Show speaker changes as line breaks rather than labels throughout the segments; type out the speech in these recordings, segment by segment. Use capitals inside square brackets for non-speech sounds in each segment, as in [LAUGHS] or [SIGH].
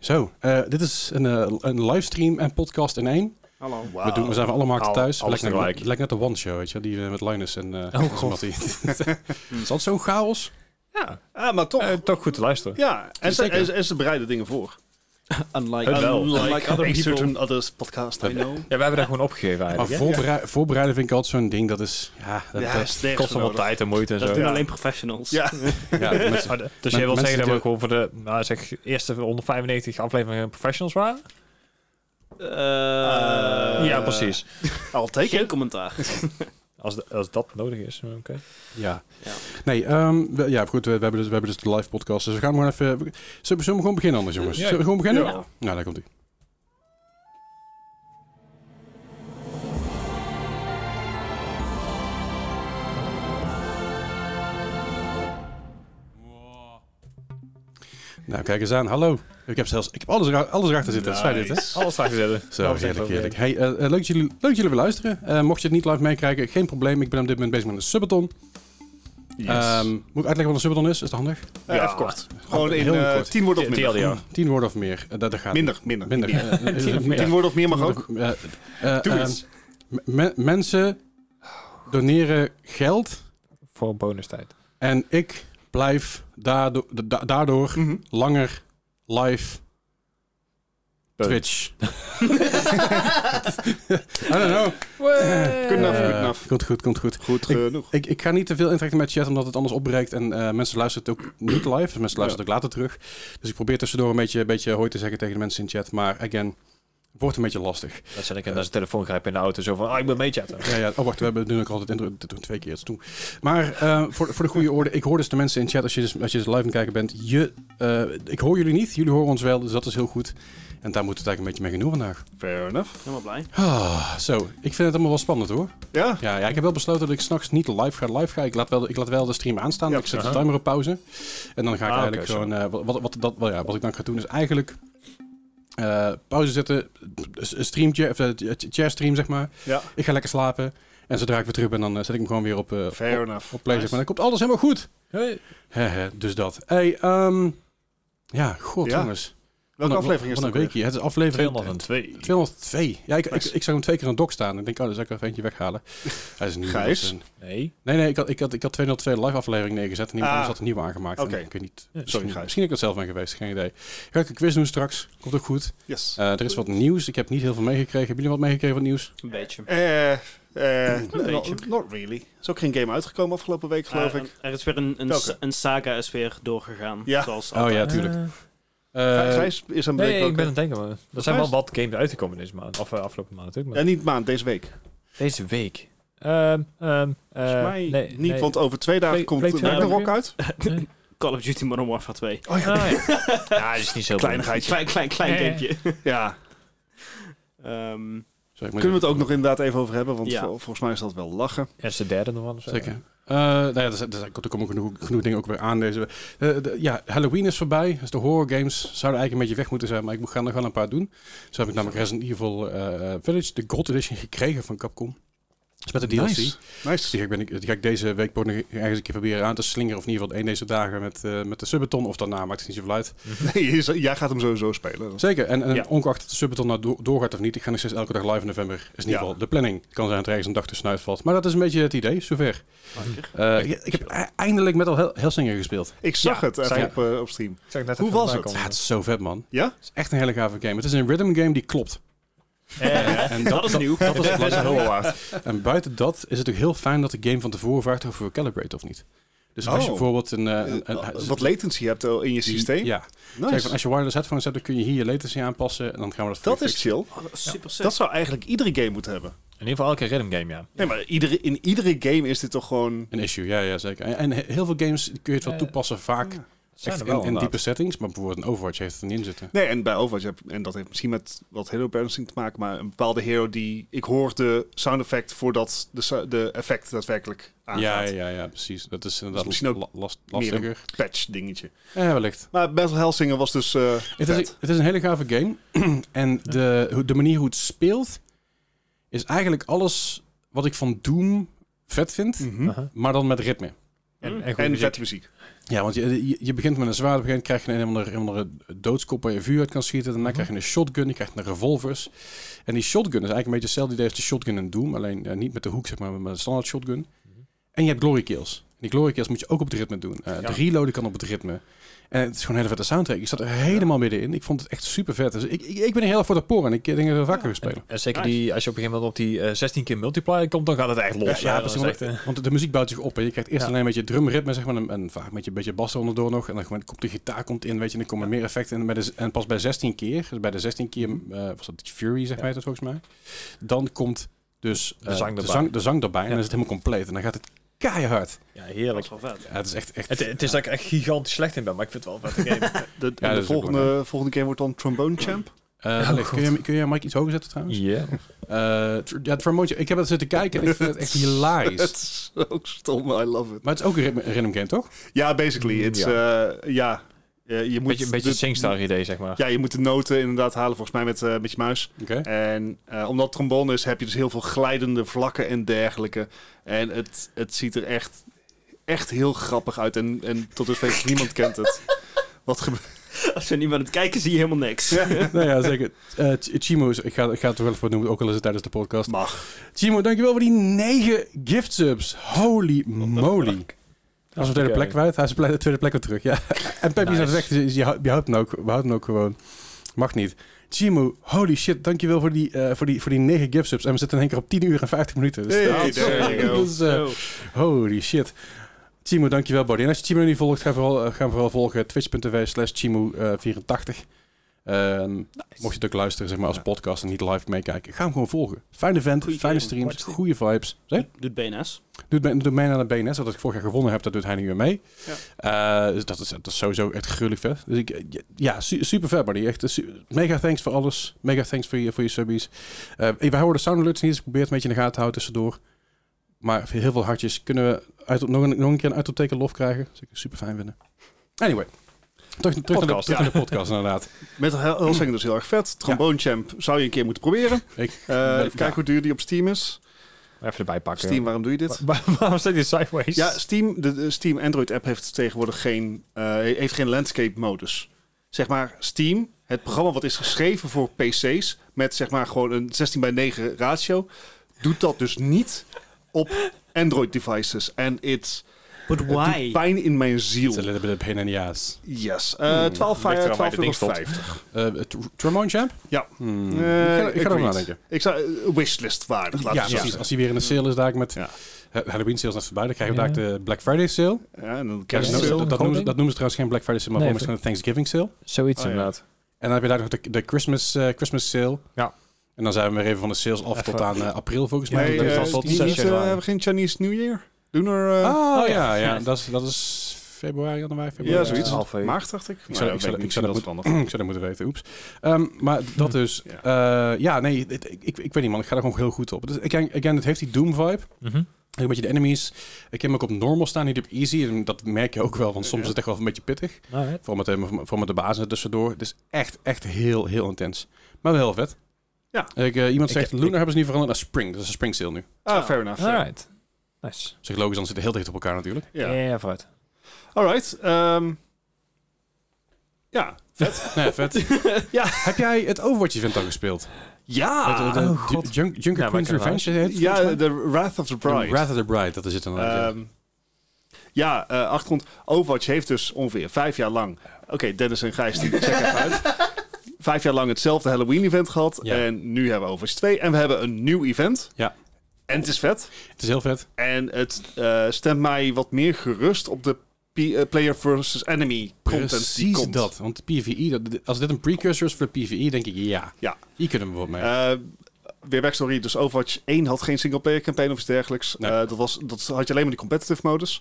Zo, eh, dit is een, eh, een livestream en podcast in één.
Hallo.
We, doen, we zijn van alle markten
Al-
thuis.
alles
Lijkt net-
tegelijk.
Lijkt net de One Show, weet je, die eh, met Linus en eh
Oh, god.
Matty.
[LAUGHS]
[LAUGHS] Is dat zo'n chaos?
Ja,
Ah, maar toch.
eh, toch goed te luisteren.
ja, en ze,
zeker.
en, ze- en ze bereiden dingen voor. Unlike,
Het wel.
unlike
Unlike
other people
certain-
and others podcast, I know.
Ja, we hebben daar gewoon opgegeven
Maar
eigenlijk. hè?
voorberei- voorbereiden vind ik altijd zo'n ding, dat is... Ja, dat,
Ja,
dat-
is nergens
kost
voor
allemaal
nodig.
tijd en moeite en
Dat
zo.
doen
Ja.
alleen professionals.
Ja,
ja,
[LAUGHS]
mensen-
Oh, de-
Men-
dus jij
mensen
wil zeggen dat
die-
we gewoon voor de nou, zeg, eerste 195 afleveringen professionals waren?
[LAUGHS] Eh,
ja, precies.
al
Geen
teken.
commentaar.
Als, de- als dat nodig is. Oké.
ja.
Ja.
Nee, ehm, we- ja, goed, we, we hebben dus, we hebben dus de live podcast, dus we gaan gewoon even... we- Zullen, we- zullen we gewoon beginnen anders, jongens?
Ja.
Zullen we gewoon beginnen?
Ja.
Nou, daar komt ie. Nou, kijk eens aan. Hallo. Ik heb zelfs ik heb alles, era- alles erachter zitten. Dat is fijn, dit, hè?
Alles staat gezet.
Zo,
Nou,
heerlijk, heerlijk. Hey, eh, eh, leuk, dat jullie, leuk dat jullie weer luisteren. Eh, mocht je het niet live meekrijgen, geen probleem. Ik ben op dit moment bezig met een subathon. Ehm, moet ik uitleggen wat een subathon is? Is dat handig?
Eh,
Ja.
even kort. Gewoon in
heel
eh,
kort.
tien woorden of
T-
minder.
TLDR. Ja.
Tien woorden of meer. Eh, dat, dat gaat
Minder, minder.
niet. Minder. Eh, eh,
Tien woorden of meer mag
[LAUGHS]
ook.
Eh, eh,
Doe
ehm,
eens.
me- mensen doneren geld
Voor bonus tijd.
en ik blijf daardoor, da- daardoor
Mhm.
langer live
Punt.
Twitch. I don't know.
Good enough, good
Eh,
enough.
Komt goed, komt goed.
Goed genoeg.
Ik, ik ga niet te veel interachten met chat, omdat het anders opbreekt. En eh, mensen luisteren het ook [CLEARS THROAT] niet live. Dus mensen luisteren het ook later terug. Dus ik probeer tussendoor een beetje, een beetje hooi te zeggen tegen de mensen in chat. Maar again, wordt een beetje lastig.
Dat zet ik in zijn telefoon grijpen in de auto. Zo van, ah, ik ben meechatten.
Ja, ja. Oh, wacht, we hebben nu ook altijd intro. Dit doen twee keer, dat is toe. Maar eh, voor, voor de goede orde, ik hoor dus de mensen in chat, als je dus, als je dus live aan het kijken bent, je, eh, ik hoor jullie niet, jullie horen ons wel, dus dat is heel goed. En daar moet het eigenlijk een beetje mee genoeg vandaag.
Fair enough.
Helemaal blij.
Ah, zo, ik vind het allemaal wel spannend hoor.
Ja,
Ja, ja ik heb wel besloten dat ik s'nachts niet live ga. Live ga. Ik, laat wel, de- ik laat wel de stream aanstaan.
Ja.
ik zet de
Aha.
timer op pauze. En dan ga ik
Ah,
eigenlijk
oké,
gewoon... eh, wat, wat, wat, dat, wel, ja, wat ik dan ga doen is eigenlijk... eh, pauze zetten, een streamtje, of eh, chair stream zeg maar.
ja.
Ik ga lekker slapen. En zodra ik weer terug ben, dan eh, zet ik hem gewoon weer op, eh,
fair
op,
enough.
op play. Zeg maar. Dan komt alles helemaal goed.
Hey.
Hehe, dus dat. Hey, ehm, ja, god
Ja.
jongens.
Welke
Wat een-
aflevering is
wat
dat?
een weekje. Het is aflevering
202.
202. Ja, ik, ik,
Nice.
ik zag hem twee keer aan het dok staan. Ik denk, oh, dan zal ik er even eentje weghalen. Hij is nu
Gijs?
dus een-
Nee.
Nee, nee, ik had, ik had, ik had 202 live aflevering neergezet en iemand
Ah.
anders had een nieuwe aangemaakt. En
Oké.
Ik weet niet.
Ja,
misschien,
Gijs.
misschien heb ik dat zelf ben geweest, geen idee. Ga ik een quiz doen straks. Komt ook goed.
Yes.
Eh, er is wat nieuws. Ik heb niet heel veel meegekregen. Hebben jullie wat meegekregen van nieuws?
Een beetje.
Eh, eh,
beetje.
not, not really. Is ook geen game uitgekomen afgelopen week, geloof
Eh,
ik.
Er is weer een, een,
Welke?
sa- een saga is weer doorgegaan.
Ja.
Zoals
Oh ja,
altijd.
tuurlijk.
Eh,
Eh,
Gijs is aan het
nee,
denken
ik
ook,
ben aan het denken. maar Er zijn
Gijs?
wel wat games uitgekomen deze maand. Of eh, afgelopen maand natuurlijk.
hè? Ja,
Maar
niet maand, deze week.
Deze week. Ehm ehm eh,
Volgens mij
nee,
niet,
nee.
want over twee dagen
Play-
komt
Play-
Ragnarok uit.
Call of Duty Modern Warfare 2.
Oh ja,
Ah, ja.
[LAUGHS]
ja, dat is niet zo
kleinigheidje.
Klein, klein, klein
Ja, ja.
gamepje.
Ja.
Ehm,
sorry, ik moet
Kunnen we
even-
het ook nog inderbeeld even over hebben, want
Ja.
vol- volgens mij is dat wel lachen.
En ze derde nog wel. of zo.
Zeker. Eh nou ja, er, zijn- er zijn- er komen genoeg, genoeg dingen ook weer aan deze. eh, de- ja, Halloween is voorbij. Dus de horror games zouden eigenlijk een beetje weg moeten zijn. Maar ik moet- ga nog wel een paar doen. Zo heb ik namelijk Resident Evil eh, Village, de God Edition, gekregen van Capcom. Dus met de DLC.
Nice.
Dus
Nice.
die ga ik, ben ik- die ga ik deze week nog ergens een keer proberen aan te slingeren. Of in ieder geval één deze dagen met, eh, met de subathon. Of daarna, maakt het niet zoveel uit.
[LAUGHS] Nee, je zal- jij gaat hem sowieso spelen.
Zeker. En, en
Ja.
ongeacht dat de subathon nou do- doorgaat of niet. Ik ga nog steeds elke dag live in november. Is in ieder
Ja.
geval de planning. Kan zijn dat er ergens een dag tussenuit valt. Maar dat is een beetje het idee, zover. Eh, ik, ik heb e- eindelijk met al heel, Hellsinger gespeeld.
Ik zag
Ja,
het even
zei-
op, eh, op stream.
Ik zag net
Hoe
even
was
voorbij
Ja,
komen.
het is zo vet, man.
Ja?
Het is echt een hele gave game. Het is een rhythm game die klopt.
[LAUGHS]
Eh,
En
dat is nieuw.
Dat
[LAUGHS]
is best heel waard.
En buiten dat is het ook heel fijn dat de game van tevoren vraagt of we calibrate of niet. Dus als je
Oh.
bijvoorbeeld een... eh, een- een-
Eh, Wat latency hebt eh, in je systeem.
Ja. Zeg van,
Nice.
als je wireless headphones hebt, dan kun je hier je latency aanpassen. En dan gaan we dat
Dat
voor je
is chill.
Oh, dat is super sick.
Dat zou eigenlijk iedere game moeten hebben.
In ieder geval elke rhythm game, ja.
Nee, maar iedere, in iedere game is dit toch gewoon...
Een issue, ja, ja zeker. En, en he- heel veel games kun je het wel
Eh,
toepassen, vaak echt
Zijn er
in-
wel,
in,
inderdaad.
diepe settings. Maar bijvoorbeeld een Overwatch heeft het er niet in zitten.
Nee, en bij Overwatch, heb, en dat heeft misschien met wat hero balancing te maken, maar een bepaalde hero die... Ik hoor de sound effect voordat de, su- de effect daadwerkelijk
ja,
aangaat.
ja, ja, precies. Dat is inderdaad
Dus misschien ook
la- last,
meer een-
lastiger.
Patch dingetje.
Ja, wellicht.
Maar Battle Hellsinger was dus... eh,
Het
vet.
is, het is een hele gave game. [CLEARS THROAT] en de, hoe- de manier hoe het speelt is eigenlijk alles wat ik van Doom vet vind.
Mhm.
Aha. Uh-huh.
Maar dan met ritme.
En, en, goede
En
muziek.
vette muziek.
Ja, want je, je, je begint met een zwaard, op een gegeven moment krijg je een een of andere, een of andere doodskop waar je vuur uit kan schieten. Daarna
Mhm.
krijg je een shotgun, je krijgt een revolvers. En die shotgun is eigenlijk een beetje hetzelfde idee als de shotgun in Doom, alleen eh, niet met de hoek, zeg maar, maar met een standaard shotgun.
Mhm.
En je hebt glory kills. En die glory kills moet je ook op het ritme doen. Eh,
Ja.
De reloaden kan op het ritme. En het is gewoon een hele vette soundtrack. Ik zat er helemaal middenin. Ik vond het echt super vet. Dus ik, ik, ik ben er heel erg voor de poren en ik eh, denk dat we vaker gaan spelen.
En, en zeker
Nice.
die, als je op een gegeven moment op die eh, 16 keer multiplier komt, dan gaat het echt los.
Ja, ja,
hè.
precies,
Dat is echt, eh,
Want de muziek bouwt zich op. En je krijgt eerst
Ja.
alleen een beetje drumritme, zeg maar. En, en vaak met je een beetje bas er onderdoor nog. En dan gewoon komt de gitaar komt in, weet je. En dan komen meer effecten. En, bij de, en pas bij 16 keer, dus bij de 16 keer, eh, was dat Fury, zeg maar, heet dat volgens mij. Dan komt dus eh,
De zang
de,
erbij.
zang, de zang erbij. En
Ja.
dan is het helemaal compleet. En dan gaat het keihard.
ja,
Dat
heerlijk.
is wel vet.
Ja, het is echt... echt
Het, het is dat ik echt gigantisch slecht in ben, maar ik vind het wel een
[LAUGHS]
vette game.
De, en
dat
de
is ook
volgende, volgende game wordt dan Trombone Champ.
Eh, Alex, kun, je, kun je Mike iets hoger zetten trouwens?
oh Ja.
Eh, tr- ja, het promotie. Ik heb het zitten kijken en ik vind het
[LAUGHS]
echt
[LAUGHS] Het
hilarisch.
is ook stom, I love it.
Maar het is ook een ritme- een rhythm game, toch?
Ja, basically.
Mm,
It's, ja. ja. Eh, je moet
Beetje, een beetje
de-
het SingStar idee, zeg maar.
Ja, je moet de noten inderdaad halen volgens mij met, eh, met je muis.
Oké.
En eh, omdat het trombone is, heb je dus heel veel glijdende vlakken en dergelijke. En het, het ziet er echt, echt heel grappig uit. En, en tot dusver niemand kent het. Wat gebeurt
Als er niemand aan het kijken zie je helemaal niks.
nou ja, zeker. Eh, Ch- Chimo, is- ik ga, ik ga het er wel even voor noemen, ook al is het tijdens de podcast.
mag?
Chimo, dankjewel voor die 9 gift subs. Holy moly. Hij is op de tweede plek kwijt. Hij is op de tweede plek weer terug. Ja. [LAUGHS] En Peppy is aan het
Nice.
weg. Dus je, hou- je houdt hem ook, we houden hem ook gewoon. Mag niet. Chimo, holy shit. Dankjewel voor die, eh voor die, voor die 9 gift subs. En we zitten in één keer op 10 uur en 50 minuten. Dus
Hey,
dat is-
there
[LAUGHS]
you go.
dat is, eh,
Oh.
Holy shit. Timo, dankjewel Body. En als je Timo niet volgt, ga vooral, eh, ga hem vooral volgen. Twitch.tv slash Timo84. Ehm, Mocht je het ook luisteren zeg maar, als
Ja.
podcast en niet live meekijken. Ga hem gewoon volgen. Fijne vent,
Goeie
fijne
game.
streams,
Watch it.
goede vibes. Zeg?
[LAUGHS] Doet BNS.
Doet mij, doet mij naar de BNS, dat ik vorig jaar gewonnen heb, dat doet hij nu weer mee. Eh, dus dat, is, dat is sowieso echt gruwelijk vet. Dus ik, eh, ja, su- super vet, buddy. Echt, eh, su- mega thanks voor alles. Mega thanks voor je, voor je subbies. Eh, wij houden de sound alerts niet, dus ik probeer het een beetje in de gaten te houden tussendoor. Maar heel veel hartjes kunnen we uit, nog, een, nog een keer een uitopteken lof krijgen. Dus ik super fijn vinden. Anyway. Terug, terug, naar, de,
Podcast,
terug naar de podcast, inderdaad.
Metal Hell Hell Singer is dus heel erg vet. Trombone Champ zou je een keer moeten proberen.
Ik-
Eh, even kijken hoe duur die op Steam is.
Even erbij pakken.
Steam, waarom doe je dit?
Wa- wa- Waarom staat die sideways?
Ja, Steam, de, de Steam Android app heeft tegenwoordig geen, eh, heeft geen landscape modus. Zeg maar, Steam, het programma wat is geschreven voor PC's met zeg maar gewoon een 16 bij 9 ratio, doet dat dus niet op Android devices. En it's
But
het doet
why?
pijn in mijn ziel.
It's a little bit of pain in the ass.
Yes.
Hmm,
Eh 12
ligt eraan waar je
euro
het ding
50.
Eh, Tr- Tremont Champ?
Ja.
Hmm.
Eh,
ik ga, ik ga
agreed.
erover nadenken.
Ik zou eh, wishlist waardig laten
Ja,
we
precies.
zeggen.
Als hij weer in de sale is, daar ik met
Ja.
Ha- Halloween sales net voorbij. Dan krijgen we
Ja.
daar de Black Friday sale.
Ja, en dan
Dat,
kerst.
Ja,
dat, noemen
sale,
ze, dat
gewoon ding?
noemen ze trouwens geen Black Friday sale, maar
Nee,
gewoon misschien een Thanksgiving sale.
Zoiets
Oh, ja.
inderdaad.
En dan heb je daar nog de, de Christmas, eh, Christmas sale.
Ja.
En dan zijn we weer even van de sales af
Even-
tot aan eh, april volgens mij.
Nee,
Dat is
eh,
vast wel
die-
tien.
niet,
zes
eh,
januari.
hebben we geen Chinese New Year? Doen er... eh,
Ah,
Oh,
ja,
ja.
ja. Dat, is, dat is februari, januari, februari.
Ja, zoiets.
Half week.
Maart, dacht ik.
Ik zou- ik zou- ik zou dat
veranderen.
[CLEARS THROAT] ik zou dat moeten weten, oeps. Ehm, maar dat dus. eh, Ja, nee, dit- ik, ik, ik weet niet man, ik ga er gewoon heel goed op. Dus, again, again, het heeft die Doom vibe.
Mhm.
Ook Een beetje de enemies. Ik heb hem ook op normal staan, niet op easy. En dat merk je ook wel, want soms is het echt wel een beetje pittig.
Alright.
Voor met, de- voor met de bazen er tussendoor. Het is echt, echt heel, heel intens. Maar wel heel vet.
Ja.
Ik, eh, iemand
Ik-
zegt,
ik-
Lunar hebben ze nu veranderd naar Spring. Dat is een Spring sale nu.
Ah, fair enough.
Alright. Nice.
Zeg logisch, dan zitten heel dicht op elkaar
[LAUGHS]
natuurlijk.
Ja,
Ja.
vooruit.
Alright. ehm, ja.
Nee, Nou vet.
Ja.
Heb jij het Overwatch event al gespeeld?
Ja.
Het, eh, de
oh, god.
Ju- Junk- Junker
Ja,
Queen's
maar ik kan
Revenge heet het volgens
ja,
mij?
de Wrath of the Bride.
Wrath of the Bride, dat is het dan.
Ehm, ja, eh, achtergrond. Overwatch heeft dus ongeveer vijf jaar lang... Oké, Dennis en Gijs, die check even uit.
[LAUGHS]
Vijf jaar lang hetzelfde Halloween-event gehad.
Ja.
En nu hebben we Overwatch 2. En we hebben een nieuw event.
Ja.
En het is vet.
het is heel vet.
En het eh, stemt mij wat meer gerust op de P- eh, player versus enemy content die
Precies
komt.
dat. Want de PvE, dat, als dit een precursor is voor de PvE, denk ik ja.
Ja.
Hier kunnen we wat mee.
Eh, weer backstory, dus Overwatch 1 had geen singleplayer campaign of iets dergelijks.
Nee.
Eh, dat, was, dat had je alleen maar die competitive modus.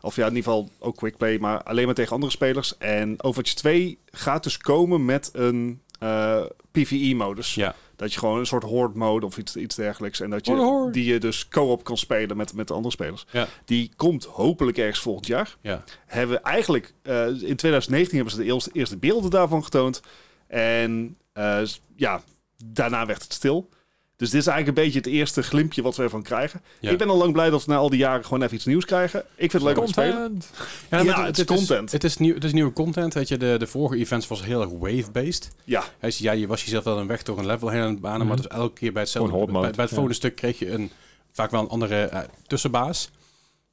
Of ja, in ieder geval ook quickplay, maar alleen maar tegen andere spelers. En Overwatch 2 gaat dus komen met een eh, PvE modus.
ja.
Dat je gewoon een soort horde mode of iets, iets dergelijks. En dat je,
Horde, horde.
die je dus co-op kan spelen met, met de andere spelers.
Ja.
Die komt hopelijk ergens volgend jaar
ja.
hebben we eigenlijk eh, in 2019 hebben ze de eerste, eerste beelden daarvan getoond. En eh, s- ja, daarna werd het stil. Dus dit is eigenlijk een beetje het eerste glimpje wat we ervan krijgen.
Ja.
Ik ben al lang blij dat we na al die jaren gewoon even iets nieuws krijgen. Ik vind het leuk om te spelen.
eh,
Content.
Ja, maar
Ja,
dit-
het
dit
is content.
Het is, nieuw, het is nieuwe content. Weet je, de, de vorige events was heel erg wave-based.
Ja,
Hij zei, ja, je was jezelf wel een weg door een level heen aan het banen, maar
Mhm.
het was elke keer bij hetzelfde.
Gewoon horde
bij,
mode,
bij het
ja.
volgende stuk kreeg je een, vaak wel een andere eh, tussenbaas,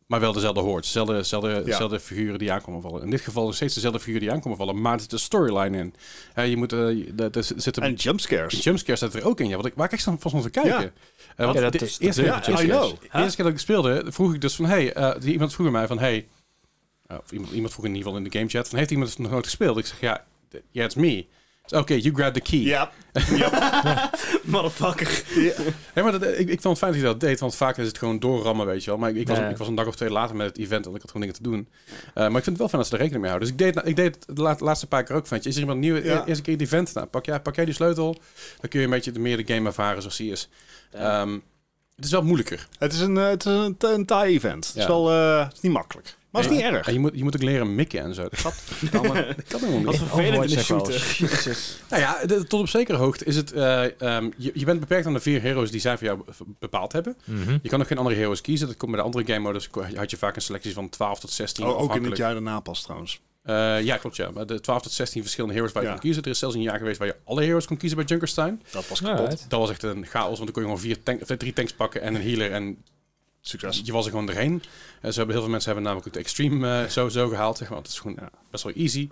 maar wel dezelfde hoort. Dezelfde, dezelfde, dezelfde figuren die aankomen vallen. In dit geval nog steeds dezelfde figuren die aankomen vallen, maar er zit een storyline in. Eh, je moet, eh, je- er er zit een
en jumpscares.
jumpscare staat er ook in. Ja, wat ik, waar ik echt van van stond te kijken.
Ja.
Eh, want
Ja, dat
de
is- dat
eerste,
is-
keer-
ja,
de eerste
I
keer-
know.
de eerste keer dat ik speelde, vroeg ik dus van, hey, eh, die- iemand vroeg mij van, hey, eh, of iemand, iemand vroeg in ieder geval in de game chat van, heeft iemand het nog nooit gespeeld? Ik zeg, ja, d- yeah, it's me. Oké, you grab the key.
Ja,
[LAUGHS] Motherfucker.
Ja, maar dat, ik, ik vond het fijn dat hij dat deed, want vaak is het gewoon doorrammen, weet je wel. Maar ik, ik, was,
Ja.
ik was een dag of twee later met het event, want ik had gewoon dingen te doen. Eh, maar ik vind het wel fijn dat ze er rekening mee houden. Dus ik deed, ik deed het de laat- laatste paar keer ook van, is er iemand nieuw,
Ja.
eerst een keer het event, nou, pak, jij, pak jij die sleutel, dan kun je een beetje de- meer de game ervaren zoals die is. Ehm, het is wel moeilijker.
het is een, eh, het is een, een taai event. Het
Ja.
is wel eh, het is niet makkelijk. Maar het is
Ja.
niet erg.
En je moet, je moet ook leren mikken en zo. [LAUGHS] Dat kan helemaal niet.
Wat
Oh,
vervelend in
Overwatch
de
heb ik wel
shooter.
[LAUGHS]
Nou ja, de- tot op zekere hoogte is het... eh, ehm, je, je bent beperkt aan de vier heroes die zij voor jou v- bepaald hebben.
Mhm.
Je kan nog geen andere heroes kiezen. Dat komt bij de andere game modus. ko- Had je vaak een selectie van 12 tot 16
Oh, ook in het
afhankelijk.
jaar daarna pas trouwens.
Eh, ja, klopt ja. Maar de 12 tot 16 verschillende heroes waar je
Ja.
kon kiezen. Er is zelfs een jaar geweest waar je alle heroes kon kiezen bij Junkerstein.
Dat was
Ja,
kapot.
right.
Dat was echt een chaos, want dan kon je gewoon vier tank, of nee, drie tanks pakken en een healer. En
Succes.
je was er gewoon doorheen. En zo hebben heel veel mensen hebben namelijk ook de extreme eh, zo, zo gehaald. Zeg maar. want Dat is gewoon
Ja.
best wel easy.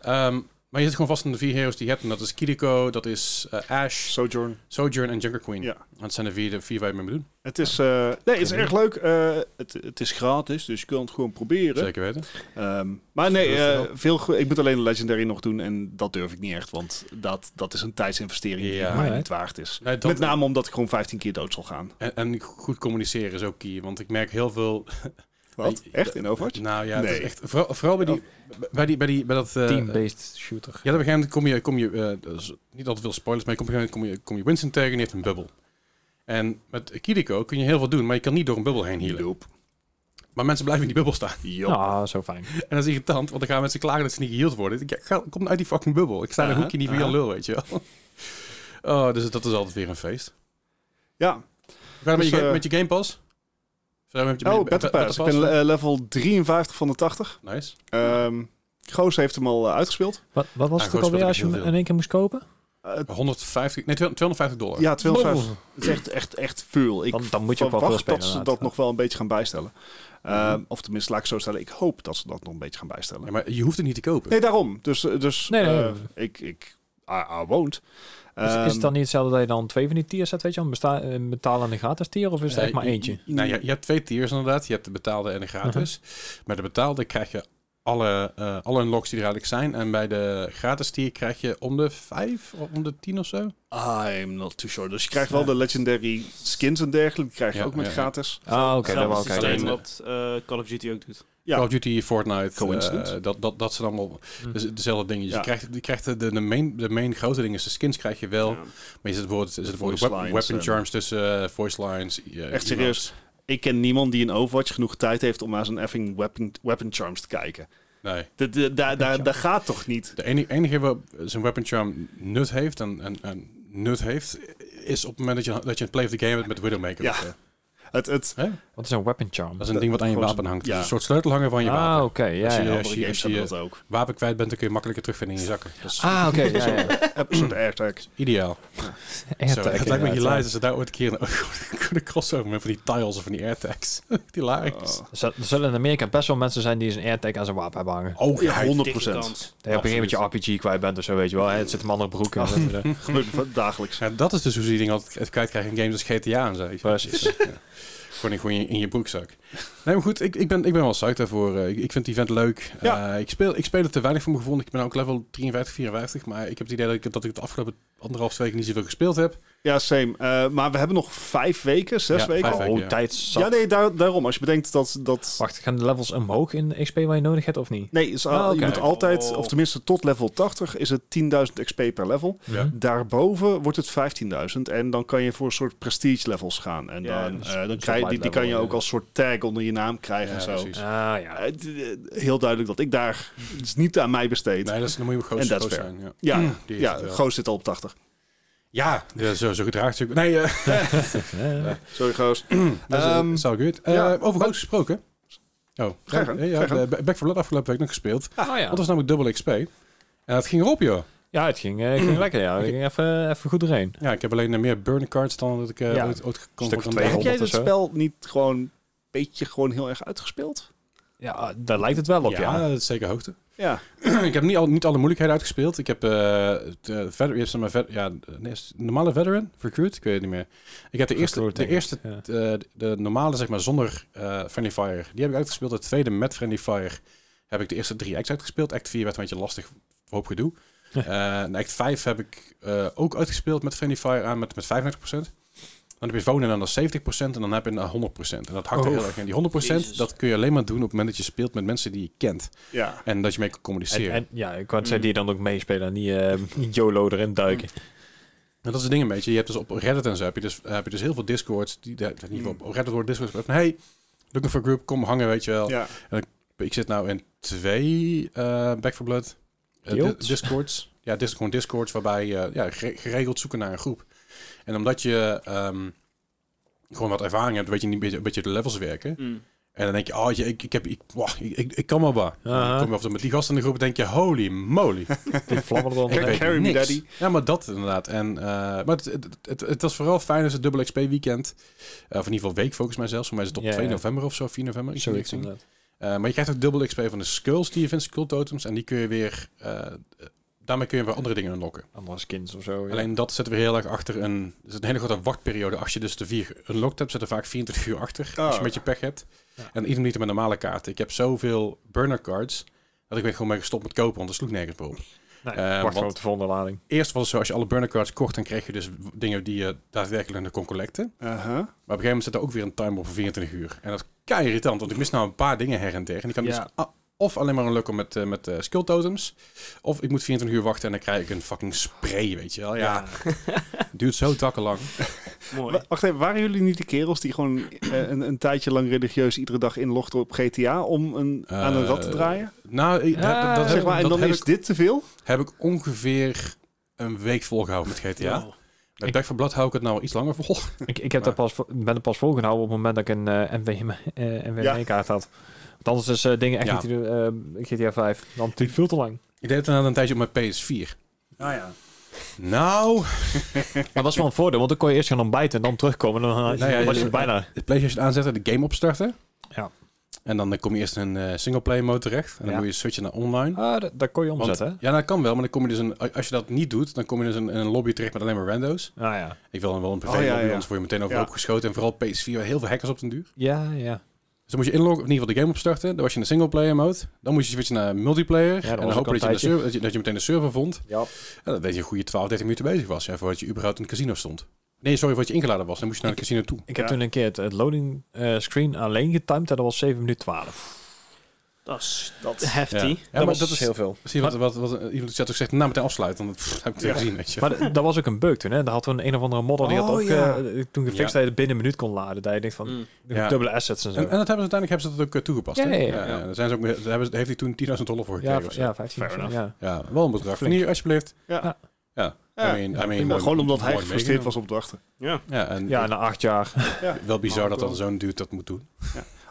Ehm, maar je zit gewoon vast in de vier heroes die je hebt. En dat is Kiriko, dat is eh, Ash,
Sojourn.
Sojourn en Junker Queen.
Ja.
Dat zijn de vier, de vier waar je mee moet doen.
Het is, eh, nee, het is erg leuk. Eh, het, het is gratis, dus je kunt het gewoon proberen.
Zeker weten.
Ehm, maar nee,
Durf je
eh,
wel?
veel go- ik moet alleen Legendary nog doen. En dat durf ik niet echt, want dat, dat is een tijdsinvestering
Ja.
die mij
Alright.
niet waard is.
Nee, dat-
Met name omdat ik gewoon 15 keer dood zal gaan.
En, en goed communiceren is ook key. Want ik merk heel veel [LAUGHS]
Wat?
Nee,
Echt? In Overwatch?
Nou ja, het
Nee.
is echt, vooral, vooral bij, die, bij, die, bij, die, bij dat... eh,
Team-based shooter.
ja, op een gegeven moment kom je, kom je eh, dat is niet altijd veel spoilers, maar je komt op een gegeven moment kom je, kom je Winston tegen en die heeft een bubbel. En met Kiriko kun je heel veel doen, maar je kan niet door een bubbel heen healen.
Joep.
Maar mensen blijven in die bubbel staan.
Joep.
Ah, zo fijn.
[LAUGHS] En dat is irritant, want dan gaan mensen klagen dat ze niet geheeld worden. Ik denk, ja, ga, kom nou uit die fucking bubbel. Ik sta in een
Aha,
hoekje niet voor
aha.
jou lul, weet je wel. [LAUGHS] Oh, dus dat is altijd weer een feest.
Ja.
Hoe gaat het met,
Dus,
je, ga-
eh,
met je Game Pass? Zo, met je-
Oh,
met-
Battle
met-
Pass. Ik ben
Battle
eh, level 53 van de 80.
Nice.
Ehm Goos heeft hem al eh, uitgespeeld.
Wat, wat was
Ah,
het ook
goed, speelde
alweer als je
ik
hem
heel
in één keer moest kopen?
Eh,
150, nee, 250 dollar.
ja, 250.
Boom.
Het is echt, echt, echt veel. Ik
Dan- dan moet je ook wel
verwacht
veel spelen,
dat ze dat
inderdaad.
nog wel een beetje gaan bijstellen.
Mhm.
Ehm, Of tenminste, laat ik zo stellen. Ik hoop dat ze dat nog een beetje gaan bijstellen.
Ja, maar je hoeft het niet te kopen.
Nee, daarom. Dus, dus
Nee, nee,
eh,
nee.
ik, ik I, I won't.
Is, is
Ehm,
het dan niet hetzelfde dat je dan twee van die tiers hebt, weet je wel? Een besta- een betalen en een gratis tier, of is het
Eh,
echt maar
je-
eentje?
Nou, je, je hebt twee tiers inderdaad. Je hebt de betaalde en de gratis. Bij de betaalde krijg je alle, eh alle unlocks die er eigenlijk zijn. En bij de gratis tier krijg je om de vijf, of om de tien of zo.
I'm not too sure. Dus je krijgt wel de legendary skins en dergelijke. Die krijg je
Ja,
ook met
ja, ja.
gratis.
Ah, oké, dat
Hetzelfde
wel
oké.
systeem
Alleen-
wat eh, Call of Duty ook doet.
Ja.
Call of Duty, Fortnite,
Coincidence?
eh, dat, dat, dat zijn allemaal
Mhm.
dus dezelfde dingetjes.
Ja.
Je krijgt, je krijgt de, de, main, de main grote dingen. is De skins krijg je wel.
Ja.
Maar je zit bijvoorbeeld, er zitten
Voice
bijvoorbeeld wep-
lines
weapon
en-
charms tussen, eh, voice lines. eh,
Echt
emotes.
serieus. Ik ken niemand die in Overwatch genoeg tijd heeft om naar zijn effing weapon, weapon charms te kijken.
Nee.
Dat- dat- daar- daar- Dat gaat toch niet?
De enige, enige waar zijn weapon charm nut heeft en, en, en nut heeft, is op het moment dat je, dat je een play of the game hebt met Widowmaker.
Ja.
of zo.
Het, het,
Hè?
Wat is een weapon charm?
Dat is een ding wat aan je
Gewoon
wapen
zo'n-
hangt.
ja.
Het is Een soort sleutelhanger van je wapen.
Ah, oké, ja,
Als je-
ja.
andere
als je-
games
als je-
hebben dat ook. [CLEARS THROAT]
Wapen kwijt bent, dan kun je makkelijker terugvinden in je zakken. Dat is
Ah, oké, ja, ja.
[LAUGHS]
Episode AirTag.
ideaal.
Air
Zo,
tag,
het lijkt me
inderdaad,
hilarisch
ja.
als ze daar ooit een keer een, [LAUGHS] een crossover met van die tiles of van [LAUGHS] die airtags. hilarisch.
Oh.
Er zullen- er zullen in Amerika best wel mensen zijn die zijn airtag aan zijn wapen hebben hangen. Dat
Oh,
Ja,
ja.
100%.
je op een gegeven moment je RPG kwijt bent of zo, weet je wel. hè. Het zit een andere broek in.
[CLEARS THROAT] Gebeurt me dagelijks.
Ja, dat is dus hoe ze die dingen altijd kwijtkrijgen in games als GTA en zo. weet je.
Precies.
[LAUGHS]
Ja. Gewoon, in, gewoon in je- in je broekzak. Nee, maar goed, ik, ik, ben, ik ben wel psyched daarvoor. Eh, ik, ik vind het event leuk.
Ja.
Eh, ik, speel, ik speel het te weinig voor mijn gevoel. Ik ben ook level 53, 54. Maar ik heb het idee dat ik, dat ik het afgelopen anderhalf twee weken niet zoveel gespeeld heb.
Ja, same. Eh, maar we hebben nog vijf weken, zes
Ja,
weken.
vijf weken, ja.
Oh, tijd zat.
Ja, nee, daar- daarom. Als je bedenkt dat... dat
Wacht, gaan de levels omhoog in XP waar je nodig hebt of niet?
nee, is, eh,
Ah, oké.
je moet altijd,
Oh.
of tenminste tot level 80, is het 10.000 XP per level.
Ja.
Mhm.
Daarboven wordt het 15.000 en dan kan je voor een soort prestige levels gaan. En
Ja,
dan,
dus-
eh, dan
dus
krijg je,
op
die, die
level,
kan je
ja.
ook als soort tag onder je naam krijgen en
Ja,
zo.
precies.
Ah, ja.
Eh, het- eh, heel duidelijk dat ik daar... [LAUGHS] Het is niet aan mij besteed.
Nee, dat is, dan moet je
En
groot
dat is
groot
fair.
zijn. Ja.
Ja,
Die heeft
ja
het wel.
Goos zit al op 80.
Ja, ja, zo, zo gedraagt zich. Nee, eh [LAUGHS]
Sorry, [CLEARS THROAT] goos.
dat is
Ehm,
dat is al goed. Eh
ja,
over goals gesproken. Oh,
Ga je gang,
nee,
ga
ja,
je gang.
de Back for Blood afgelopen week nog gespeeld.
oh, ja.
Dat was namelijk dubbel XP. En dat ging erop, joh.
ja, het ging, eh, ging lekker. Ja. Ik ging even, even goed doorheen.
Ja, ik heb alleen eh, meer burn cards dan dat ik eh,
Ja.
ooit, ooit kon
Stuk of
kon-
twee.
Heb jij
100 of
dat
zo.
spel niet gewoon een beetje gewoon heel erg uitgespeeld?
Ja, daar lijkt het wel op, Ah, ja.
Ja, dat is zeker hoogte. [CLEARS THROAT]
Ja.
ik heb niet, al, niet alle moeilijkheden uitgespeeld. Ik heb eh het, eh, veter- je hebt zeg maar vet- ja, nee, is het normale veteran, recruit, ik weet het niet meer. Ik heb de eerste,
Recruit,
de
denk ik,
eerste,
ja.
eh, de normale zeg maar zonder eh friendly fire. Die heb ik uitgespeeld. De tweede met friendly fire heb ik de eerste drie acts uitgespeeld. Act 4 werd een beetje lastig, hoop gedoe. Eh, en act 5 heb ik eh, ook uitgespeeld met friendly fire aan met, met 35%. Dan heb je wonen en dan is 70% en dan heb je een 100%. En dat hakt er
Oh.
heel erg in. Die 100%
Jezus.
dat kun je alleen maar doen op het moment dat je speelt met mensen die je kent.
Ja.
En dat je mee kan
En,
communiceren.
en ja, ik kan zeggen die dan ook meespelen en niet eh, [LAUGHS] YOLO erin duiken.
Nou, dat is het ding een beetje. Je hebt dus op Reddit en zo heb je dus, heb je dus heel veel Discords. Die, die, in ieder
Hmm.
geval op Reddit worden Discords van... Hey, looking for a group, kom hangen, weet je wel.
ja.
Ik zit nou in twee eh, Back for Blood eh, di-
Guilds?
Discords. Ja, dis gewoon Discords waarbij je ja, gere- geregeld zoeken naar een groep. En omdat je ehm, gewoon wat ervaring hebt, weet je niet een beetje, een beetje de levels werken. En dan denk je, oh, je, ik, ik, heb, ik, wauw, ik, ik, ik kan wel wat.
Aha.
Dan kom je af en toe met die gasten in de groep en denk je, holy
[LAUGHS]
moly.
Die vlammen [LAUGHS] er dan
Ik
Kijk,
weet
doorheen.
Carry me,
niks.
daddy.
Ja, maar dat inderdaad. En, eh, maar het, het, het, het was vooral fijn als het dubbel XP weekend. Eh, of in ieder geval week volgens mij zelfs. Voor mij is het op
Ja,
2
ja.
november of zo, 4 november. iets in die
Zoiets
richting.
inderdaad.
Eh, maar je krijgt ook dubbel XP van de skulls die je vindt, skull totems. En die kun je weer... eh, daarmee kun je weer andere dingen unlocken.
Andere skins of zo. Oh ja.
Alleen dat zetten we heel erg achter een... Er zit een hele grote wachtperiode. Als je dus de vier unlocked hebt, zitten vaak 24 uur achter.
Oh.
Als je met je pech hebt.
Ah. Ja.
En iedereen niet met normale kaarten. Ik heb zoveel burner cards... dat ik ben gewoon mee gestopt met kopen, want er sloeg nergens meer op.
Nee,
eh,
wacht gewoon
want-
op de volgende lading.
Eerst was het zo, als je alle burner cards kocht, dan kreeg je dus w- dingen die je daadwerkelijk nog kon collecten. Maar op
Aha.
een gegeven moment zit er ook weer een timer op van 24 uur. En dat is kei irritant, want ik mis nou een paar dingen her en der. En ik kan
Ja.
dus a- of alleen maar een lukken met, eh, met eh, skill totems, of ik moet 24 uur wachten en dan krijg ik een fucking spray, weet je wel. Ja, duurt zo takkenlang.
Mm, Mooi.
Wa- Wacht even, waren jullie niet de kerels die gewoon eh, een, een tijdje lang religieus iedere dag inlogden op GTA om een,
Eh,
aan een rat te draaien?
Nou, ik- dat,
Ja,
dat, dat
zeg maar,
heb,
en
dat
dan
heb
is
ik,
dit te veel?
heb ik ongeveer een week volgehouden met GTA.
Wow.
Met Back for Blood hou ik het nou iets langer vol.
Ik, ik heb dat pas, vo- ben er pas volgehouden op het moment dat ik een eh NWM, eh, NWM-kaart had. Want anders is eh, dingen echt
Ja.
niet te doen, eh, GTA 5. Dan duurt veel te lang.
Ik deed het na een tijdje op mijn PS4.
Ah ja.
Nou,
Maar dat was wel een voordeel, want dan kon je eerst gaan ontbijten en dan terugkomen. En dan eh,
Nou ja,
was
je-
je er bijna.
de PlayStation aanzetten, de game opstarten.
Ja.
En dan eh, kom je eerst in een singleplayer mode terecht. En dan
Ja.
moet je switchen naar online.
Ah, dat, dat kon je
Want-
omzetten,
ja, dat kan wel, maar dan kom je dus een, als je dat niet doet, dan kom je dus een, in een lobby terecht met alleen maar rando's.
hè? Ah ja.
Ik wil dan wel een privé
Oh, ja,
lobby,
ja.
anders word je meteen overhoop
Ja.
geschoten. En vooral PS4, waar heel veel hackers op den duur.
Ja, ja.
Dus dan moet je inloggen, of in ieder geval de game opstarten. Dan was je in de singleplayer mode. Dan moest je switchen naar multiplayer.
dat
en
was
dan
ook
hopen
al
dat je,
een
de server, dat, je, dat je meteen de server vond.
Ja.
En dat weet je een goede 12, 13 minuten bezig was. Ja, voordat je überhaupt in het casino stond. Nee, sorry, voordat je ingeladen was. Dan moest je naar het casino toe.
Ik heb
Ja.
toen een keer het, het loading eh, screen alleen getimed en dat was 7 minuten 12.
Dat is
Dat.
Ja,
heftig.
Ja, maar dat is heel
veel.
Zie je wat, wat, wat iemand in de chat ook zegt, nou meteen afsluiten, want dat pff, heb ik het
Ja.
gezien, weet je.
Maar d- dat was ook een bug toen, hè? Daar had toen een of andere modder die had
Oh,
ook
ja.
eh, toen gefixt
Ja.
dat je het binnen een minuut kon laden. Dat je denkt van,
Mm.
Ja.
dubbele assets en zo.
En, en dat hebben ze uiteindelijk hebben ze dat ook eh, toegepast.
Ja,
hè?
ja, ja.
ja. daar zijn ze ook, mee- daar hebben ze, heeft hij toen 10.000 dollar voor
ja,
gekregen. Ja,
v- ja, 15 of
Fair
zo, ja.
ja wel een bedrag.
Flink.
Hier, alsjeblieft.
Ja.
Ja,
Ja.
I mean, I mean, mooi-
gewoon omdat hij
mooi
gefrustreerd was
meegenomen.
op opdrachten.
Ja.
Ja, en
Ja, na acht jaar.
wel bizar
Maar
dat
ook
dan zo'n dude dat moet doen.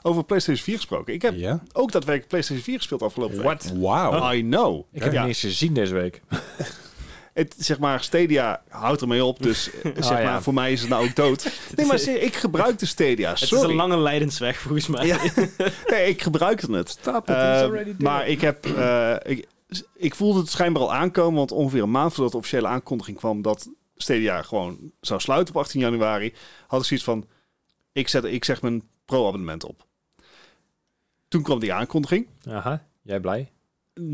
Over PlayStation 4 gesproken. Ik
Ja.
heb ook daadwerkelijk PlayStation 4 gespeeld afgelopen week.
What?
Wauw.
I know.
Ik heb
Ja.
niet eens gezien deze week.
Het, zeg maar, Stadia houdt ermee op,
[LAUGHS]
dus eh,
Ah,
zeg maar,
ja.
voor mij is het nou ook dood. Nee, maar se- ik gebruik de Stadia,
Het
sorry.
is een lange leidensweg volgens mij.
Ja. Nee, ik gebruikte het. Eh, maar ik heb... eh, ik, ik voelde het schijnbaar al aankomen, want ongeveer een maand voordat de officiële aankondiging kwam dat Stadia gewoon zou sluiten op 18 januari, had ik zoiets van, ik, zet, ik zeg mijn pro-abonnement op. Toen kwam die aankondiging.
Aha, jij blij?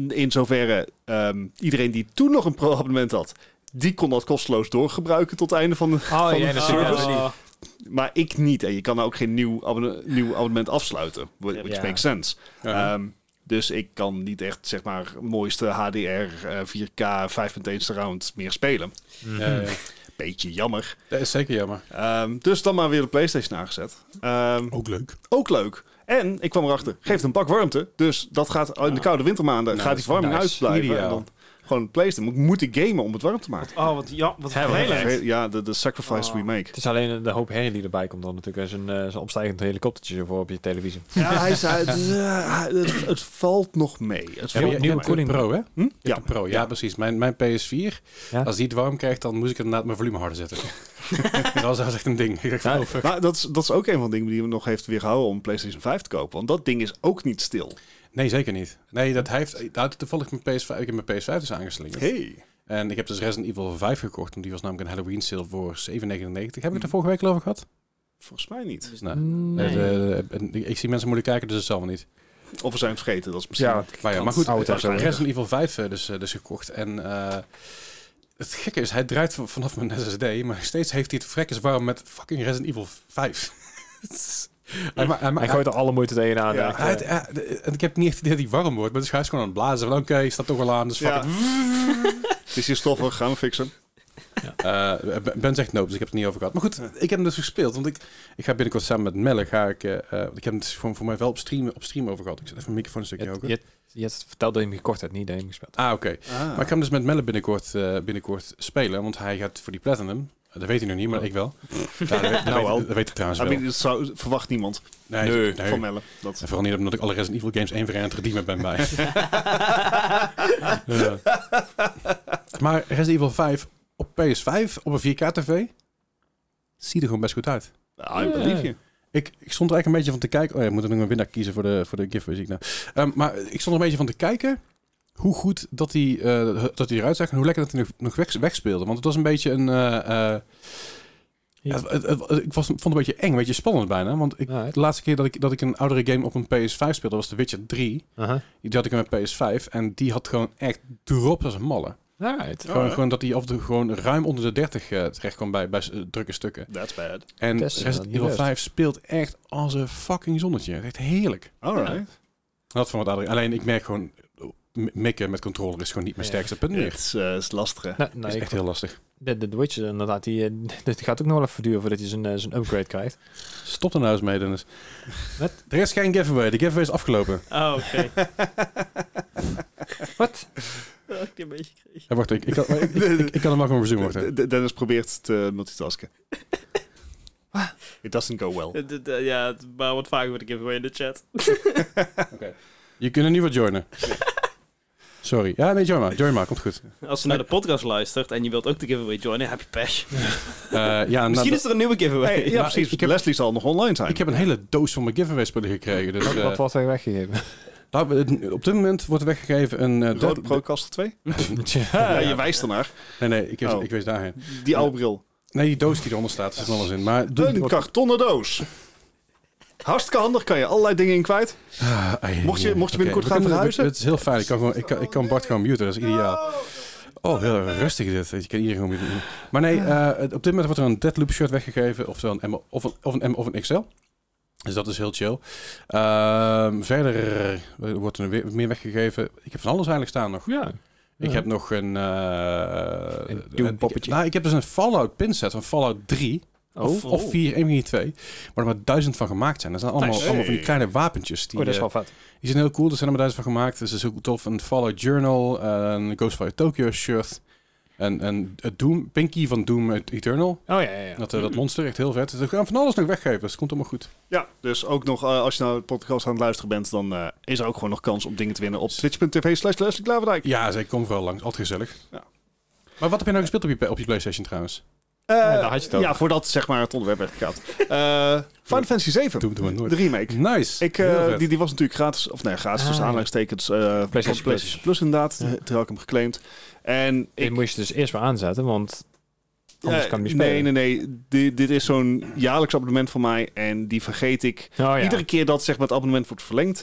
In zoverre, ehm, iedereen die toen nog een pro-abonnement had, die kon dat kosteloos doorgebruiken tot het einde van de
Oh,
jij
jij
natuurlijk.
natuurlijk.
servers. Maar ik niet. En je kan ook geen nieuw, abonne- nieuw abonnement afsluiten. wh- Which
Ja.
makes sense.
Ja.
Ehm, dus ik kan niet echt, zeg maar, mooiste HDR, eh, 4K, 5.1 surround meer spelen.
Ja, ja.
Beetje jammer.
eh, Dat is zeker jammer.
Ehm, dus dan maar weer de PlayStation aangezet. Ehm,
Ook leuk.
ook leuk. En ik kwam erachter, geeft een bak warmte. Dus dat gaat in de koude wintermaanden,
Nou,
gaat
dat
die
is
verwarming
nice.
uitblijven. En
Ideaal.
dan gewoon PlayStation. Moet, moeten gamen om het warm te maken.
Oh, wat, ja, wat
Hebben we
vervelend.
Vervel- Ja, de, de sacrifice
Oh.
we make.
Het is alleen de hoop herrie die erbij komt dan natuurlijk. Er is een, eh, zo'n opstijgend helikoptertje zo voor op je televisie.
Ja, hij zei, het, eh, het, het valt nog mee. Het
Ja,
valt
je,
nieuwe
hebt een
koeling.
Pro, hè? Je
Hm?
hebt
Ja.
een Pro, ja, precies. Mijn, mijn PS4,
Ja.
als die het warm krijgt, dan moest ik inderdaad mijn volume harder zetten. [LAUGHS] dat, was, dat was echt een ding. Ik dacht, van,
Ja.
oh, fuck.
Maar dat is, dat is ook een van de dingen die hem nog heeft weerhouden om PlayStation 5 te kopen. Want dat ding is ook niet stil.
Nee, zeker niet. Nee, dat hij heeft, nou, toevallig mijn PS5, ik heb mijn PS5 dus aangeslingerd.
Hey.
En ik heb dus Resident Evil 5 gekocht, want die was namelijk een Halloween sale voor 7,99. Heb ik het er vorige week al over gehad?
Volgens mij niet.
Nee.
Mm. Nee.
Eh, de- en ik- ik zie mensen moeilijk kijken, dus dat zal wel niet.
Of we zijn het vergeten, dat is misschien...
Ja,
Maar, ja, maar
Oh,
goed,
het is zo.
Resident Evil 5 eh, dus, eh, dus gekocht. En eh, het gekke is, hij draait van- vanaf mijn SSD, maar steeds heeft hij het vrekkers warm met fucking Resident Evil 5. [LAUGHS] hij, ma- hij, ma-
Hij gooit er alle moeite tegenaan.
Ja.
echt, eh.
hij- hij- hij- de- en ik heb niet echt het idee dat hij warm wordt, maar dus hij is gewoon aan het blazen. Van oké, staat toch wel aan, dus fuck
Ja.
it.
[LAUGHS] Het is hier stoffig, gaan we fixen.
Eh, Ben- ben zegt nope, dus ik heb het er niet over gehad. Maar goed, ik heb hem dus gespeeld. Want ik, ik ga binnenkort samen met Melle, ga ik... eh, eh, want ik heb het dus gewoon voor mij wel op stream, op stream over gehad. Ik zet even mijn microfoon een
Je,
stukje
hebt-
hoger.
je, hebt- je hebt verteld dat je hem gekocht hebt, niet dat je hem gespeeld
Ah, oké. Maar ik
Maar
ga hem dus met Melle binnenkort, eh, binnenkort spelen. Want hij gaat voor die Platinum. Dat weet hij nog niet, maar ik wel. Ja, dat, weet- dat
Nou
weet,
wel.
dat weet ik trouwens
I
wel.
mean, dat zou, verwacht niemand
nee,
nee.
nee.
van Melle. Dat.
En vooral niet omdat ik alle Resident Evil games één voor één aan het redeemen ben bij. [LAUGHS] Ja. Maar Resident Evil 5 op PS5, op een 4K tv, ziet er gewoon best goed uit.
Ah, ik believe je.
Ik, ik stond er eigenlijk een beetje van te kijken. Oh ja, ik moet er nog een winnaar kiezen voor de, voor de giveaway. Zie ik nou. Ehm, maar ik stond er een beetje van te kijken hoe goed dat hij, eh, dat hij eruit zag en hoe lekker dat hij nog, nog weg, wegspeelde. Want het was een beetje een. eh, eh,
Ja.
het- het- het- ik was, vond het een beetje eng, een beetje spannend bijna. Want ik,
Alright.
de laatste keer dat ik, dat ik een oudere game op een PS5 speelde was The Witcher 3.
Aha.
Die had ik op mijn PS5 en die had gewoon echt drop als een malle.
Alright.
Oh,
Gewoon, gewoon dat hij af en toe gewoon ruim onder de 30 eh, terecht kwam bij, bij s- drukke stukken.
That's bad.
En
Dat is wel
Resident
niet
Evil
best.
5 speelt echt als een fucking zonnetje. Echt heerlijk.
Alright.
Dat van wat Adrie. Alleen ik merk gewoon, m- mikken met controller is gewoon niet mijn
Ja.
sterkste punt meer.
Het is, eh, is lastig. hè.
Nou,
Dat
nou,
is
ik-
echt heel lastig.
de, de Witcher inderdaad, die, eh, [LAUGHS] dit gaat ook nog wel even duren voordat je zijn, eh, zijn upgrade krijgt.
Stop er nou eens mee,
[LAUGHS]
Dennis.
Wat?
Er is geen giveaway. De giveaway is afgelopen.
Oh, oké. [LAUGHS]
Wat?
Dus,
Dat had ik die een beetje kreeg.
Ja, wacht, ik, ik, kan, maar ik, ik, ik- ik kan hem wel gewoon verzoenen. Wacht,
De-
even.
de- Dennis probeert te [LAUGHS] multitasken. It doesn't go well.
Eh, dit, eh, Ja, het- maar wat vaker word ik even in de chat.
Je kunt er nu wat joinen. Sorry. Ja, nee, join maar. Join maar, komt goed.
Als je naar de podcast luistert en je wilt ook de giveaway joinen, heb je pech.
Eh, ja, nou,
Misschien is er een nieuwe giveaway.
Hey, ja,
Maar
precies.
ik heb-
Leslie zal nog online zijn.
ik heb een hele doos van mijn giveaway spullen gekregen. Dus, eh,
Wat wordt er
[LAUGHS]
weggegeven?
nou, het- op dit moment wordt weggegeven een... eh,
Rode
derde-
Procaster 2?
Tja.
Ja, je wijst ernaar.
[LAUGHS] nee, nee, ik,
Oh.
ik wees daarheen.
Die oude bril.
Nee, die doos die eronder staat, er zit van alles in. Maar doe-
Een kartonnen doos. Hartstikke handig, kan je allerlei dingen in kwijt.
Ah, ai,
Mocht je-
ai,
mocht je
oké.
binnenkort
We
gaan
kunnen-
verhuizen?
Het is heel fijn. Ik kan, gewoon, ik, kan, ik kan Bart gewoon muten, dat is ideaal. Oh, heel rustig dit. Je kan iedereen gewoon muten. Maar nee, eh, op dit moment wordt er een Deadloop shirt weggegeven. Oftewel een M of een, of een M of een XL. Dus dat is heel chill. Ehm, verder eh, wordt er weer meer weggegeven. Ik heb van alles eigenlijk staan nog.
Ja.
Ik heb nog een... eh
Een Doom
ik-
poppetje.
nou, ik heb dus een Fallout pinset van Fallout 3. Of,
Oh,
of 4, 1, 2. Waar er maar duizend van gemaakt zijn. Dat zijn allemaal,
Nice.
allemaal van die kleine wapentjes. Die,
oh, dat is
eh,
wel vet.
die zijn heel cool, er zijn er maar duizend van gemaakt. Dus dat is ook tof. Een Fallout Journal, een Ghostfire Tokyo shirt. En, en het Doom, Pinky van Doom Eternal.
Oh ja, ja, ja.
Dat, eh, dat monster, echt heel vet. Dus we gaan van alles nog weggeven, dus het komt allemaal goed.
Ja, dus ook nog, eh, als je nou de podcast aan het luisteren bent, dan eh, is er ook gewoon nog kans om dingen te winnen op twitch.tv slash Leslie Klaverdijk.
Ja, ze kom vooral langs, altijd gezellig.
Ja.
Maar wat heb je nou gespeeld op je, op je Playstation trouwens?
Eh,
Ja, daar had je het over.
ja, voordat zeg maar het onderwerp weggaat. Eh Final Fantasy 7,
Doe, doe het
de
nooit.
remake.
Nice,
Ik, eh,
Heel vet.
die, die was natuurlijk gratis, of nee, gratis
Ah,
tussen
ja.
aanhalingstekens eh PlayStation,
PlayStation
PlayStation Plus inderdaad.
Ja.
Toen had ik hem geclaimd. En
Ik
ik,
moest je dus eerst weer aanzetten, want anders
eh,
kan je niet
nee,
spelen.
nee, nee. Dit, dit is zo'n jaarlijks abonnement van mij en die vergeet ik.
Oh, ja.
Iedere keer dat zeg maar, het abonnement wordt verlengd,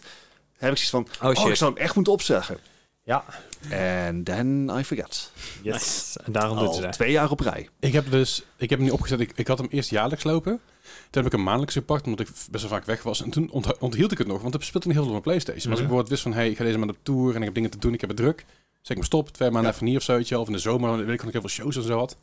heb ik zoiets van,
oh
oh, ik zou hem echt moeten opzeggen.
Ja.
And then I forget.
Yes. En daarom doet ze
Al
dat.
twee jaar op rij.
Ik heb dus, ik heb hem niet opgezet. Ik, ik had hem eerst jaarlijks lopen. Toen heb ik hem maandelijks gepakt, omdat ik best wel vaak weg was. En toen ontha- onthield ik het nog, want het speelt een heel veel op mijn Playstation. Maar als ik
Mhm.
bijvoorbeeld wist van, hey, ik ga deze maand op tour en ik heb dingen te doen, ik heb het druk. Zet Zeg ik me stop, twee maanden
Ja.
even niet of zo, weet je wel. Of in de zomer, weet ik nog heel veel shows en zo had.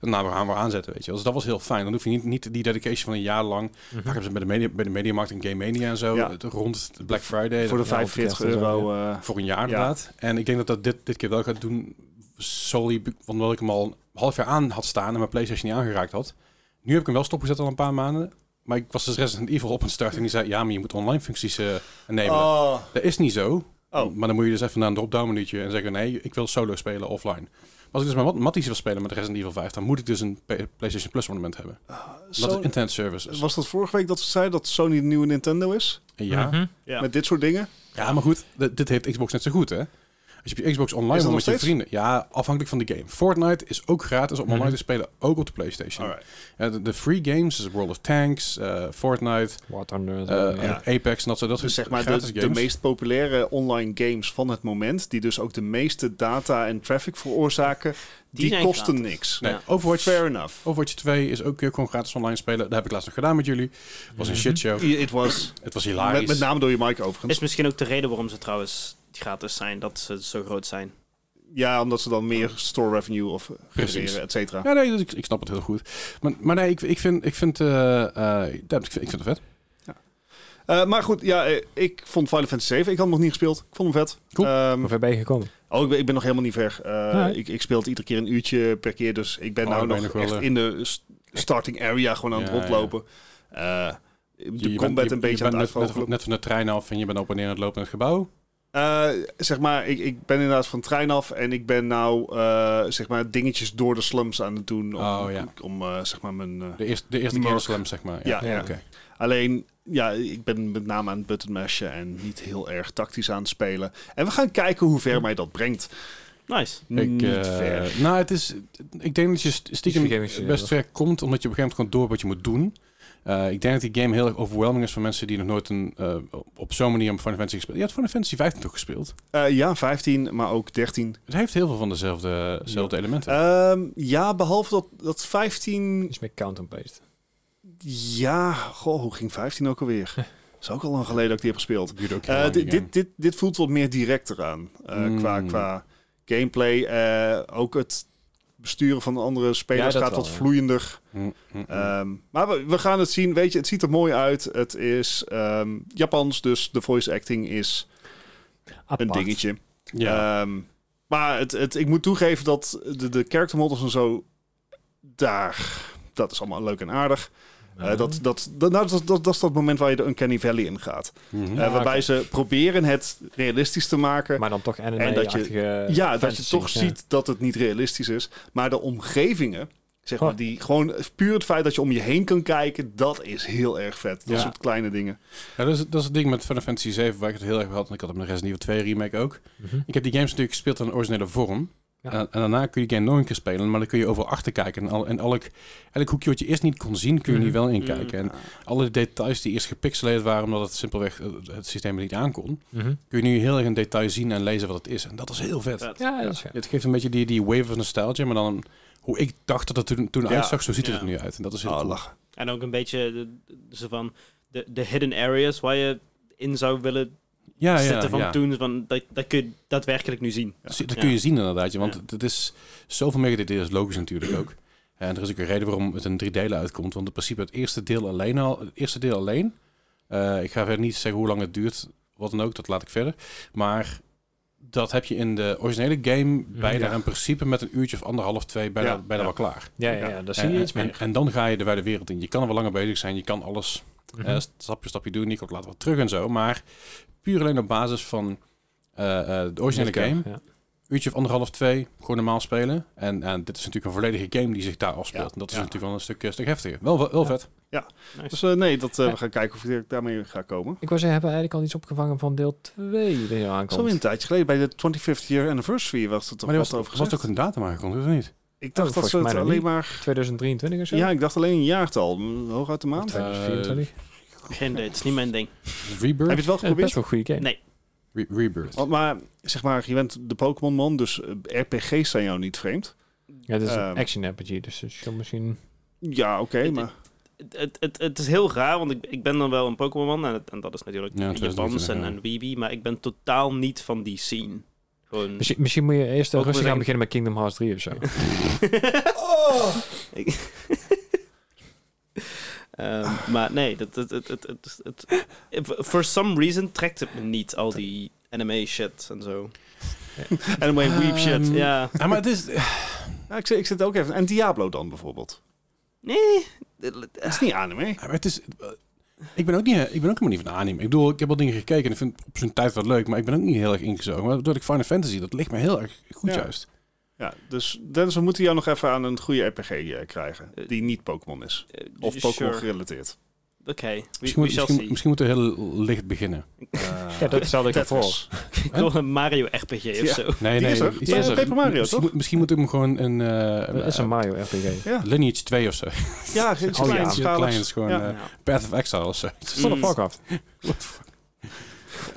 En nou, we gaan weer aanzetten, weet je wel. Dus dat was heel fijn. Dan hoef je niet, niet die dedication van een jaar lang. Vaak hebben ze bij de, media, bij de Mediamarkt en Game Mania en zo,
Mhm. Ja.
het- rond de Black Friday.
voor de
dat-
ja,
45
of kerst en zo,
euro. eh,
voor een jaar inderdaad. En ik denk dat dat dit, dit keer wel gaat doen, solely be- omdat ik hem al een half jaar aan had staan en mijn Playstation niet aangeraakt had. Nu heb ik hem wel stopgezet al een paar maanden. Maar ik was dus Resident Evil op een start en die zei, ja, maar je moet online functies eh nemen.
oh,
Dat is niet zo.
Oh.
Maar dan moet je dus even naar een drop-down menuutje en zeggen, nee, ik wil solo spelen offline. Maar als ik dus maar wat matties wil spelen met Resident Evil 5, dan moet ik dus een P- PlayStation Plus abonnement hebben.
Ah,
Dat
Sony-
is internet service. is.
was dat vorige week dat ze zeiden dat Sony de nieuwe Nintendo is?
En ja.
Mhm.
Ja.
Met dit soort dingen?
ja, maar goed, d- dit heeft Xbox net zo goed, hè? Als je op je Xbox online
Is
wil
dat
met
nog
je
steeds?
vrienden. Ja, afhankelijk van de game. Fortnite is ook gratis om online
Mhm.
te spelen, ook op de PlayStation.
Alright.
Eh, de, de free games, dus World of Tanks, eh, Fortnite,
War Thunder.
eh,
eh,
ja.
en Apex en dat soort dat
Dus
soort
zeg maar
gratis
de, de
games.
meest populaire online games van het moment, die dus ook de meeste data en traffic veroorzaken, die,
zijn
kosten
gratis.
niks.
Nee,
Ja.
Overwatch,
Fair enough.
Overwatch 2 is ook kun je gewoon gratis online spelen. Dat heb ik laatst nog gedaan met jullie. was een
Mhm.
shitshow.
It was
Het was
met,
hilarisch.
met name door je mic overigens.
Is misschien ook de reden waarom ze trouwens gratis zijn, dat ze zo groot zijn.
Ja, omdat ze dan meer store revenue of eh,
Precies.
genereren, et cetera.
Ja, nee, dus ik, ik snap het heel goed. Maar, maar nee, ik, ik vind, ik vind, eh, eh, ja, ik vind, ik vind het vet.
Eh, maar goed, ja, eh, ik vond Final Fantasy 7. Ik had hem nog niet gespeeld. Ik vond hem vet.
Cool.
Ehm,
Hoe ver ben je gekomen?
oh, ik ben, ik ben nog helemaal niet ver. Eh,
Nee.
ik, ik speel het iedere keer een uurtje per keer. Dus ik ben
Oh,
nou
dan ben je
nog
nog wel,
echt
eh,
in de s- starting area gewoon aan
Ja,
het rondlopen. Eh, de
Je- je
combat
bent- je- je
een beetje aan
bent
het
net- net,
uitvogelen.
net van de trein af en je bent op en neer aan het lopen in het gebouw.
Eh, zeg maar, ik, ik ben inderdaad van trein af en ik ben nou eh, zeg maar dingetjes door de slums aan het doen. Om,
Oh, ja.
om eh, zeg maar mijn. eh,
De eerste, de eerste keer
Merk.
slam, zeg maar.
ja, ja.
Oké.
Alleen, ja, ik ben met name aan het buttonmashen en niet heel erg tactisch aan het spelen. En we gaan kijken hoe ver mij dat brengt.
Nice.
Ik,
niet
eh,
ver.
nou, het is, ik denk dat je st- stiekem
Die game is-
best ver komt, omdat je op een gegeven moment gewoon door wat je moet doen. Eh, ik denk dat die game heel erg overwhelming is voor mensen die nog nooit een, eh, op zo'n manier een Final Fantasy gespeeld. Je had Final Fantasy 15 toch gespeeld?
Eh, ja, 15, maar ook 13.
Het heeft heel veel van dezelfde, dezelfde elementen.
Ehm, ja, behalve dat, dat 15...
Iets meer count and paste.
Ja, goh, hoe ging 15 ook alweer? Dat is ook al lang geleden dat ik die heb gespeeld.
Het duurde ook heel
Eh,
lang, die
dit,
game.
dit, dit, dit voelt wat meer directer aan. eh,
Mm.
qua, qua gameplay. eh, ook het besturen van de andere spelers
Ja, dat
gaat
wel,
wat
ja.
vloeiender.
Mm, mm, mm.
Ehm, maar we, we gaan het zien. Weet je, het ziet er mooi uit. Het is ehm, Japans, dus de voice acting is een
Apart.
dingetje.
ja.
Ehm, maar het, het, ik moet toegeven dat de, de character models en zo, daar, dat is allemaal leuk en aardig. Eh,
Ja.
dat, dat, dat, nou, dat, dat, dat is dat moment waar je de Uncanny Valley in gaat.
Mhm.
Eh,
Ja,
waarbij
oké.
ze proberen het realistisch te maken.
Maar dan toch anime
En dat je-
eh,
ja, dat je toch ziet dat het niet realistisch is. Maar de omgevingen, zeg maar,
Oh.
die gewoon puur het feit dat je om je heen kan kijken, dat is heel erg vet. Dat
Ja.
soort kleine dingen.
Ja, dat, is, dat is het ding met Final Fantasy 7 waar ik het heel erg over had. En ik had hem de Resident Evil 2 remake ook.
Mhm.
Ik heb die games natuurlijk gespeeld in een originele vorm. Eh,
Ja.
En, en daarna kun je die game nog een keer spelen. Maar dan kun je over achterkijken. En, al, en elk, elk hoekje wat je eerst niet kon zien, kun je nu
Mhm.
wel
Mm.
inkijken. En alle details die eerst gepixeleerd waren, omdat het simpelweg eh, het systeem er niet aan kon,
Mhm.
kun je nu heel erg in detail zien en lezen wat het is. En dat is heel vet.
Vet.
Ja, dat is ja.
Het geeft een beetje die, die wave of nostalgia, maar dan hoe ik dacht dat het toen, toen
Ja.
uitzag, zo ziet het
Ja.
er nu uit. En dat is heel
Oh,
cool.
lachen.
En ook een beetje de, de- zo van de, de hidden areas waar je in zou willen
Ja, ja,
zetten van
ja.
toen. van Dat, dat kun je daadwerkelijk nu zien.
Dat zie- Dat kun Dus je
Ja.
zien inderdaad, ja, want
Ja.
het is zoveel meer dit is logisch natuurlijk ook. Eh, En er is ook een reden waarom het in drie delen uitkomt, want in principe het eerste deel alleen al, het eerste deel alleen. eh, ik ga verder niet zeggen hoe lang het duurt, wat dan ook, dat laat ik verder. Maar dat heb je in de originele game bijna
Mm, ja.
in principe met een uurtje of anderhalf, twee bijna,
Ja,
bijna
ja.
wel klaar.
Ja, ja, ja, daar zie
En,
je iets
en-
meer.
en dan ga je de wijde wereld in. Je kan er wel langer bezig zijn, je kan alles
Mhm.
eh, stapje stapje doen. Ik kom later wat terug en zo. Maar puur alleen op basis van eh, eh, de originele
Let's go,
game.
ja.
Uurtje of anderhalf, twee. Gewoon normaal spelen. En, en dit is natuurlijk een volledige game die zich daar afspeelt.
Ja,
en dat is
ja.
natuurlijk wel een stuk, een stuk heftiger. Wel, wel, wel
Ja.
vet.
Nice.
Dus eh, nee, dat, eh,
Ja.
we gaan kijken of ik daarmee ga komen.
Ik wou zeggen, hebben we eigenlijk al iets opgevangen van deel 2 die hier
Zo in een
aankomt?
tijdje geleden, bij de 25th year anniversary, was het toch
Maar er
wat
was,
over
was
gezegd.
ook een oh, datum aangekondigd, of niet?
Ik dacht dat
volgens
ze het
mij nog
alleen
niet.
maar...
2023 of zo?
Ja, ik dacht alleen een jaartal. Hm, Hooguit de maand.
Of
2024.
Geen idee, het is niet mijn ding.
Heb je
Rebirth?
Ja,
het wel
dat is
geprobeerd?
best wel een goede game.
Nee.
Re- Rebirth.
Want maar, zeg maar, je bent de Pokémon-man, dus eh, RPG's zijn jou niet vreemd.
Ja, het is
Ehm.
een action RPG, dus het is misschien...
Ja, oké,
Het-
maar...
Het, het, het, het is heel raar, want ik, ik ben dan wel een Pokémon en, het- en dat is natuurlijk
Ja, het is
Japans
natuurlijk,
en,
ja.
en Weeby, maar ik ben totaal niet van die scene. Gewoon... [LAUGHS]
Misschien, misschien moet je eerst eh,
Ook
rustig
meteen-
gaan beginnen met Kingdom Hearts 3 of zo.
[LAUGHS] Ehm, maar nee, dat, dat, het, het, het, het, for some reason trekt het me niet, al die anime shit en zo.
[LAUGHS]
En dan ben je weep shit.
Ehm,
Ja,
Ja, maar het is...
Ja, ik, zit, ik zit ook even... En Diablo dan bijvoorbeeld.
nee.
Dat is niet anime.
Ja, maar het is eh, ik, ben ook niet, ik ben ook helemaal niet van de anime. Ik bedoel, ik heb al dingen gekeken en ik vind het op zijn tijd wel leuk, maar ik ben ook niet heel erg ingezogen. Maar doordat ik Final Fantasy, dat ligt me heel erg goed
Ja.
juist.
Ja, dus Dennis, we moeten jou nog even aan een goede RPG eh, krijgen.
Eh,
Die niet Pokémon is.
Eh,
Of
sure.
Pokémon gerelateerd.
Oké, we- we,
Misschien, moet-
shall
misschien,
see.
misschien moeten we heel licht beginnen.
Ja, dat stelde ik al voor.
Tetris.
Ik wil een Mario RPG of
Ja.
zo.
Nee,
Die
nee.
is er.
iets
Die is
eerder.
er.
Paper Mario,
misschien,
toch?
moet- misschien moet ik hem gewoon een... eh,
Dat is een Mario RPG.
Ja,
Lineage 2 of zo. [LAUGHS]
ja,
Oh,
iets
ja.
kleins,
Iets heel
schaligs.
kleins, gewoon
Ja.
eh, Path of Exile of zo.
Son of
Mm.
Warcraft.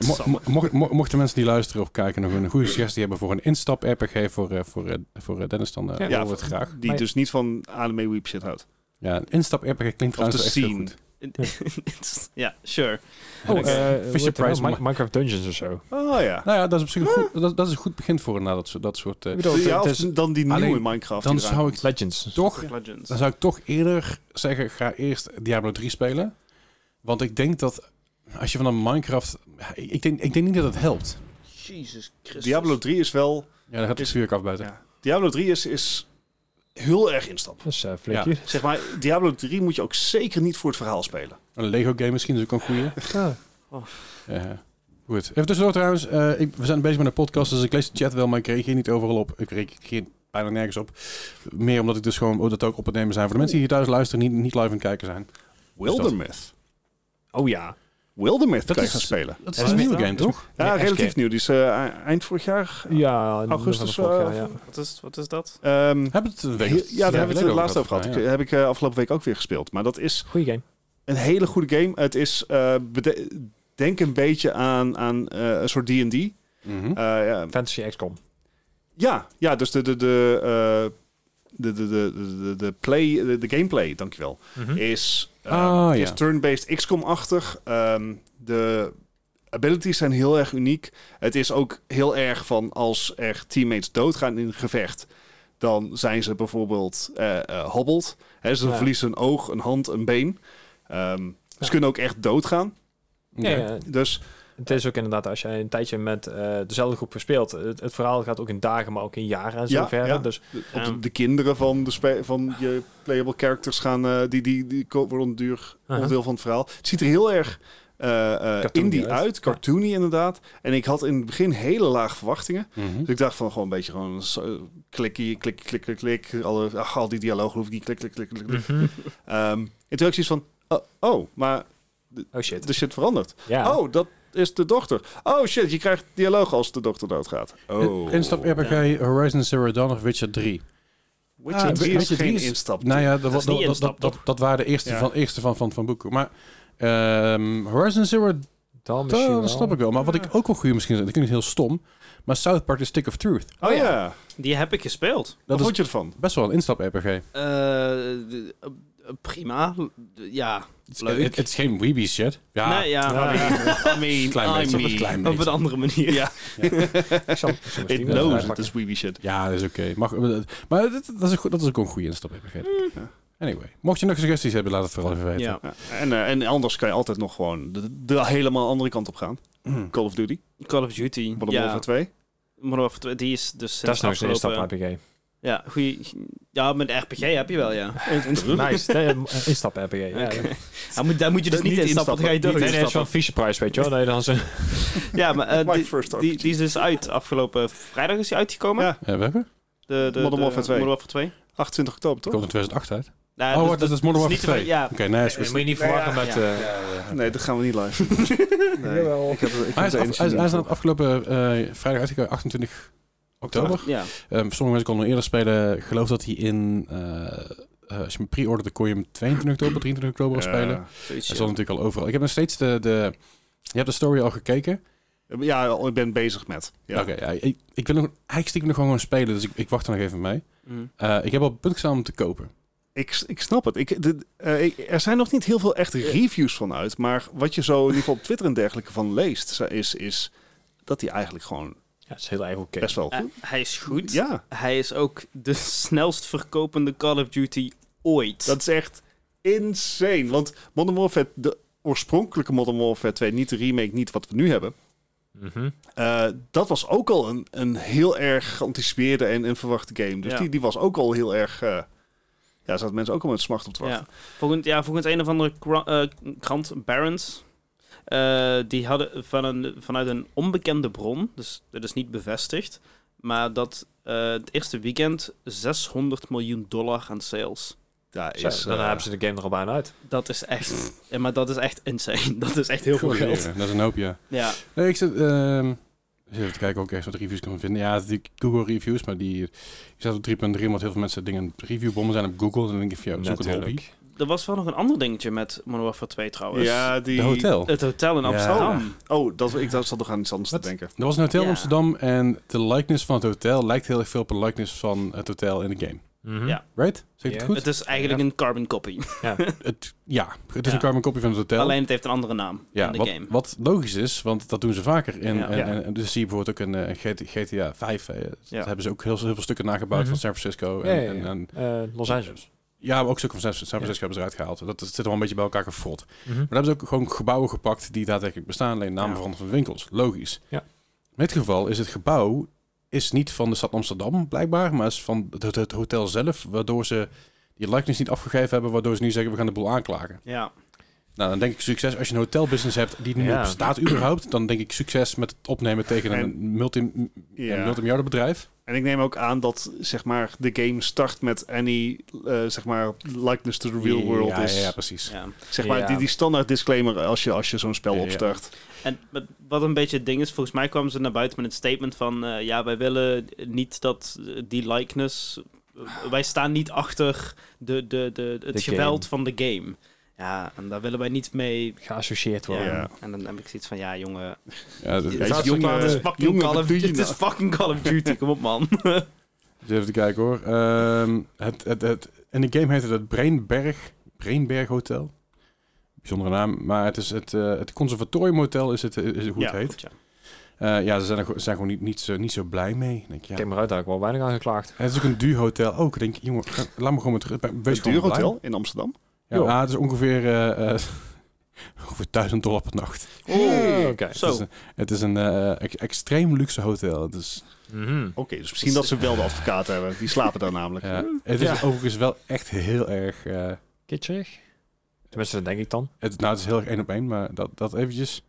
Mo- mo- mocht- mo- mochten mensen die luisteren of kijken nog een goede suggestie hebben voor een instap-RPG voor, eh, voor, eh, voor eh, Dennis, dan eh,
Ja.
horen we het graag.
Die
Maar-
dus niet van anime weep shit houdt.
Ja, een instap-RPG klinkt
Of de
trouwens echt heel
scene.
goed.
[LAUGHS] ja, sure.
Oh,
Oké.
eh, hoe heet het nou?
Price.
Mi- Minecraft Dungeons of zo.
Oh ja.
Nou ja, dat is op zich een goed, dat, dat is een goed begin voor na dat, soort- dat soort... eh,
Ik bedoel,
ja,
het
of
is
dan die nieuwe
alleen-
Minecraft.
dan,
die eraan
zou
komt.
ik
Legends.
toch,
Legends.
dan zou ik toch eerder zeggen, ga eerst Diablo 3 spelen. Want ik denk dat als je van een Minecraft... Ik denk, ik denk niet dat het helpt.
Jesus Christus.
Diablo 3 is wel...
Ja, dan gaat het
Is-
vuur afbuiten.
Ja. Diablo 3 is, is heel erg instap.
Dat is eh,
Ja.
flikje.
Zeg maar, Diablo 3 moet je ook zeker niet voor het verhaal spelen.
Een Lego-game misschien is ook een goede.
Ja.
Eh, goed. Even tussendoor trouwens. eh, ik, we zijn bezig met een podcast, dus ik lees de chat wel, maar ik reageer niet overal op. Ik reageer bijna nergens op. Meer omdat ik dus gewoon oh, dat ook op het nemen zijn voor de mensen die hier thuis luisteren, niet, niet live aan het kijken zijn.
Wildermyth.
Oh ja.
Wildermyth
Dat
kan je
is-
gaan spelen.
Dat
is een
nieuwe
game,
toch?
Ja,
Nee, echt
relatief
geen.
nieuw. Die is eh, eind vorig jaar.
Ja, in
Augustus,
november vorig
eh,
jaar, ja.
Wat is, wat is dat?
Ehm,
Hebben we het een week
heel-
of
ja, daar
twee
hebben we
geleden
het laatst over gehad.
ja.
Ik- Heb ik eh, afgelopen week ook weer gespeeld. Maar dat is
Goeie game.
een hele goede game. Het is, eh, bede- denk een beetje aan, aan eh, een soort D&D.
Mhm.
Eh, ja,
Fantasy XCOM.
Ja, ja dus de, de, de, eh, de, de, de, de, de, play, de, de gameplay, dankjewel,
Hm?
is, eh,
Ah,
is
ja.
turn-based XCOM-achtig. Ehm, de abilities zijn heel erg uniek. Het is ook heel erg van als er teammates doodgaan in een gevecht, dan zijn ze bijvoorbeeld eh eh, hobbeld. Hè, ze
Ja.
verliezen een oog, een hand, een been. Ehm,
Ja.
Ze kunnen ook echt doodgaan.
Ja,
Ja.
ja.
Dus
Het is ook inderdaad, als je een tijdje met eh, dezelfde groep speelt, het, het verhaal gaat ook in dagen, maar ook in jaren en zo
Ja,
verder.
ja.
Dus
op de,
Ehm.
de kinderen van, de spe- van je playable characters gaan, eh, die, die, die ko- worden een duur
Aha.
onderdeel van het verhaal. Het ziet er heel erg eh, eh,
Cartoony
indie
uit.
uit, cartoony inderdaad. En ik had in het begin hele laag verwachtingen.
Mhm.
Dus ik dacht van gewoon een beetje gewoon zo- klikkie, klik, klik, klik, klik. Alle, ach, al die dialoog hoef ik niet, klik, klik, klik, klik. klik.
Mhm.
Ehm, en toen had ik zoiets van, oh, oh, maar
oh shit.
de shit verandert.
Ja.
Oh, dat is de dochter. Oh shit, je krijgt dialoog als de dochter doodgaat. Oh.
Instap-RPG Horizon Zero Dawn of Witcher 3.
Witcher
Ah,
3 is
Witcher 3
geen
is-
instap.
Nou ja, dat,
is
was,
niet
dat, dat,
instap,
dat, dat,
toch?
waren de eerste,
Ja.
van, eerste van, van, van Boeken. Maar ehm, Horizon Zero
Dan misschien
Dawn,
wel.
dat snap ik wel. Maar wat
Ja.
ik ook wel goed misschien vind, dat klinkt heel stom, maar South Park The Stick of Truth.
Oh
Oh ja.
ja.
Die heb ik gespeeld.
Wat
Dat is
vond je ervan?
best wel een instap-RPG.
Eh, de- eh, prima. Ja, Leuk.
Het, het is geen weebie shit. Ja,
Nee, ja. Ah,
Ja. [LAUGHS]
I mean,
Klein
I
beetje,
mean.
op een klein
op een andere manier.
Ja.
Ik zal- ik zal misschien
It
wel
knows it
uitpakken.
is weeby shit.
Ja, dat is oké. Mag- Maar dat, dat, is goed, dat is ook een goede instap-RPG.
Ja.
Anyway, mocht je nog suggesties hebben, laat het vooral even weten.
[LAUGHS] Ja.
Ja, En, eh, en anders kan je altijd nog gewoon de, de helemaal andere kant op gaan.
Mm.
Call of Duty,
Call of Duty.
Modern
ja.
Warfare 2.
Modern Warfare 2, die is dus
Dat is nou
sinds
nog eens een
afgelopen...
instap RPG.
Ja, goeie... Ja, met RPG heb je wel, ja.
Nice, nee, een instap RPG.
[LAUGHS]
Ja.
Oké. [LAUGHS] Ja, moet- daar moet je dus
Niet
niet in stappen, dan ga je dood.
instappen, niet
Nee, nee, het is wel een vieze prijs, weet je wel. Nee, dan is een
Ja, maar eh,
[LAUGHS] My
die,
first
die,
RPG.
die is dus uit. Afgelopen vrijdag is die uitgekomen.
Ja.
Eh, welke?
De, de,
Modern Warfare
de-
2.
Modern Warfare 2.
28 oktober,
Die
toch?
komt in 2008 uit.
Nou,
oh,
dus-
wacht, dat
dus-
is Modern
dus niet
Warfare 2.
te ver- Ja,
Oké, nee, is
Dat
goed.
moet je niet verwachten met... eh, [LAUGHS]
Nee, dat gaan we niet live. nee. Ik heb, ik heb
Hij is,
de
af,
energie
hij is,
niet
hij is
voor.
dan afgelopen eh, vrijdag uitgekomen, 28 oktober.
ja.
Ehm, sommige mensen konden hem eerder spelen. Ik geloof dat hij in... eh, eh, als je hem pre-orderde, kon je hem 22 oktober, 23 oktober al spelen.
Ja.
zoiets,
Hij
ja.
zal natuurlijk al overal. Ik heb nog steeds de, de... Je hebt de story al gekeken.
Eh, Ja, ik ben bezig met. Ja.
Oké, ja, ik, ik wil nog, eigenlijk stiekem nog gewoon spelen, dus ik, ik wacht er nog even mee.
Mm.
Eh, ik heb al op het punt gestaan om te kopen.
Ik, ik snap het. Ik, de- eh, ik- er zijn nog niet heel veel echte reviews van uit. Maar wat je zo in ieder geval op Twitter en dergelijke van leest, is, is dat die eigenlijk gewoon
het is heel erg oké.
Eh,
Best wel goed.
Eh, hij is goed.
Ja,
Hij is ook de snelst verkopende Call of Duty ooit.
dat is echt insane. Want Modern Warfare, de oorspronkelijke Modern Warfare 2, niet de remake, niet wat we nu hebben.
Mhm.
eh, dat was ook al een, een heel erg geanticipeerde en, en verwachte game. Dus
Ja.
die, die was ook al heel erg... eh ja, zaten mensen ook al met smacht op te wachten.
ja. Volgens, ja, volgens een of andere kra- eh, krant, Barons, eh, die hadden van een, vanuit een onbekende bron, dus dat is niet bevestigd, maar dat eh, het eerste weekend 600 miljoen dollar aan sales.
Daar
Zo,
is,
daarna
eh,
hebben ze de game er al bijna uit.
Dat is echt, ja, maar dat is echt insane. [LAUGHS] Dat is echt heel veel
Goeie
geld.
heren, Dat is een hoop, ja.
Ja.
Nee, ik zit... ehm, eens even te kijken ook echt wat reviews kan vinden. Ja, die Google reviews, maar die... Ik zat op 3.3, omdat heel veel mensen dingen reviewbommen zijn op Google. En dan denk ik van, ja, zoek het hobby.
Natuurlijk.
Er was wel nog een ander dingetje met Modern Warfare 2 trouwens.
ja, die...
De hotel.
Het hotel in
Ja.
Amsterdam.
nou, Oh, dat, ik zat nog aan iets anders te denken.
Er was een hotel in
Ja.
Amsterdam en de likeness van het hotel lijkt heel erg veel op de likeness van het hotel in de game.
Mhm.
Ja.
Right? Zeg ik
Ja.
het goed?
Het is eigenlijk een carbon copy.
Het, ja, het is
Ja.
een carbon copy van het hotel.
Alleen het heeft een andere naam
ja,
in de
wat,
game.
wat logisch is, want dat doen ze vaker. In,
Ja.
en,
Ja.
en, en dus zie je bijvoorbeeld ook in eh, GT GTA 5. eh,
Ja.
Daar hebben ze ook heel, heel veel stukken nagebouwd
Mhm.
van San Francisco. En,
Ja, ja, ja.
En, en,
Eh, Los Angeles.
ja, maar ook stukken van San San Francisco hebben ze eruit gehaald. Dat, dat zit wel een beetje bij elkaar gefrot.
Mhm.
Maar daar hebben ze ook gewoon gebouwen gepakt die daadwerkelijk bestaan. Alleen namen
Ja.
veranderd van winkels. Logisch.
Ja.
In dit geval is het gebouw is niet van de stad Amsterdam blijkbaar, maar is van het, het hotel zelf, waardoor ze die likeness niet afgegeven hebben, waardoor ze nu zeggen we gaan de boel aanklagen.
Ja.
Nou, dan denk ik succes als je een hotelbusiness hebt die niet
Ja.
bestaat überhaupt, dan denk ik succes met het opnemen tegen een multi, een
Ja.
multimiljardenbedrijf.
En ik neem ook aan dat zeg maar, de game start met Annie, eh, zeg maar, likeness to the real world
ja,
is.
Ja, ja, precies.
ja.
Zeg maar,
Ja.
die, die standaard disclaimer als je, als je zo'n spel
Ja, ja.
opstart.
En wat- wat een beetje het ding is, volgens mij kwamen ze naar buiten met een statement van... eh, ja, wij willen niet dat eh, die likeness... eh, wij staan niet achter de, de, de, het
De
geweld van
game.
de game. Ja, en daar willen wij niet mee...
Geassocieerd
Ja.
worden.
Ja.
En dan heb ik zoiets van, ja jongen,
Ja, dat-
Ja,
dat-
jongen,
het is
eh,
fucking,
jongen,
Call,
wat
of,
doe je
het is
nou?
fucking Call of Duty, kom op man.
Eens Even te kijken hoor. Ehm, het, het, het, in de game heet het het Breinberg, Breinberg Hotel. Bijzondere naam, maar het is het, eh, het Conservatorium Hotel is het, eh, is hoe
ja,
het heet.
goed, ja.
Eh, ja, ze zijn, er, gewoon- zijn gewoon niet, niet, zo, niet zo blij mee. Ik Denk, ja.
Ik heb me uit, daar heb ik wel weinig aan geklaagd.
Het is ook een duur hotel ook. Ik Denk, jongen, ga- laat me gewoon met rust. Wees
Het
gewoon blij.
duurhotel in Amsterdam.
Ja,
Joh.
ah, het is ongeveer, eh, [LAUGHS] eh, ongeveer 1000 dollar per nacht.
Oké.
Het
Zo,
is een, het is een eh, ex- extreem luxe hotel. Het is,
Mhm.
Oké, dus misschien dat ze wel de advocaat hebben. Die slapen daar
[LAUGHS]
namelijk.
ja, eh, het is
Ja.
overigens wel echt heel erg... eh,
Kitschig. Tenminste, dat denk ik dan.
Het, nou, het is heel erg één op één, maar dat, dat eventjes.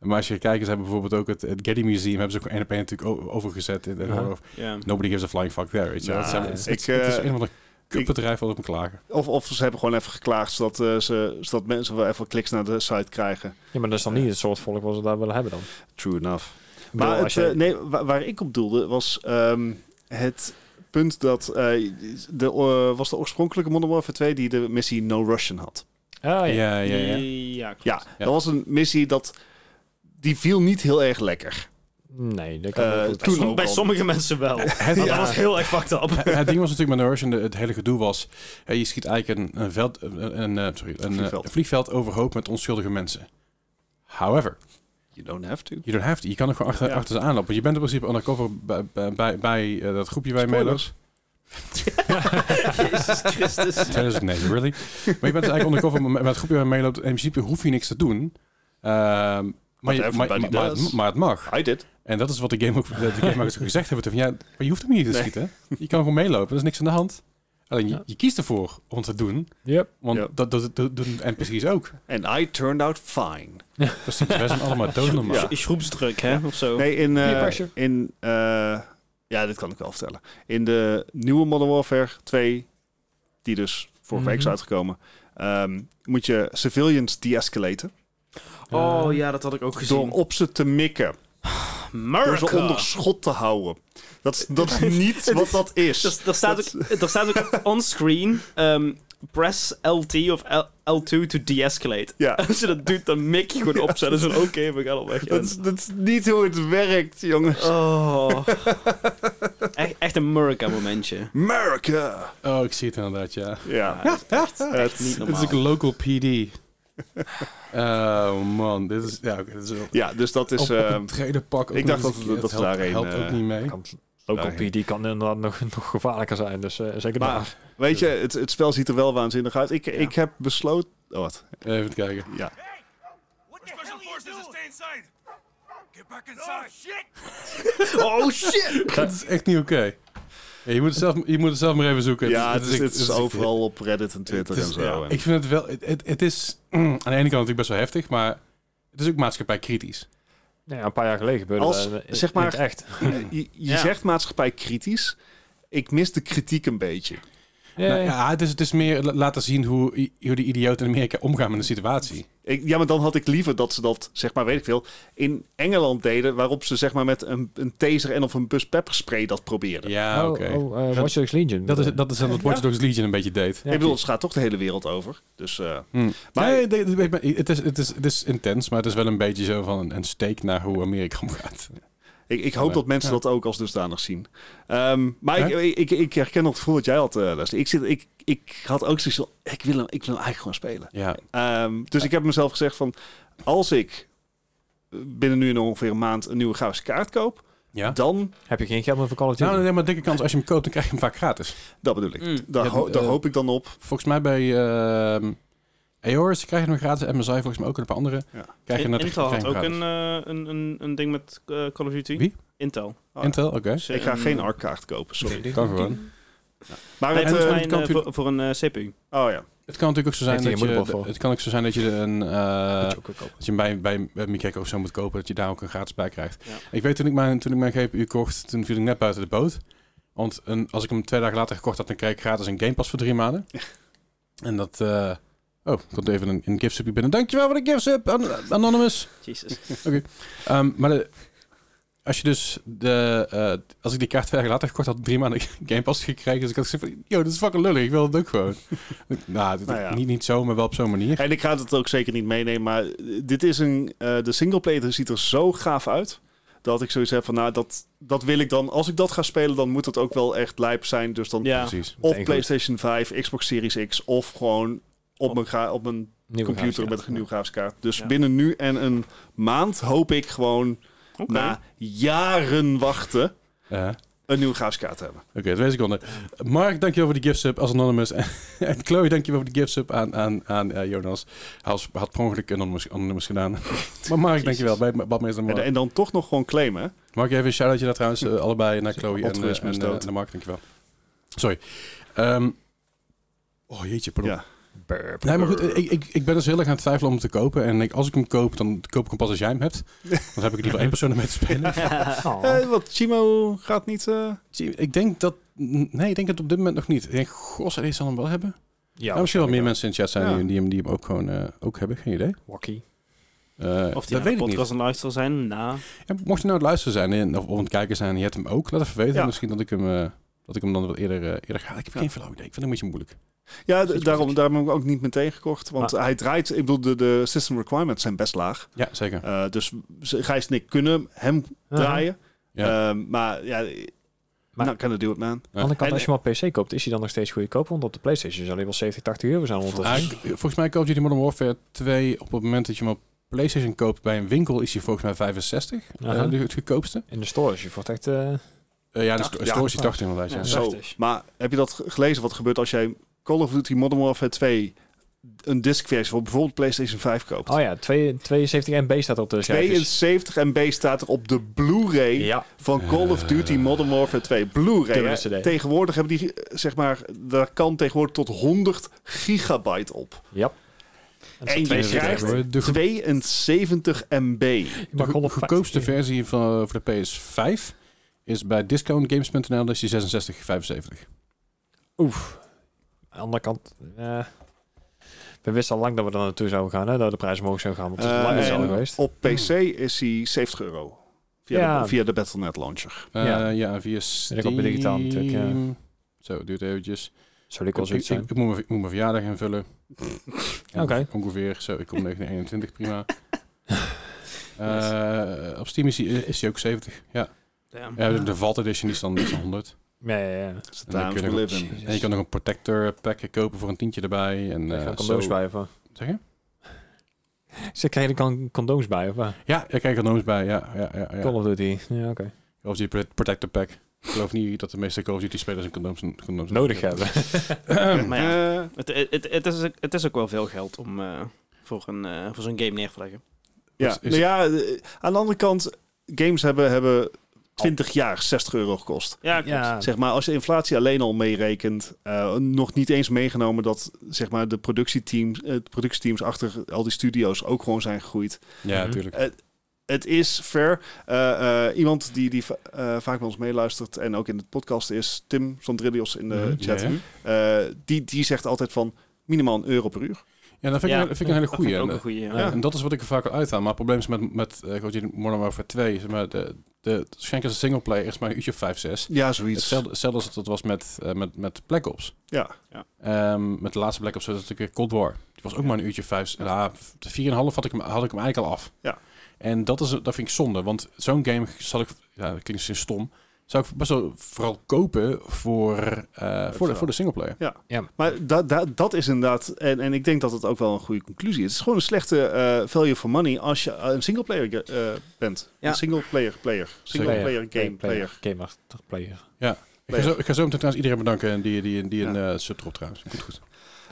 Maar als je kijkt, ze hebben bijvoorbeeld ook het, het Getty Museum, hebben ze ook één op één natuurlijk o- overgezet. In, in-
Ja.
ja.
Nobody gives a flying fuck there, weet je wel.
Nou,
Het zijn-
ik,
het, is-
eh,
het is een of ander kutbedrijf wat op me klagen.
Of, of ze hebben gewoon even geklaagd zodat, eh, ze, zodat mensen wel even kliks naar de site krijgen.
Ja, maar dat is dan niet het soort volk wat ze daar willen hebben dan.
True enough.
Ik
Maar
bedoel,
het,
als je-
eh, nee, wa- waar, ik op doelde was ehm, het punt dat eh, de, eh, was de oorspronkelijke Modern Warfare 2 die de missie No Russian had.
eh,
Ah, ja.
Ja, ja, ja.
Ja, klopt.
Ja,
Ja.
dat was een missie dat die viel niet heel erg lekker.
Nee, dat kan
Eh,
heel goed.
toen-
Som-
ook
bij
al.
sommige mensen wel.
Het,
Want
ja.
Dat was heel erg fucked up.
Het- het ding was natuurlijk met Nourish en de- het hele gedoe was... hè, je schiet eigenlijk een, een, veld, een, een, eh, sorry, een, eh,
Vliegveld.
vliegveld overhoop met onschuldige mensen. However,
You don't have to.
you don't have to. Je kan er gewoon achter,
Ja.
achter ze aanlopen. Want Je bent in principe undercover bij, bij, bij, bij, eh, dat groepje waar je mee loopt.
Spoilers.
Jezus Christus.
2009, really? Maar je bent dus eigenlijk undercover met met het groepje waar je meeloopt. En in principe hoef je niks te doen. Ehm, maar, je- maar,
Whatever,
maar-
buddy
maar
does.
het, maar het mag.
I did.
En dat is wat de game ook de gamemakers ook gezegd hebben. Van, ja, maar je hoeft hem niet te
Nee.
schieten. Je kan gewoon meelopen. Er is niks aan de hand. Alleen je,
Ja.
je kiest ervoor om het te doen.
Yep.
Want
Ja.
dat, dat, dat doen NPC's ook.
And I turned out fine.
Precies, wij zijn allemaal doodnormaal.
[LAUGHS] Ja.
Ja.
Schroepsdruk, hè? Of zo.
Nee, in... eh,
Peer pressure.
in eh, ja, dit kan ik wel vertellen. In de nieuwe Modern Warfare 2, die dus vorige week is
Mhm.
uitgekomen, ehm, moet je civilians de-escalaten
Oh ja, dat had ik ook
door
gezien.
op ze te mikken. Door ze onder schot te houden. Dat is, dat is niet wat dat is.
Dus, er, staat
[LAUGHS]
ook, er staat ook onscreen... ehm press LT of L- L2 to de-escalate. [LAUGHS]
Ja.
Als je dat doet, dan mik je gewoon op. Zo, dat is van, oké, we gaan al weg.
[LAUGHS] Dat is, dat is niet hoe het werkt, jongens.
Oh. echt, echt een Murica momentje.
America!
Oh, ik zie het inderdaad, ja.
Ja.
dat is echt
Het-
niet
Het is
normaal.
[LAUGHS]
ook een local PD. Oh man, dit is... Ja, oké, dit is wel...
Ja, dus dat
op,
is...
op
eh,
het tweede pak. ook
ik dacht
nog
dat-
een keer.
dat
Het
we
helpt,
daarheen,
helpt ook
eh,
niet mee.
Kan, local
Daarheen.
PD kan inderdaad nog, [LAUGHS] nog gevaarlijker zijn. Dus eh, zeker
Maar-
daar.
weet je, het, het spel ziet er wel waanzinnig uit. Ik, ik heb besloten... Oh, wat?
Even kijken.
Ja.
What the Special forces to stay inside. Get back inside. shit!
Oh shit!
Dat is echt niet oké. Ja, je, moet het zelf, je moet het zelf maar even zoeken.
Ja, het is,
echt-
het is
echt-
overal op Reddit en Twitter
het
en
is-
zo.
ja,
en-
Ik vind het wel... Het, het, het is [CLEARS THROAT] aan de ene kant natuurlijk best wel heftig, maar... Het is ook maatschappij kritisch.
Nou ja, een paar jaar geleden gebeurde
Als,
dat, eh,
zeg
in het
maar-
echt.
je je
Ja.
zegt maatschappij kritisch. Ik mis de kritiek een beetje.
Ja,
Nou,
ja.
ja, het is, het is meer la- laten zien hoe, i- hoe die idioten in Amerika omgaan met de situatie.
Ik, ja, maar dan had ik liever dat ze dat, zeg maar, weet ik veel, in Engeland deden, waarop ze zeg maar met een, een taser en of een bus pepperspray dat probeerden.
Ja,
oh,
oké.
oh, eh, Watch Dogs Legion.
Dat is, dat is dan wat Watch Dogs Legion een beetje deed.
Ja,
ik bedoel, het gaat toch de hele wereld over. Dus eh, Maar-
Maar nee, nee, nee, nee, het, is, het, is, het is intens, maar het is wel een beetje zo van een, een steek naar hoe Amerika omgaat.
ik, ik hoop dat mensen
Ja.
dat ook als dusdanig zien. Ehm, maar
Hè?
ik, ik, ik herken dat gevoel wat jij had, eh Leslie. Ik, zit, ik, ik had ook zoiets van, ik wil hem, ik wil hem eigenlijk gewoon spelen.
Ja,
Ehm, dus ik heb mezelf gezegd van, als ik binnen nu en ongeveer een maand een nieuwe grafische kaart koop,
ja.
dan
Heb je geen geld meer voor Call of Duty?
Nou, nee, maar dikke kans, als je hem koopt, dan krijg je hem vaak gratis.
Dat bedoel ik.
Mm.
Daar,
Ja,
ho- daar
eh,
hoop ik dan op.
Volgens mij bij ehm Aorus krijg je hem gratis, MSI volgens mij ook en een paar andere.
Ja.
Krijg je hem net-
Intel
krijg
had
je hem
ook een,
gratis.
eh, een, een, een ding met eh, Call of Duty.
Wie?
Intel.
een-
Intel, oké.
Dus, eh,
ik ga
een-
geen ARC-kaart kopen, sorry.
Kan gewoon.
Maar
Nee,
het,
volgens
eh,
mij
het
een,
kan
eh, voor, voor een eh, CPU.
oh ja.
Het kan natuurlijk ook zo zijn
Heeft
dat
hij een
je,
moederbord voor?
het kan ook zo zijn dat je een... eh,
Moet je ook weer kopen.
Dat je hem bij, bij, bij Mikeko of zo moet kopen, dat je daar ook een gratis bij krijgt.
Ja.
Ik weet toen ik, mijn, toen ik mijn GPU kocht, toen viel ik net buiten de boot. Want een, als ik hem twee dagen later gekocht had, dan kreeg ik gratis een Game Pass voor drie maanden. En dat... eh, oh, komt even een, een gift subje binnen. Dankjewel voor de gift sub, An- Anonymous.
Jesus. [LAUGHS]
Ehm, maar de- als je dus de... eh, als ik die kaart twee dagen later gekocht had, drie maanden [LAUGHS] Game Pass gekregen. Dus ik had gezegd van, yo, dit is fucking lullig, ik wil het ook gewoon. [LAUGHS] nou, dit-
Nou ja.
niet, niet zo, maar wel op zo'n manier.
En ik ga het ook zeker niet meenemen, maar dit is een... eh de singleplayer ziet er zo gaaf uit, dat ik zoiets heb van, nou, dat, dat wil ik dan... Als ik dat ga spelen, dan moet het ook wel echt lijp zijn. Dus dan
Ja.
Precies.
of
Meteen
PlayStation 5, Xbox Series X, of gewoon
Oh.
op mijn, gra- op mijn
Nieuwe
computer
grafische
met
kaart.
een nieuwe grafische kaart. Dus
Ja.
binnen nu en een maand hoop ik gewoon,
Oké. [LAUGHS]
na jaren wachten,
Eh,
een nieuwe grafische kaart te hebben.
Oké, twee seconden. Mark, dankjewel voor de gift sub als Anonymous. [LAUGHS] en Chloe, dankjewel voor de gift sub aan, aan, aan eh, Jonas. Hij was- had per ongeluk Anonymous, Anonymous gedaan. [LAUGHS] maar Mark, dankjewel. Bij Badmeester
En,
Mark.
en dan toch nog gewoon claimen. hè?
Mark, even een shout-outje daar trouwens. eh, allebei naar Chloe en, eh,
Altruïsme
en,
is
eh,
dood.
en de Mark, dankjewel. Sorry. Ehm, oh jeetje, pardon.
Ja.
Burp.
Nee, maar goed, ik, ik, ik ben dus heel erg aan het twijfelen om hem te kopen. En ik, als ik hem koop, dan koop ik hem pas als jij hem
[LAUGHS]
hebt. Dan heb ik er liever één persoon om mee te spelen.
Oh.
nou,
Eh, wat, Chimo gaat niet... eh,
Zie, Ik denk dat... Nee, ik denk het op dit moment nog niet. Ik denk, goh, deze zal hem wel hebben.
Ja,
Ja, Nou, misschien wel meer mensen in chat zijn
Ja.
die, die, hem, die hem ook gewoon eh, ook hebben. Geen idee.
Wacky.
Eh,
Of die
dat
aan de
weet ik
podcast
niet.
een luister zijn. Nou,
Ja, mocht je nou het luisteren zijn en, of, of aan het kijken zijn en je hebt hem ook, laat even weten.
Ja.
Misschien dat ik hem, eh, dat ik hem dan wel eerder, eh, eerder ga. Ik heb geen flauw idee. Ik vind het een beetje moeilijk.
Ja, d-
Zoiets
daarom, daarom heb ik ook niet meteen gekocht. Want hij draait... Ik bedoel, de, de system requirements zijn best laag.
Ja, zeker.
Eh, dus ze- Gijs en ik kunnen hem
Uh-huh.
draaien.
Ja.
Ehm, maar ja...
Maar-
nou, kan het do it, man.
Aan de andere kant,
En-
als je maar een PC koopt, is hij dan nog steeds goedkoop? Want op de PlayStation zal hij wel 70, 80 euro zijn
Ah,
ondertussen.
ik- volgens mij koopt je die Modern Warfare 2 op het moment dat je hem op PlayStation koopt bij een winkel is hij volgens mij 65. eh,
Aha.
de- het goedkoopste.
In de store is je voor echt... eh,
Eh, ja, de sto-
Ja.
store is die 80 inderdaad.
Ja.
Ja.
Zo.
Zo,
60.
maar heb je dat ge- gelezen wat er gebeurt als jij Call of Duty Modern Warfare 2 een discversie voor bijvoorbeeld PlayStation 5 koopt?
Oh ja, 2 72 MB staat op de service.
72 MB staat er op de Blu-ray
Ja, Eh.
van Call of Duty Modern Warfare 2. Blu-ray.
Dubbele
hè?
CD.
Tegenwoordig hebben die, eh, zeg maar, daar kan tegenwoordig tot 100 gigabyte op.
ja.
En je
Even
krijgt
kijken hoor. De, go-
72 MB.
de go- goedkoopste versie van, voor de PS5 is bij discountgames.nl, dat is die 66, 75.
Oef. Aan de andere kant... eh, we wisten al lang dat we er naartoe zouden gaan, hè? Dat de prijs omhoog zou gaan. Want het is
Eh,
lang hetzelfde
en
geweest.
Op PC is hij 70 euro. Via,
Ja.
de, via de Battle.net launcher.
Eh,
Ja.
ja. via Steam.
ook op digitaal natuurlijk, ja.
Zo, duurt eventjes.
Zou ik wel
Ik, ik,
zoiets zijn?
ik moet mijn ik moet mijn verjaardag invullen.
Oké.
Ongeveer. Zo, ik kom 1921, prima. Eh, op Steam is hij is die ook 70. Ja.
damn.
ja de Vault Edition die is dan, die is dan 100.
Ja, ja, ja.
Dat is de
En dan
times
kun
we
je
live in.
En je kan nog een protector pack kopen voor een tientje erbij. En,
Ik
eh,
ga
zo-
condoms bij even.
Zeg je?
Ze kregen dan condooms bij, of wat?
Ja, ik krijg er nooms bij. Ja, ja, ja, ja.
Call
Call
of Duty. Ja, oké.
of Duty Pro- Protector Pack. Ik geloof niet dat de meeste Call of Duty spelers een condooms, condooms
Nodig hebben.
ehm,
Maar ja,
Eh,
het, het, het, is, ook- het is ook wel veel geld om eh, voor, een, eh, voor zo'n game neer te leggen.
Ja,
Is- is-
nou ja, eh, aan de andere kant, games hebben, hebben 20 jaar 60 euro gekost.
Ja, klopt.
ja.
Zeg maar, als je inflatie alleen al meerekent, eh, nog niet eens meegenomen dat zeg maar, de productieteams, eh, de productieteams achter al die studio's ook gewoon zijn gegroeid.
Ja,
Mhm.
natuurlijk.
Het is fair. Eh, eh, iemand die, die va- eh, vaak bij ons meeluistert en ook in de podcast is Tim Sandrillios in de
Mhm.
chat.
Ja, ja.
Eh, die, die zegt altijd van minimaal een euro per uur.
Ja, dat vind ik,
Ja,
een- dat vind ik een hele
Dat vind
goeie.
ik ook
En,
een goeie, ja.
eh, En dat is wat ik er vaak al uithaal. Maar het probleem is met, met eh, Call of Duty Modern Warfare 2. Zeg maar, de, de, waarschijnlijk is de singleplayer eerst maar een uurtje 5, 6.
Ja, zoiets.
Hetzelfde, hetzelfde als het dat was met, eh, met, met Black Ops.
Ja.
Ja.
Ehm, met de laatste Black Ops was het natuurlijk Cold War. Die was ook maar een uurtje vijf. Ja, vier en een half had ik, hem, had ik hem eigenlijk al af.
Ja.
En dat, is, dat vind ik zonde. Want zo'n game zal ik... Ja, dat klinkt misschien stom. Zou ik best wel vooral kopen voor, eh, voor, de,
verhaal.
voor de singleplayer.
Maar da, da- dat is inderdaad, en, en ik denk dat het ook wel een goede conclusie is. Het is gewoon een slechte eh, value for money als je eh, een singleplayer player eh, bent.
Ja.
Een single player player. Single
Player.
player game player.
Gamer. player.
Ik ga, zo, ik ga zo meteen trouwens iedereen bedanken die, die, die een eh sub erop trouwens. Goed, goed.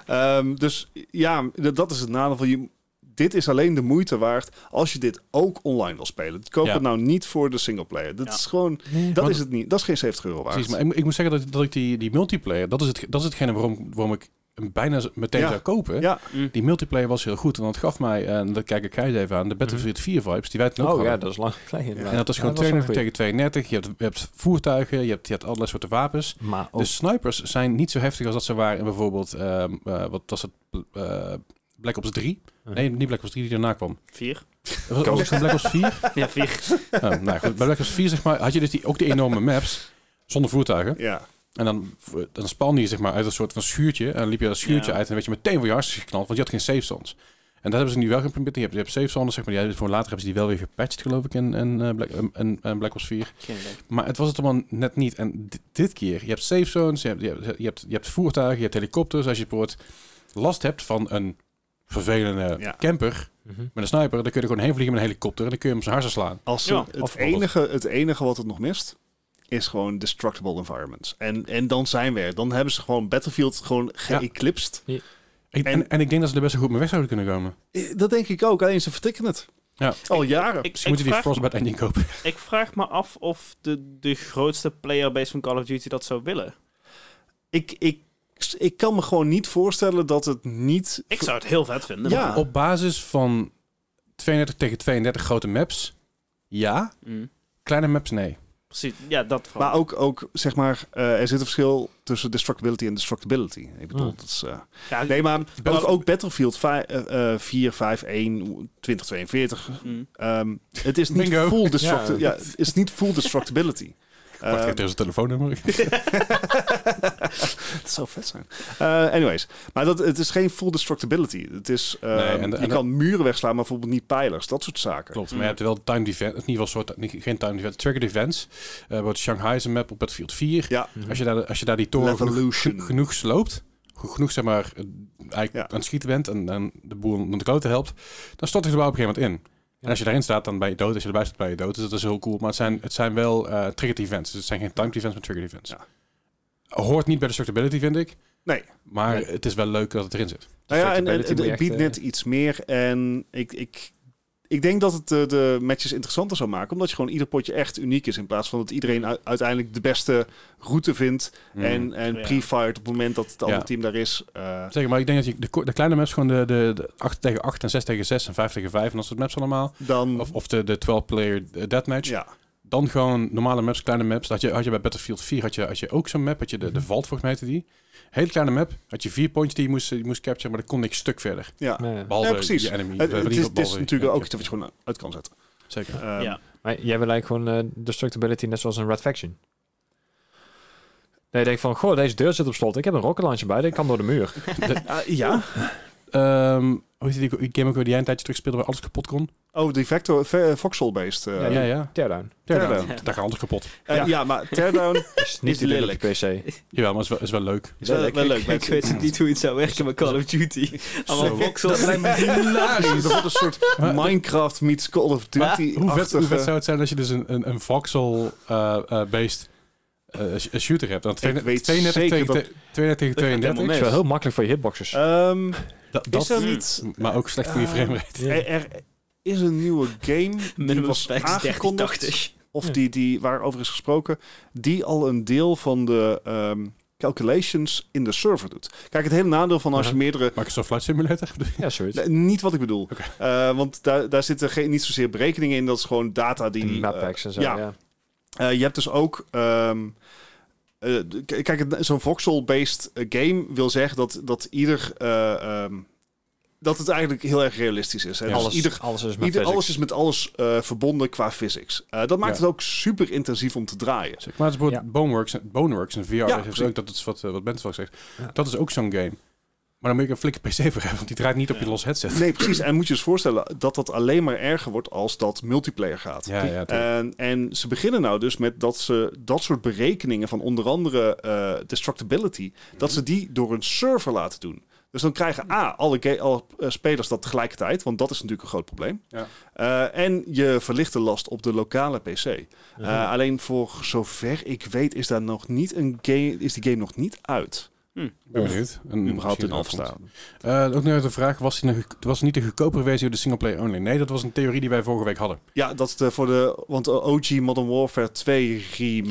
Ehm, dus ja, d- dat is het nadeel van je. Dit is alleen de moeite waard als je dit ook online wil spelen. Koop
Ja.
het nou niet voor de singleplayer. Dat
Ja.
is gewoon, dat
Want-
is het niet. Dat is geen 70 euro waard.
Precies, maar ik, moet- ik moet zeggen dat, dat ik die, die multiplayer... Dat is, het, dat is hetgene waarom, waarom ik hem bijna meteen
Ja.
zou kopen.
Ja.
Mm.
Die multiplayer was heel goed. En dat gaf mij, eh, en dat kijk ik Gijs even aan, de Battlefield 4 vibes die wij toen ook
Mhm.
hadden.
Oh ja, dat is lang [LAUGHS] geleden.
En dat is gewoon 32 tegen 32. Je hebt, je hebt voertuigen, je hebt, je hebt allerlei soorten wapens.
Maar ook
De snipers zijn niet zo heftig als dat ze waren in bijvoorbeeld, ehm, eh, wat was het, eh, Black Ops 3?
Ja.
Nee, niet Black Ops 3 die daarna kwam.
Vier.
Was het ook zo'n Black Ops
[LAUGHS]
4?
Ja, vier.
[LAUGHS] Oh, nou goed, bij Black Ops 4 zeg maar, had je dus die, ook die enorme maps zonder voertuigen.
Ja.
En dan, dan span je zeg maar uit een soort van schuurtje. En dan liep je dat schuurtje
Ja.
uit en werd je meteen voor je hartstikke geknald. Want je had geen safe zones. En dat hebben ze nu wel geïmplementeerd. Je hebt, je hebt safe zones, zeg maar. Die hebben, voor later hebben ze die wel weer gepatcht, geloof ik, in, in, eh, Black, in, in Black Ops 4.
Geen idee.
Maar het was het allemaal net niet. En di- dit keer, je hebt safe zones, je hebt, je hebt, je hebt, je hebt voertuigen, je hebt helikopters. Als je bijvoorbeeld last hebt van een vervelende
Ja.
camper
Mhm.
met een sniper, dan kun je er gewoon heen vliegen met een helikopter en dan kun je hem op zijn harsen slaan.
Als
Ja,
het, het,
of alles.
enige, het enige wat het nog mist, is gewoon destructible environments. En, en dan zijn we er. Dan hebben ze gewoon Battlefield gewoon geëclipsed.
Ik- en,
En-
en ik denk dat ze er best wel goed mee weg zouden kunnen komen. Dus
Eh, Dat denk ik ook, alleen ze vertikken het.
Ja.
Al jaren.
Misschien
Ik, ik,
moeten we die
vraag,
Frostbite engine kopen.
ik vraag me af of de, de grootste playerbase van Call of Duty dat zou willen.
Ik, ik, ik kan me gewoon niet voorstellen dat het niet...
Ik zou het heel vet vinden.
Ja.
maar-
Op basis van 32 tegen 32 grote maps, ja.
Mm.
Kleine maps, nee.
Precies. Ja, dat vooral.
Maar ook, ook zeg maar, eh, er zit een verschil tussen destructibility en destructibility. Ik bedoel,
Hmm.
dat is... eh,
Ja,
nee, maar ook,
Battle-
ook Battlefield 5, eh, eh, 4, 5, 1, 2042.
mm.
Ehm, het is niet
Bingo.
full destructi-
Ja.
ja. het is niet full destructibility.
[LAUGHS] Wacht,
Ehm,
er is een telefoonnummer.
[LAUGHS] Het zou vet zijn. Eh, anyways, maar dat, het is geen full destructibility. Het is, eh,
Nee, en de-
je
en de-
kan muren wegslaan, maar bijvoorbeeld niet pijlers. Dat soort zaken.
[LAUGHS] Klopt, maar je hebt wel time defense, in ieder geval soort, niet- geen time defense, trigger defense. Eh wordt Shanghai is een map op Battlefield 4.
Ja.
Mhm.
Als, je daar, als je daar die toren genoeg,
Levolution.
geno- genoeg sloopt, ge- genoeg zeg maar, eh, eigenlijk
Hmm. Ja.
aan het schieten bent en, en de boel naar de klote helpt, dan stort hij er wel op een gegeven moment in. En als je daarin staat, dan ben je dood. Als je erbij staat, ben je dood. Dus dat is heel cool. Maar het zijn, het zijn wel eh, trigger defense. Dus het zijn geen time defense, maar trigger defense. Hoort niet bij de destructibility, vind ik.
Nee.
Maar
Nee.
het is wel leuk dat het erin zit.
Nou ja, en, en-
Destructibility
en
moet
het
je
biedt
echt,
eh.
net iets meer. En ik, ik, ik denk dat het de, de matches interessanter zou maken. Omdat je gewoon ieder potje echt uniek is. In plaats van dat iedereen u- uiteindelijk de beste route vindt. En, en
Ja.
pre-fired op het moment dat het andere
Hmm. Ja.
team daar is. eh,
Zeg maar, ik denk dat je de, ko- de kleine maps, gewoon de, de, de 8 tegen 8 en 6 tegen 6 en 5 tegen 5 en dat soort maps allemaal.
dan...
Of, of de, de 12-player deathmatch.
ja.
Dan gewoon normale maps, kleine maps. Dat je, had je bij Battlefield 4 had je, had je ook zo'n map, had je de, de Vault volgens mij heette die. Hele kleine map, had je vier pointjes die je moest, die je moest capturen, maar dat kon niks stuk verder.
ja.
Nee.
Behalve
Ja, precies.
je enemy.
Het,
Eh,
het
die
is,
wat
het is
ballen-
natuurlijk
ja, ja,
ook iets wat je gewoon uit kan zetten.
Zeker.
Ehm,
Ja.
Maar jij wil eigenlijk gewoon eh, destructibility net zoals een Red Faction. Nee, je denkt van, goh, deze deur zit op slot. Ik heb een rocket launcher bij, die kan door [LAUGHS] de eh, muur.
Ah, ja.
ehm, hoe heet die die game ook weer die jij een tijdje terug speelde waar alles kapot kon?
Oh, die Vector, ve- voxel-based. eh,
Ja,
ja, ja.
Teardown.
Teardown.
Teardown.
Daar gaat alles kapot.
eh,
Ja.
ja, maar Teardown
Is niet
Is
te doen op je PC.
Jawel, maar is wel, is wel leuk.
Is wel, wel leuk, maar [LAUGHS] ik weet niet hoe het zou werken met Call of Duty. [LAUGHS] Allemaal voxels. [LAUGHS]
[LAUGHS]
hilarisch. Dat wordt een soort
[LAUGHS] Maar-
Minecraft meets Call of Duty.
Hoe vet, hoe vet zou het zijn als je dus een, een, eh, een voxel-based eh, shooter hebt? Dan
Ik
32
weet
tegen,
zeker
te- 32 tegen
helemaal
32.
Het is wel heel makkelijk voor je hitboxers.
Ehm,
Dat,
is
dat,
er niet...
maar ook slecht voor je
Eh,
framerate.
Er, er is een nieuwe
[LAUGHS]
game die
Minimum
was
specs 3080.
aangekondigd. Of die, die waarover is gesproken. Die al een deel van de ehm, calculations in de server doet. Kijk, het hele nadeel van als je
Aha.
meerdere...
Microsoft Flight Simulator?
Ja, zoiets.
Nee, Niet wat ik bedoel.
Oké.
Eh, want daar, daar zitten geen, niet zozeer berekeningen in. Dat is gewoon data die...
Die map
eh,
packs en zo,
ja.
ja.
eh, je hebt dus ook. ehm, eh, k- kijk, het- zo'n voxel-based eh, game wil zeggen dat, dat ieder. eh, ehm, dat het eigenlijk heel erg realistisch is. Hè?
Ja.
Dus
Alles,
ieder,
alles is met
ieder,
physics.
alles is met alles eh, verbonden qua physics. Eh, dat maakt
Ja.
het ook super intensief om te draaien.
[LAUGHS] Zeg maar het is bijvoorbeeld Boneworks, Boneworks en VR. dat is
precies.
ook, dat is wat, eh, wat Bent wel zegt.
Ja.
Dat is ook zo'n game. Maar dan moet je een flinke PC voor hebben, want die draait niet op je
Ja.
los headset.
Nee, precies. En moet je je eens voorstellen dat dat alleen maar erger wordt als dat multiplayer gaat.
Ja, ja, tuurlijk.
En, en ze beginnen nou dus met dat ze dat soort berekeningen van onder andere eh, destructibility, dat ze die door een server laten doen. Dus dan krijgen A, alle, ga- alle eh, spelers dat tegelijkertijd, want dat is natuurlijk een groot probleem.
Ja.
Eh, en je verlicht de last op de lokale PC. Eh,
Uh-huh.
alleen voor zover ik weet is, daar nog niet een game, is die game nog niet uit.
Ik ben
Of
benieuwd. En
überhaupt in
Hmm, afstand.
afstaan.
Eh, ook nog even de vraag, was, die een, ge- was niet de goedkopere versie of de singleplayer only? Nee, dat was een theorie die wij vorige week hadden.
Ja, dat is de, voor de. Want de OG Modern Warfare 2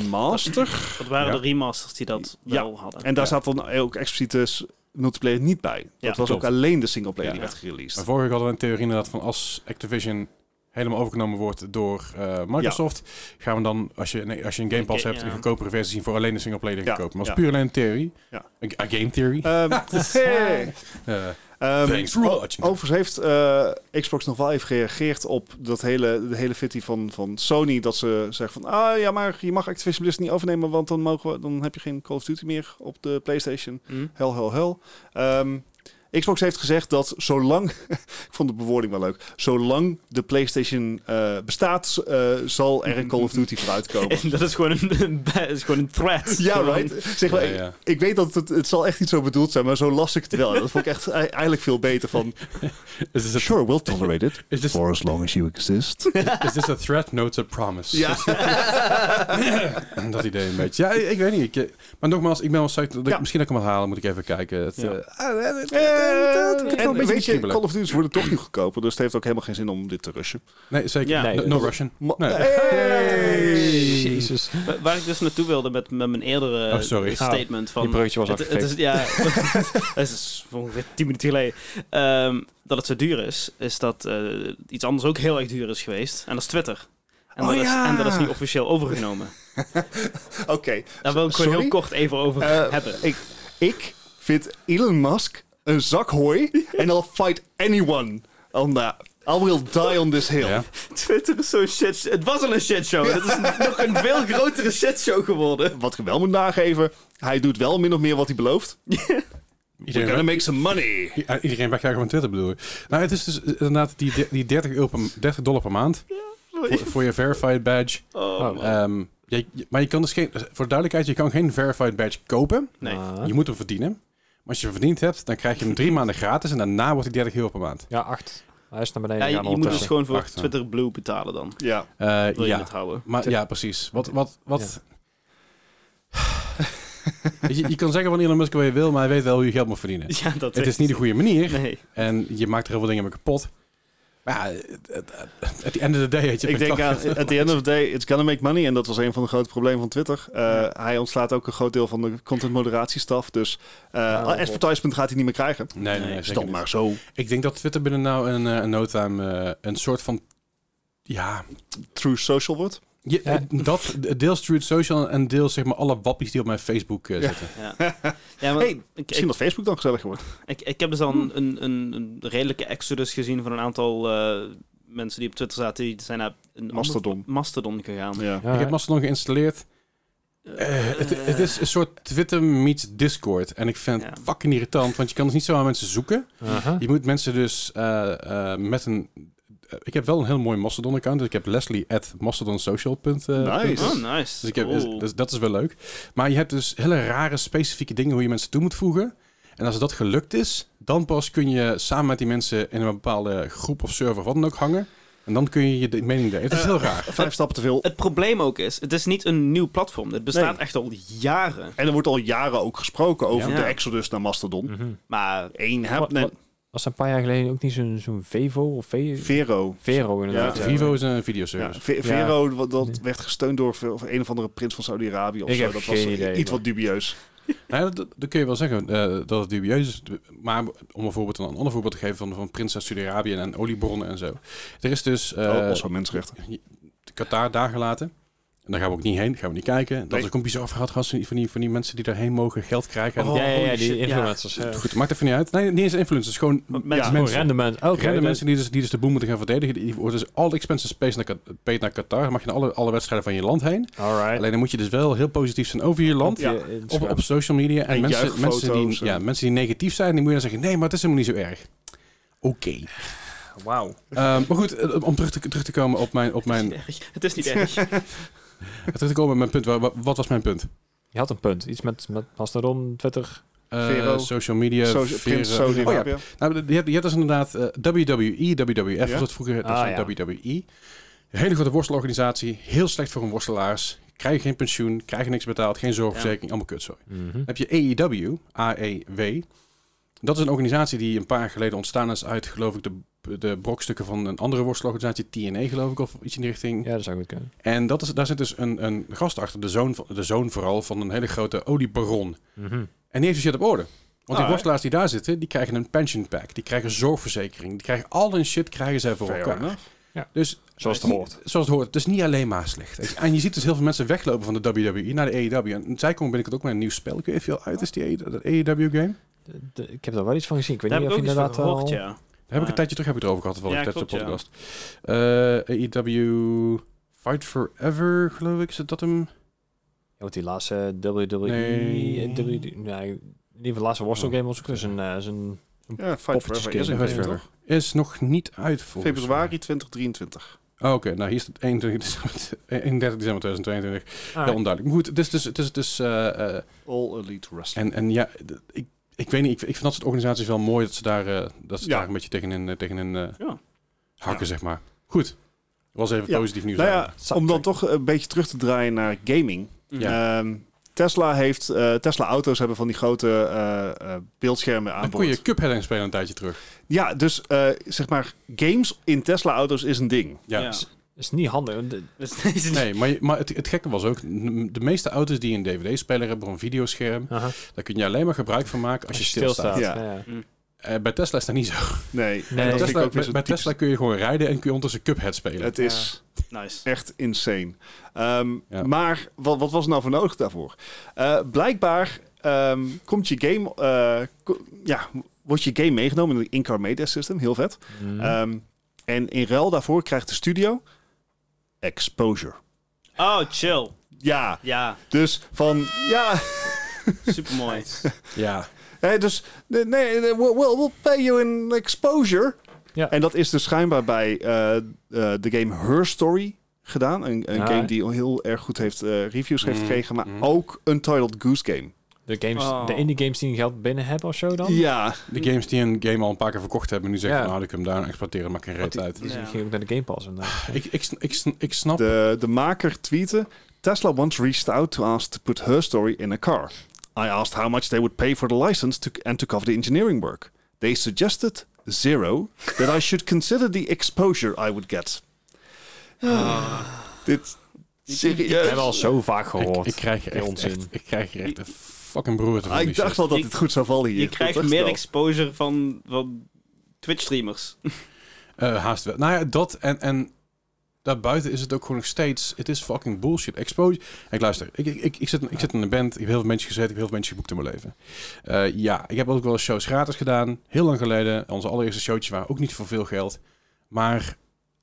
Remaster.
Dat waren
Ja.
de remasters die dat
Ja.
wel hadden.
En daar zat dan ook expliciet dus multiplayer niet bij. Dat was
klopt.
ook alleen de singleplayer
Ja.
die werd gereleased.
Maar vorige week hadden we een theorie inderdaad van als Activision helemaal overgenomen wordt door eh, Microsoft, gaan we dan, als je, nee, als je een Game Pass
Oké,
hebt,
ja.
een goedkopere versie zien voor alleen de singleplayer
Ja,
te kopen. Maar dat
ja.
is puur alleen een theorie.
Ja.
Een, een game theory. [LAUGHS]
Ehm, [LAUGHS] hey.
Eh,
Ehm,
thanks for
o-
watching.
Overigens heeft eh, Xbox nog wel even gereageerd op dat hele, de hele fitty van, van Sony. Dat ze zeggen van, ah ja, maar je mag Activision Blizzard niet overnemen, want dan, mogen we, dan heb je geen Call of Duty meer op de PlayStation.
Hm?
Hel, hel, hel. Ehm, Xbox heeft gezegd dat zolang... [LAUGHS] ik vond de bewoording wel leuk. Zolang de PlayStation eh, bestaat, eh, zal er een Call of Duty vooruit komen.
[LAUGHS] En dat is gewoon een, een, is gewoon een [LAUGHS] threat.
ja,
Gewoon-
right? Zeg maar,
ja, ja.
Ik, ik weet dat het, het zal echt niet zo bedoeld zijn, maar zo las ik het wel. Dat vond ik echt e- eigenlijk veel beter van...
Is this, a,
Sure, we'll tolerate it.
is, this,
For as long as you exist.
is this a threat? No, it's a promise.
ja.
[LAUGHS] dat idee een beetje. Ja, ik, ik weet niet. Ik, eh, maar nogmaals, ik ben wel psyched. dat ik
Ja.
Misschien dat ik hem ga halen, moet ik even kijken. Het,
Ja.
eh, ah, eh, het- het
En,
klinkt wel een beetje
weet je,
kriebelig.
Call of Duty's worden toch niet goedkoper, dus het heeft ook helemaal geen zin om dit te rushen.
Nee, zeker.
Ja.
No-
Nee,
no,
dat-
Russian.
Ma-
Nee.
Hey!
Jezus.
Wa- Waar ik dus naartoe wilde met, met mijn eerdere
Oh, sorry.
statement van...
Die bruggetje was
het, het
afgefikt.
is, ja, [LAUGHS] het is ongeveer 10 minuten geleden. Ehm, dat het zo duur is, is dat eh, iets anders ook heel erg duur is geweest. En dat is Twitter. En,
Oh
dat,
ja.
is, en dat is niet officieel overgenomen.
Oké,
Daar wil ik gewoon
Sorry?
heel kort even over
Eh,
hebben.
Ik, ik vind Elon Musk een zak hooi. En I'll fight anyone on that. I will die on this hill.
Ja.
[LAUGHS] Twitter is zo'n shit. Het was al een shitshow. Het is nog een [LAUGHS] veel grotere shitshow geworden.
Wat ik wel moet nageven, hij doet wel min of meer wat hij belooft. We're gonna
Iedereen,
make some money.
i- eh, iedereen wegjagen van Twitter bedoel ik. Nou, het is dus inderdaad die, de- die 30, euro per, 30 dollar per maand voor, voor je verified badge.
Oh, man.
Ehm, je- je- maar je kan dus geen, voor de duidelijkheid, je kan geen verified badge kopen.
nee.
Ah.
Je moet hem verdienen. Maar als je hem verdiend hebt, dan krijg je hem drie maanden gratis en daarna wordt hij 30 euro per maand.
Ja, 8. Hij is naar beneden
Ja, je,
gegaan
je moet dus
ondertussen.
gewoon voor
Wacht, hè.
Twitter Blue betalen dan.
Ja.
Eh,
Wil je
ja.
het houden? [LAUGHS]
Maar ja, precies. Wat, wat, wat... [LAUGHS] Weet je, je kan zeggen van Elon Musk wat je wil, maar hij weet wel hoe je geld moet verdienen.
Ja, dat
Het is niet de goede manier
Nee.
en je maakt er heel veel dingen mee kapot. Maar ja, het- het- het- at the end of the day... Weet je,
Ik
ben
denk
toch-
aan, at the end of the day, it's gonna make money. En dat was een van de grote problemen van Twitter. Eh, Hij ontslaat ook een groot deel van de content moderatiestaf. Dus eh,
Ah, dat
advertisement gaat hij niet meer krijgen.
Nee, nee, nee Oh,
Is
zeker
dan
niet.
maar zo.
Ik denk dat Twitter binnen nou een, eh, een no time eh, een soort van... Ja,
True social wordt.
je- eh,
Ja.
dat deels Truth Social en deels zeg maar alle wappies die op mijn Facebook eh, zitten.
Ja, ja maar
Hey,
ik,
Misschien
ik,
dat Facebook dan gezellig wordt.
ik, ik heb dus al
Hmm.
een, een, een, een redelijke exodus gezien van een aantal eh, mensen die op Twitter zaten. Die zijn naar een ander-
Mastodon.
Mastodon gegaan.
Ja.
Ja,
Ik heb Mastodon geïnstalleerd. Eh, het, het is een soort Twitter meets Discord. En ik vind het
Ja.
fucking irritant, want je kan dus niet zomaar mensen zoeken.
Aha.
Je moet mensen dus eh, eh, met een... eh, ik heb wel een heel mooi Mastodon-account. Dus ik heb Leslie at mastodonsocial. eh,
Nice.
Oh, nice.
Dus ik heb,
Oeh.
is- dus dat is wel leuk. Maar je hebt dus hele rare, specifieke dingen hoe je mensen toe moet voegen. En als dat gelukt is, dan pas kun je samen met die mensen in een bepaalde groep of server of wat dan ook hangen. En dan kun je je de- mening delen. Het
Eh,
is heel raar.
Vijf stappen te veel.
Het probleem ook is, het is niet een nieuw platform. Het bestaat echt al jaren.
En er wordt al jaren ook gesproken over
Ja.
de exodus naar Mastodon.
Mhm.
Maar
Eén heb...
Wat-
Nee,
wat- Was er een paar jaar geleden ook niet zo'n zo'n Vevo of Ve-
Vero.
Vero inderdaad?
Ja,
Vivo is een
Ja,
videoservice.
Ve- Vero, wat- dat werd gesteund door veel- of een of andere prins van Saudi-Arabië of
Ik
zo.
heb
dat
geen
was
idee,
iets
maar-
wat dubieus.
Nou ja, dat, dat kun je wel zeggen eh, dat het dubieus is. Maar om een, voorbeeld, een ander voorbeeld te geven van, van Prins uit Saudi-Arabië en oliebronnen en zo. Er is dus eh,
Oh,
Al- also Oh, mensenrechten.
Qatar daar gelaten. En daar gaan we ook niet heen, gaan we niet kijken. Dat
Nee.
is ook een bizar verhaal trouwens, van die, van die mensen die daarheen mogen geld krijgen. En
Oh. ja, ja, ja,
holy
die
shit, ja.
influencers. Ja.
Goed, maakt even niet uit. Nee, niet eens influencers. Gewoon
Wat
mensen.
mensen-
Gewoon
mensen.
random mensen. Oké,
Random
dat-
mensen die dus, die dus de boel moeten gaan verdedigen. Die worden dus all expenses paid naar, Qa- paid naar Qatar. Dan mag je naar alle, alle wedstrijden van je land heen.
Alright.
Alleen dan moet je dus wel heel positief zijn over je land.
Ja.
Op,
Instagram.
op social media. En,
En
mensen,
juichfoto's
mensen, die,
en-
ja, mensen die negatief zijn, die moet je dan zeggen... Nee, maar het is helemaal niet zo erg. Oké.
wauw.
Ehm, maar goed, eh, om terug te, terug te komen op mijn, op
Het is
[LAUGHS]
mijn,
niet erg. Het is niet erg.
terug te komen op mijn punt. Wa- wa- Wat was mijn punt?
Je had een punt. Iets met, met Mastodon, Twitter.
Eh,
Vero.
social media.
Zo-
Vero.
prins
Oh ja,
Saudi-Arabië.
Nou, je hebt, je hebt dus inderdaad eh, WWE, WWF,
Ja?
was dat vroeger dat
Ah,
is
ja.
WWE. Een E. hele grote worstelorganisatie, heel slecht voor een worstelaars. Krijgen geen pensioen, krijgen niks betaald, geen zorgverzekering, allemaal kutzooi.
Mhm.
Dan heb je E AEW, AEW. E Dat is een organisatie die een paar jaar geleden ontstaan is uit, geloof ik, de, de brokstukken van een andere worstelorganisatie, TNA geloof ik, of iets in die richting.
Ja, dat zou goed kunnen.
En dat is, daar zit dus een, een gast achter, de zoon, van- de zoon vooral, van een hele grote oliebaron.
Mhm.
En die heeft dus shit op orde. Want
Ah,
die worstelaars die daar zitten, die krijgen een pension pack. Die krijgen zorgverzekering. Die krijgen al hun shit krijgen zij voor
Fair
elkaar.
enough.
Dus
Zoals het
niet-
hoort.
[LAUGHS] Zoals het hoort. Het is niet alleen maar slecht. En je ziet dus heel veel mensen weglopen van de WWE naar de AEW. En zij komen binnenkort ook met een nieuw spel. Ik weet veel uit is die AEW game.
De- de- ik heb daar wel iets van gezien. Ik weet
Daar heb
niet
ik
of eh,
ook iets van
inderdaad
gehoord,
al-
ja.
Daar heb ik
Ah.
een tijdje terug heb ik het over gehad toevallig
Ja,
tijdens de
klopt,
podcast. Eh, AEW Fight Forever geloof ik. Is het dat hem?
Ja, want die laatste eh, WWE...
Nee.
E, eh, WWE nou, in ieder geval de laatste Worstel Game was ook dus een... eh, is een
Ja, Fight Forever
Poppetjes
is een
Fight
game,
Forever.
toch?
Is nog niet uit volgens mij.
Februari 2023.
Oh, Oké, nou hier is het 21 december, [LAUGHS] 31 december 2022.
Ah.
Heel onduidelijk. Maar goed, het is dus... Het is, het is, eh, eh,
All Elite Wrestling.
en, en ja, d- ik, ik weet niet, ik, ik vind dat soort organisaties wel mooi dat ze daar, eh, dat ze
Ja.
daar een beetje tegenin, eh, tegenin eh,
Ja.
hakken, zeg maar. Goed, was even
Ja.
positief nieuws.
Nou
aan.
ja, om dan toch een beetje terug te draaien naar gaming. Ehm, Tesla heeft, eh, Tesla auto's hebben van die grote eh, eh, beeldschermen aan
Dan
boord.
kon je Cuphead in spelen een tijdje terug.
Ja, dus eh, zeg maar, games in Tesla auto's is een ding.
Ja.
Ja.
is niet handig. want de-
Dus [LAUGHS] deze-
Nee, maar, je- maar het, het gekke was ook, n- de meeste auto's die een DVD-speler hebben of een videoscherm,
Aha.
daar kun je alleen maar gebruik van maken als je stilstaat.
Ja.
Ja. ja.
Eh, bij Tesla is dat niet zo.
Nee, en
Nee.
dat vind ik
Tesla,
ook weer
bij
zo
bij
typisch.
Tesla kun je gewoon rijden en kun je ondertussen Cuphead spelen.
Het is
Nice.
echt insane. Ehm,
Ja.
Maar wat, wat was er nou voor nodig daarvoor? Eh, blijkbaar ehm, komt je game, eh, ko- ja, wordt je game meegenomen in het in-car media system. Heel vet.
Mhm.
Ehm, en in ruil daarvoor krijgt de studio exposure.
Oh, chill.
Ja,
Ja,
dus van ja,
supermooi.
Ja.
hè, dus nee, nee, we'll, we'll we'll pay you in exposure.
Ja.
En dat is dus schijnbaar bij eh, eh, de game Her Story gedaan, een, een
Ja,
game
hè?
die al heel erg goed heeft eh, reviews heeft
Mm,
gekregen, maar
mm.
ook Untitled Goose Game.
De, games,
Oh.
de indie games die geld binnen hebben of zo dan?
Ja,
De games die een game al een paar keer verkocht hebben, nu zeggen
Ja.
van, nou, ik hem daar exploiteren, maak geen reet
Die,
uit.
die
Ja.
ging ook naar de Game Pass. eh, inderdaad.
Ik, ik, sn- ik, sn- ik snap.
de, de maker tweette: Tesla once reached out to ask to put Her Story in a car. I asked how much they would pay for the license to, and to cover the engineering work. They suggested zero, that I should consider the exposure I would get.
Ah.
[LAUGHS]
Dit
Ik
serieus.
heb al zo vaak
ik,
gehoord.
ik krijg er
Die
echt,
onzin.
echt- ik krijg er echt een fucking broer van.
Ah,
die
ik dacht
shit.
al dat
Je-
het goed zou vallen hier.
Je
Dat
krijgt
dacht ik
meer
wel.
exposure van, van
[LAUGHS]
Twitch-streamers.
Eh, haast wel. Nou ja, dat en, en daarbuiten is het ook gewoon nog steeds. Het is fucking bullshit. Exposure. Ik luister, ik, ik, ik, ik zit, ik zit in een band. Ik heb heel veel mensen gezeten. Ik heb heel veel mensen geboekt in mijn leven. Eh, ja, ik heb ook wel eens shows gratis gedaan. Heel lang geleden. Onze allereerste showtjes waren ook niet voor veel geld. Maar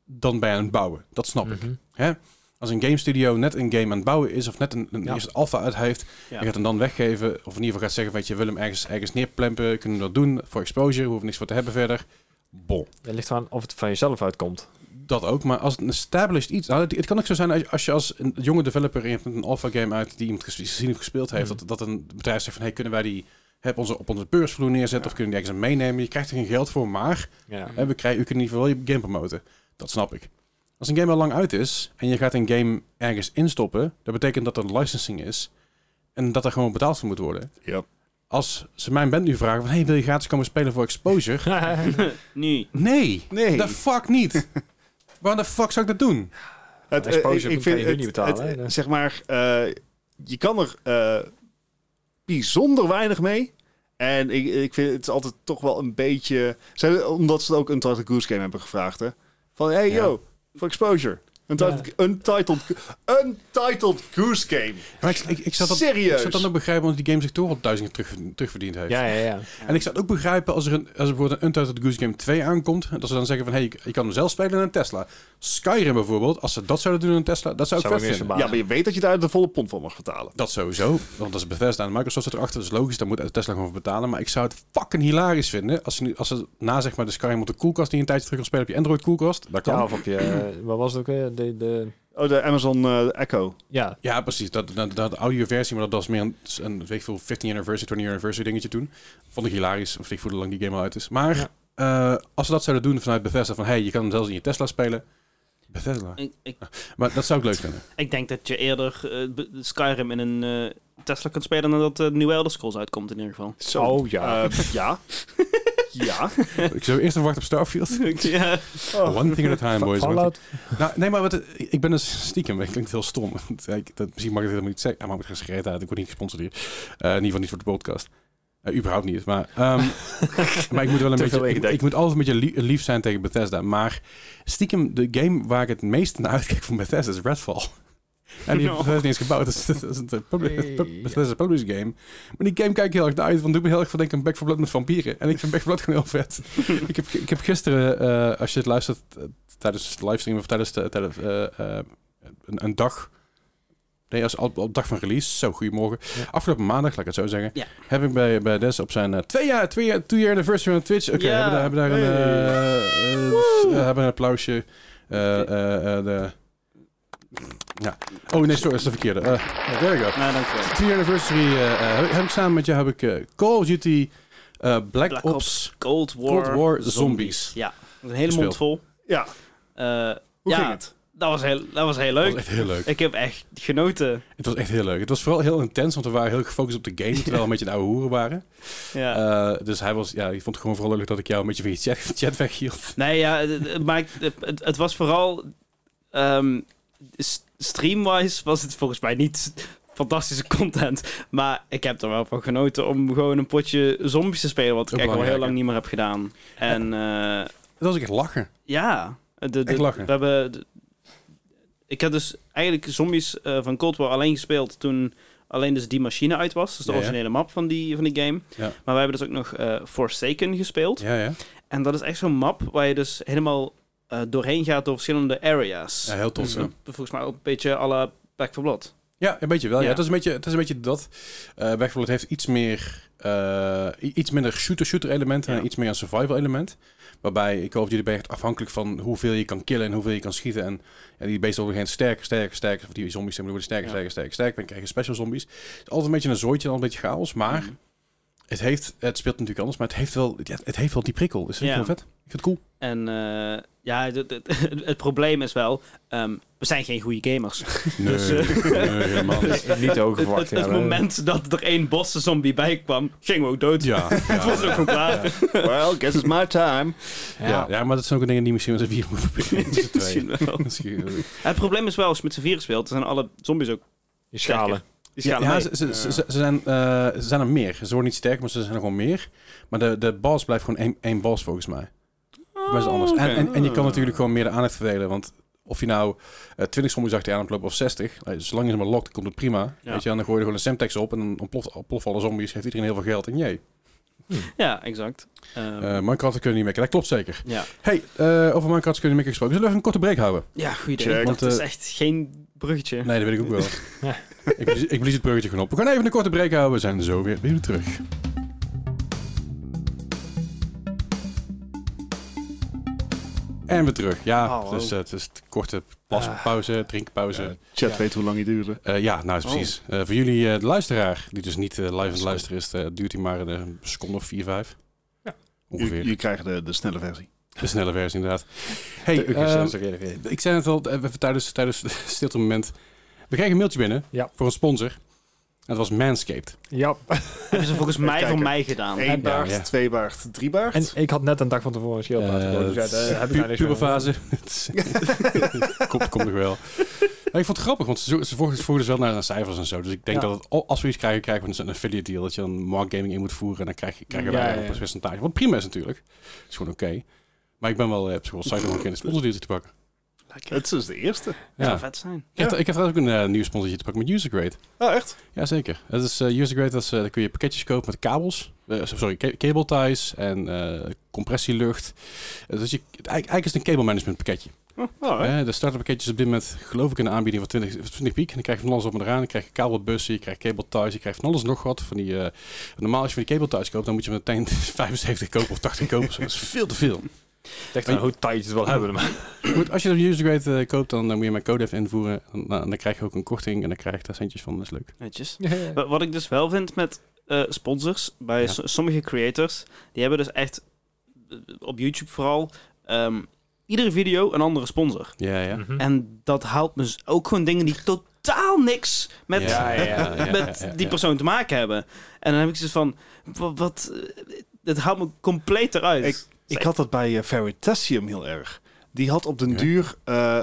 dan ben je aan het bouwen. Dat snap ik.
Mhm.
als een game studio net een game aan het bouwen is of net een, een
Ja.
eerste alpha uit heeft,
Ja.
je gaat hem dan weggeven. Of in ieder geval gaat zeggen, weet je, wil hem ergens, ergens neerplempen, kunnen we dat doen voor exposure, hoeven we niks voor te hebben verder. Bon,
Het ligt eraan of het van jezelf uitkomt.
dat ook. Maar als het een established iets... Nou, het, het kan ook zo zijn als, als je als een jonge developer en je hebt een alpha game uit die iemand ges- gezien of gespeeld heeft,
Mhm.
dat, dat een bedrijf zegt van, hey, kunnen wij die heb onze, op onze beursvloer neerzetten of kunnen we die ergens aan meenemen. Je krijgt er geen geld voor, maar
Ja.
Hè, we krijgen, u kunt in ieder geval wel je game promoten. Dat snap ik. Als een game al lang uit is en je gaat een game ergens instoppen, dat betekent dat er licensing is en dat er gewoon betaald voor moet worden.
Ja.
Als ze mijn band nu vragen van, hey, wil je gratis komen spelen voor Exposure?
nu.
Nee,
Nee.
de fuck niet. Waar de fuck zou ik dat doen?
Het, eh,
Exposure kan je niet betalen, hè, dus.
zeg maar, eh, je kan er eh, bijzonder weinig mee. En ik, ik vind het altijd toch wel een beetje... Ze- Omdat ze het ook Untitled Goose Game hebben gevraagd, hè. Van, hey,
Ja.
yo, voor exposure. Untitled, untitled, untitled Goose Game.
Maar ik, ik, ik zat dat, ik
Serieus?
zat dan ook begrijpen, want die game zich toch al duizend keer terug, terugverdiend heeft.
ja, ja, ja.
En ik zou het ook begrijpen als er, een, als er bijvoorbeeld een Untitled Goose Game 2 aankomt. En dat ze dan zeggen van, hey, je kan hem zelf spelen in een Tesla. Skyrim bijvoorbeeld, als ze dat zouden doen in een Tesla, dat zou ik
Zou
vet
ik niet
vinden.
Ja, maar je weet dat je daar de volle pond van mag betalen.
Dat sowieso, want dat is Bethesda en Microsoft zit erachter, dat is logisch, daar moet Tesla gewoon voor betalen. Maar ik zou het fucking hilarisch vinden als ze, nu, als ze na zeg maar de Skyrim op de koelkast die je een tijdje terug wil spelen op je Android koelkast. Dat kan.
Ja,
Ja,
of op je... eh, Wat was het ook weer? De, de,
Oh, de Amazon eh, Echo.
ja,
precies, dat, dat, dat audioversie, maar dat was meer een, een weet ik veel, 15 anniversary, 20 anniversary dingetje toen. Vond ik hilarisch, of ik voelde lang die game al uit is. Maar eh, als ze dat zouden doen vanuit Bethesda, van hey, je kan hem zelfs in je Tesla spelen. Bethesda.
Ik, ik,
Maar dat zou ik leuk vinden.
ik denk dat je eerder eh, be- Skyrim in een eh, Tesla kunt spelen dan dat de nieuwe Elder Scrolls uitkomt in ieder geval. [LAUGHS]
Zo.
Oh, ja.
Eh, ja. [LAUGHS] ja.
ik zou eerst even wachten op
[LAUGHS]
Starfield.
ja.
One thing at a time, boys. One
Fallout.
Nou, nee, maar wat, ik ben dus stiekem. Het klinkt heel stom. Want ik, dat, misschien mag ik het helemaal niet zeggen. Ah, maar ik heb gereden uit. Ik word niet gesponsord hier. Eh, in ieder geval niet voor de podcast. Eh, überhaupt niet. Maar, ehm,
[LAUGHS]
maar ik moet wel een
Te veel
beetje... Ik,
ingedekt.
ik moet altijd een beetje lie- lief zijn tegen Bethesda. Maar stiekem de game waar ik het meest naar uitkijk van Bethesda is Redfall. En die heeft
[LAUGHS] No.
Bethesda niet eens gebouwd. [LAUGHS] Dat is, dat is een publi-
Nee.
pub- Bethesda published game. Maar die game kijk ik heel erg naar uit. Want doet me heel erg van denken aan Back 4 Blood met vampieren. En ik vind Back 4 Blood [LAUGHS] gewoon heel
[LAUGHS]
vet. ik, heb, ik heb gisteren, eh, als je het luistert eh, tijdens de livestream of tijdens, de, tijdens eh, eh, een, een dag... Nee, als, op, op dag van release. Zo, goedemorgen.
Ja.
Afgelopen maandag, laat ik het zo zeggen.
Ja.
Heb ik bij, bij Des op zijn eh, twee jaar, twee jaar, two year anniversary van Twitch. Oké,
Ja.
hebben daar, hebben daar een, eh, eh,
Woe.
eh, hebben een applausje. Eh, eh, eh, de... Ja. Oh nee, sorry, dat is de verkeerde. Eh, ja, there you go.
Nou, dankjewel.
3 anniversary eh, eh, heb, ik- heb ik samen met jou heb ik eh, Call of Duty eh, Black,
Black
Ops,
Cold War,
Cold War Zombies.
Ja, dat is een hele
Gespeeld.
mond vol.
Ja.
Eh,
Hoe
ja,
ging het?
Dat was heel, dat was heel
Dat
leuk.
was echt heel leuk.
Ik heb echt genoten.
Het was echt heel leuk. Het was vooral heel intens, want we waren heel gefocust op de
[LAUGHS]
game, terwijl we een beetje de oude hoeren waren.
Ja.
Eh, dus hij was, ja, ik vond het gewoon vooral leuk dat ik jou een beetje van je chat, chat weghield.
nee, ja, het- het maakt- het, het was vooral... ehm, s- Streamwise was het volgens mij niet fantastische content. Maar ik heb er wel van genoten om gewoon een potje zombies te spelen. Wat ik
Ook
echt al heel
belangrijk,
lang niet meer heb gedaan. En eh,
Dat was echt lachen.
ja... De, de-
Echt lachen.
We hebben... de- ik heb dus eigenlijk zombies eh, van Cold War alleen gespeeld toen alleen dus die machine uit was. Dus de
Ja, ja.
originele map van die, van die game.
Ja.
Maar we hebben dus ook nog eh, Forsaken gespeeld.
Ja, ja.
En dat is echt zo'n map waar je dus helemaal eh, doorheen gaat door verschillende areas.
ja heel tof.
Dus,
ja.
eh, Volgens mij ook een beetje à la Back for Blood.
Ja, een beetje wel. Ja.
Ja.
Het, is een beetje, het is een beetje dat. eh Back 4 Blood heeft iets meer... eh, i- iets minder shooter-shooter elementen
Ja.
en iets meer een survival element. Waarbij ik hoop jullie ben je echt afhankelijk van hoeveel je kan killen en hoeveel je kan schieten. En ja, die beesten worden geen sterker, sterker, sterker. Of die zombies zeg maar, die worden sterker,
Ja.
sterker, sterker, sterker. Dan krijg je special zombies. Het is altijd een beetje een zooitje en altijd een beetje chaos. Maar
Mhm.
het, heeft, het speelt natuurlijk anders, maar het heeft wel, ja, het heeft wel die prikkel. Dus dat vind ik
Ja.
heel vet. Ik vind het cool.
En eh, ja, het, het- het- het probleem is wel, ehm, we zijn geen goede gamers. Het-
Nee,
eh,
nee helemaal
[LAUGHS]
niet.
Niet te hoog
Het,
verwacht.
het
ja,
moment dat er één bosse zombie bij kwam, gingen we ook dood. [LAUGHS]
Ja,
Het was ook gewoon klaar.
Well, guess it's my time.
ja. ja. maar dat zijn ook dingen die misschien met z'n vier moeten
[LAUGHS]
proberen. Met z'n tweeën.
Misschien wel.
Misschien-
Het probleem is wel, als je met z'n vier speelt, dan zijn alle zombies ook
Je schalen.
die
Ja,
schalen
ja,
mee.
ze, ze, ze, ze zijn, eh, ze zijn er meer. Ze worden niet sterker, maar ze zijn er gewoon meer. Maar de, de boss blijft gewoon één, één boss volgens mij. [LAUGHS] Best anders.
Oh, oké.
En, en, en je kan natuurlijk gewoon meer de aandacht verdelen. Want of je nou eh 20 zombies achter je aan hebt lopen of 60, eh, zolang je ze maar lokt, komt het prima.
Ja.
Weet je, en dan gooi je er gewoon een Semtex op en dan ontploft, ontploffen alle zombies. Heeft iedereen heel veel geld en jee.
Ja, exact. Ehm,
Eh Minecraft kunnen we niet mekken. Dat klopt zeker.
ja.
Hey, eh, over Minecraft kunnen we niet mekken gesproken. Zullen we even een korte break houden?
ja, goed idee.
Check.
Want
Want,
het is
eh,
echt geen bruggetje.
Nee, dat weet ik ook wel. ik, blies- ik blies het bruggetje gewoon op. We gaan even een korte break houden. We zijn zo weer, weer terug. En weer terug. Ja,
Oh,
dus
oh. Ah.
eh, het is een korte paspauze, drinkpauze. Eh,
Chat
Ja. Oh.
weet hoe lang die duurde.
Ja, nou is precies. Eh, voor jullie, eh, de luisteraar, die dus niet eh, live aan het luisteren is, eh, duurt hij maar een seconde of vier, vijf.
Ja.
Ongeveer.
Je, je krijgt de, de snelle versie.
[LAUGHS] De snelle versie, inderdaad. Hey, ehm, ik zei het al eh, even tijdens, tijdens het stilte moment. We kregen een mailtje binnen
Ja.
voor een sponsor. En dat was Manscaped.
Ja.
Hebben ze volgens mij voor
kijken.
mij gedaan.
Eén baard,
ja.
twee baard, drie baard.
En ik had net een dag van tevoren een schildpad gekozen, dus ja, daar heb ik nou
Eh, pu-
niks
puberfase. [LAUGHS] komt, komt nog wel. Maar ik vond het grappig, want ze, zo- ze voegen- ze voegen dus wel naar, naar cijfers en zo. Dus ik denk
Ja.
dat het, als we iets krijgen, krijgen we dus een affiliate deal. Dat je dan Mark Gaming in moet voeren en dan krijg, je- krijgen
Ja,
wij
ja,
op
ja.
een percentage. Wat prima is natuurlijk. is gewoon oké. Maar ik ben wel eh, op zich wel psycho om een keer een sponsordeal te pakken.
Lekker.
Het is de eerste.
Het zou
Ja.
vet zijn.
Ik, heb, ik heb trouwens ook een eh, nieuw sponsortje te pakken met Usergrade.
Oh, echt?
Jazeker. Dat is eh, usergrade. Dat is, eh, daar kun je pakketjes kopen met kabels. Eh, sorry, ca- cable ties en eh, compressielucht. Eh, dus je, eigenlijk, eigenlijk is het een cable management pakketje.
Oh, oh, hè?
Eh, de starter pakketjes op dit moment geloof ik in de aanbieding van 20, of 20 piek. En dan krijg je van alles op en eraan. Dan krijg je kabelbussen, je krijgt cable ties, je krijgt van alles en nog wat. Van die, eh, normaal als je van die cable ties koopt, dan moet je meteen [LAUGHS] 75 kopen of 80 kopen. Zo, Dat is veel te veel.
gedaan. Ligt aan hoe tight het wel hebben. Maar.
Goed, als je de usergrade eh, koopt, dan, eh, moet je mijn code even invoeren. En, dan dan krijg je ook een korting en dan krijg je daar centjes van. Dat is leuk.
Netjes. Wa- Wat ik dus wel vind met eh, sponsors, bij
Ja.
so- sommige creators, die hebben dus echt, eh, op YouTube vooral, ehm, iedere video een andere sponsor.
Ja, ja.
Mhm.
En dat haalt me dus ook gewoon dingen die totaal niks met,
Ja, ja, ja, [LAUGHS] ja,
[LAUGHS] met
ja, ja,
die
ja.
persoon te maken hebben. En dan heb ik zoiets van, wa- wat, eh, het haalt me compleet eruit.
Ik had dat bij eh, Veritasium heel erg. Die had op den
Ja.
duur eh,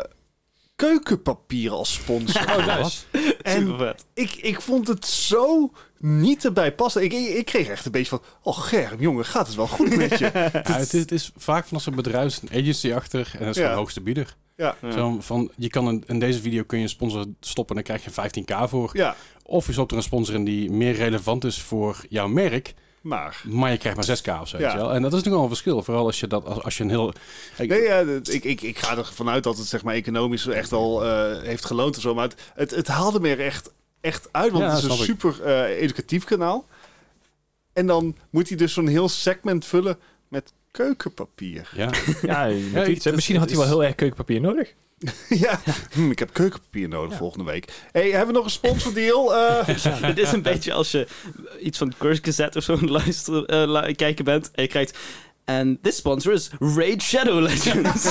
keukenpapier als
[LAUGHS]
sponsor.
Wat?
en
vet. [LAUGHS]
ik, ik vond het zo niet erbij passen. Ik, ik, ik kreeg echt een beetje van... Oh, Germ, jongen, gaat het wel goed
[LAUGHS]
met je?
Ja, het, is, het is vaak van als een bedrijf is een agency achter en dat is
Ja.
gewoon de hoogste bieder.
ja,
Zo van, je kan een, in deze video kun je een sponsor stoppen en dan krijg je 15k voor.
ja,
Of je stopt er een sponsor in die meer relevant is voor jouw merk,
maar...
maar je krijgt maar 6k of zo.
Ja.
weet je wel. En dat is natuurlijk wel een verschil, vooral als je, dat, als, als je een heel... Ik-
Nee, ja, dat- ik, ik, ik ga ervan uit dat het zeg maar, economisch echt al eh, heeft geloond of zo. Maar het, het, het haalde me er echt, echt uit, want
Ja,
het is een
snap ik.
super eh, educatief kanaal. En dan moet hij dus zo'n heel segment vullen met keukenpapier. [LAUGHS]
Ja,
Ja, met iets, hè.
dat-
misschien had hij wel
is-
heel erg keukenpapier nodig.
ja, Hm, ik heb keukenpapier nodig volgende week. hey, hebben we nog een
[LAUGHS]
sponsordeal? Eh,
Dit is een beetje als je iets van Curse Gazette of zo [LAUGHS] aan het luisteren, eh, lu- kijken bent en je krijgt... En this sponsor is Raid Shadow Legends.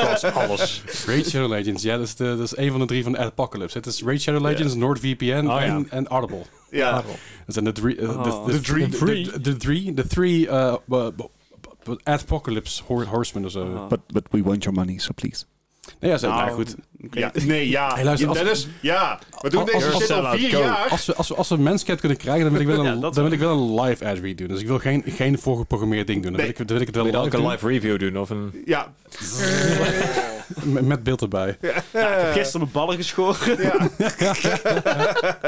Zoals alles.
Raid Shadow Legends, ja, dat is, de, dat is een van de drie van Apocalypse. Het is Raid Shadow Legends, NordVPN
ja.
en, en Audible.
ja.
Dat zijn de drie. eh, de-
Oh.
de-
De
de- de- De drie. De drie. eh, b- b- b- Apocalypse Hor- Horsemen of zo.
But, but we want your money, so please.
Nee, ja, zo, nou,
Nou,
goed.
ik weet
Ja, nee, ja.
Hey, luister,
Ja,
als-
Dennis, ja. We doen
als-
deze
als-
shit al vier jaar.
Als we, als, we, als we een Manscaped kunnen krijgen, dan wil ik wel
Ja,
een,
dat
dan wil ik wel een live ad read doen. Dus ik wil geen, geen voorgeprogrammeerd ding doen. Dan wil ik,
Nee.
dan wil ik het wel
Wil je dan ook
live
een live review doen? Of een...
[LAUGHS]
Ja.
doen, met- met beeld erbij.
Ik heb gisteren mijn ballen geschoren.
ja. Eh,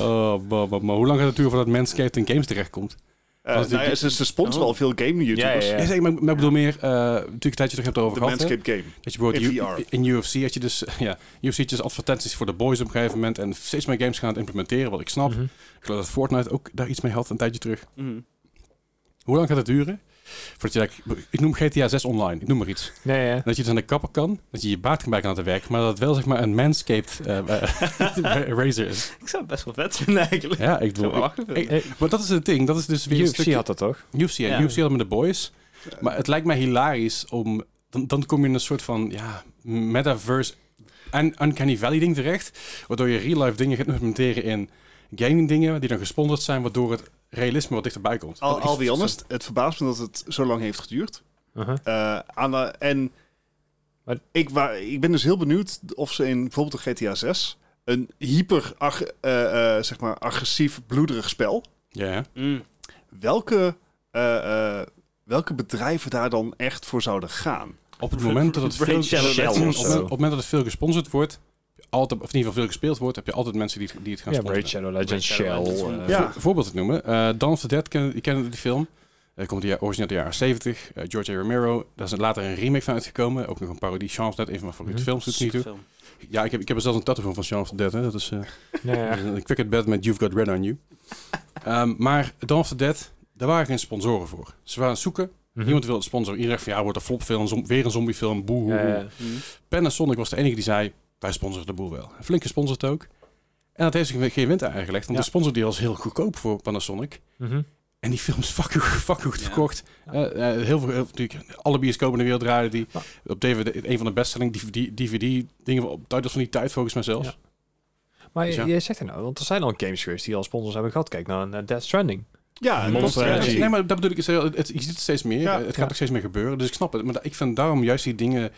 Oh, maar, maar, maar hoe lang gaat het duren voordat Manscaped in games terechtkomt?
Eh,
Want die-
nou ja, ze ze sponsoren al veel game-YouTubers.
Oh. Ja, zeg, maar, maar ik bedoel meer, eh, natuurlijk een tijdje terug hebt erover
De
gehad. hè?
Manscaped Game.
Dat je bijvoorbeeld
In
in,
VR.
in UFC had je dus [LAUGHS] ja, UFC'tjes advertenties voor de boys op een gegeven moment en steeds meer games gaan het implementeren, wat ik snap.
Mhm.
Ik geloof dat Fortnite ook daar iets mee had een tijdje terug.
Mhm.
Hoe lang gaat het duren? Voordat je eigenlijk- ik noem GTA 6 online, ik noem maar iets. [LAUGHS]
Ja, ja.
Dat je dus aan de kapper kan, dat je je baard kan bij kan laten werken, maar dat het wel zeg maar een manscaped eh,
[LAUGHS]
eh, [LAUGHS] razor is.
Ik zou het best wel vet vinden eigenlijk.
Ja, ik
zou
bedoel...
wel
ik-
lachen vinden.
ik- maar dat is het ding, dat is dus weer een
UFC
stukje-
had dat toch?
UFC, ja.
Ja.
UFC hadden met de boys. Maar het lijkt mij hilarisch om... Dan, dan kom je in een soort van ja, metaverse en uncanny valley ding terecht. Waardoor je real life dingen gaat implementeren in gaming dingen die dan gesponsord zijn. Waardoor het realisme wat dichterbij komt.
Al,
Dat is-
al die honest, het verbaast me dat het zo lang heeft geduurd.
Uh-huh.
Eh, aan de- en
Maar-
ik, wa- ik ben dus heel benieuwd of ze in bijvoorbeeld de GTA 6 een hyper ag- eh, eh, zeg maar agressief bloederig spel.
Ja, ja.
Mm.
Welke, eh, eh, welke bedrijven daar dan echt voor zouden gaan?
Op het moment dat het veel,
Raid
[CLEARS THROAT]
Shadow
op,
Legends
het
of
moment-
zo.
op het moment dat het veel gesponsord wordt... Altijd, of in ieder geval veel gespeeld wordt, heb je altijd mensen die het, die het gaan
Ja,
sponsoren.
Raid Shadow Legends,
Raid Shadow
[LAUGHS] Shell.
Legends,
eh,
ja.
Voor- voorbeeld te noemen. eh Dawn of the Dead, ken, je kent die film. Eh, komt die origineel uit de jaren 70. eh, George A. Romero. Daar is later een remake van uitgekomen. Ook nog een parodie. Chance Dead, een van mijn favoriete
Mhm.
films tot nu toe.
Film.
Ja, ik heb, ik heb er zelfs een tattoo van van Chance Dead. Hè. Dat is eh,
Ja,
een cricket bed met You've Got Red On
[LAUGHS]
You. Ehm, maar Dawn of the Dead, daar waren geen sponsoren voor. Ze waren aan het zoeken.
Mhm.
Niemand wilde het sponsoren. Iedereen dacht van ja, wordt een flopfilm, zom- weer een zombiefilm, boe.
Mhm.
hoe, hoe.
Hm.
Panasonic was de enige die zei, wij sponsoren de boel wel. Een Flink gesponsord ook. En dat heeft zich geen wind aangelegd, want
Ja.
de sponsordeal was heel goedkoop voor Panasonic.
Mhm.
En die films [LAUGHS] fucking, fucking goed
Ja.
verkocht. Eh, eh, heel veel, heel, natuurlijk, alle bioscopen in de wereld draaiden die.
Ja.
Op DVD, een van de bestselling DVD-dingen op tijd was van die tijd volgens mij zelfs. Eh,
Ja. Maar
Dus ja.
je- jij zegt het nou, want er zijn al games geweest die al sponsors hebben gehad. Kijk nou, naar Death Stranding.
Ja,
Monster
Monster
Energy.
Energy.
Nee, maar dat bedoel ik. is heel- Het, je ziet het steeds meer.
Ja.
het gaat
Ja.
ook steeds meer gebeuren. Dus ik snap het. Maar da- ik vind daarom juist die dingen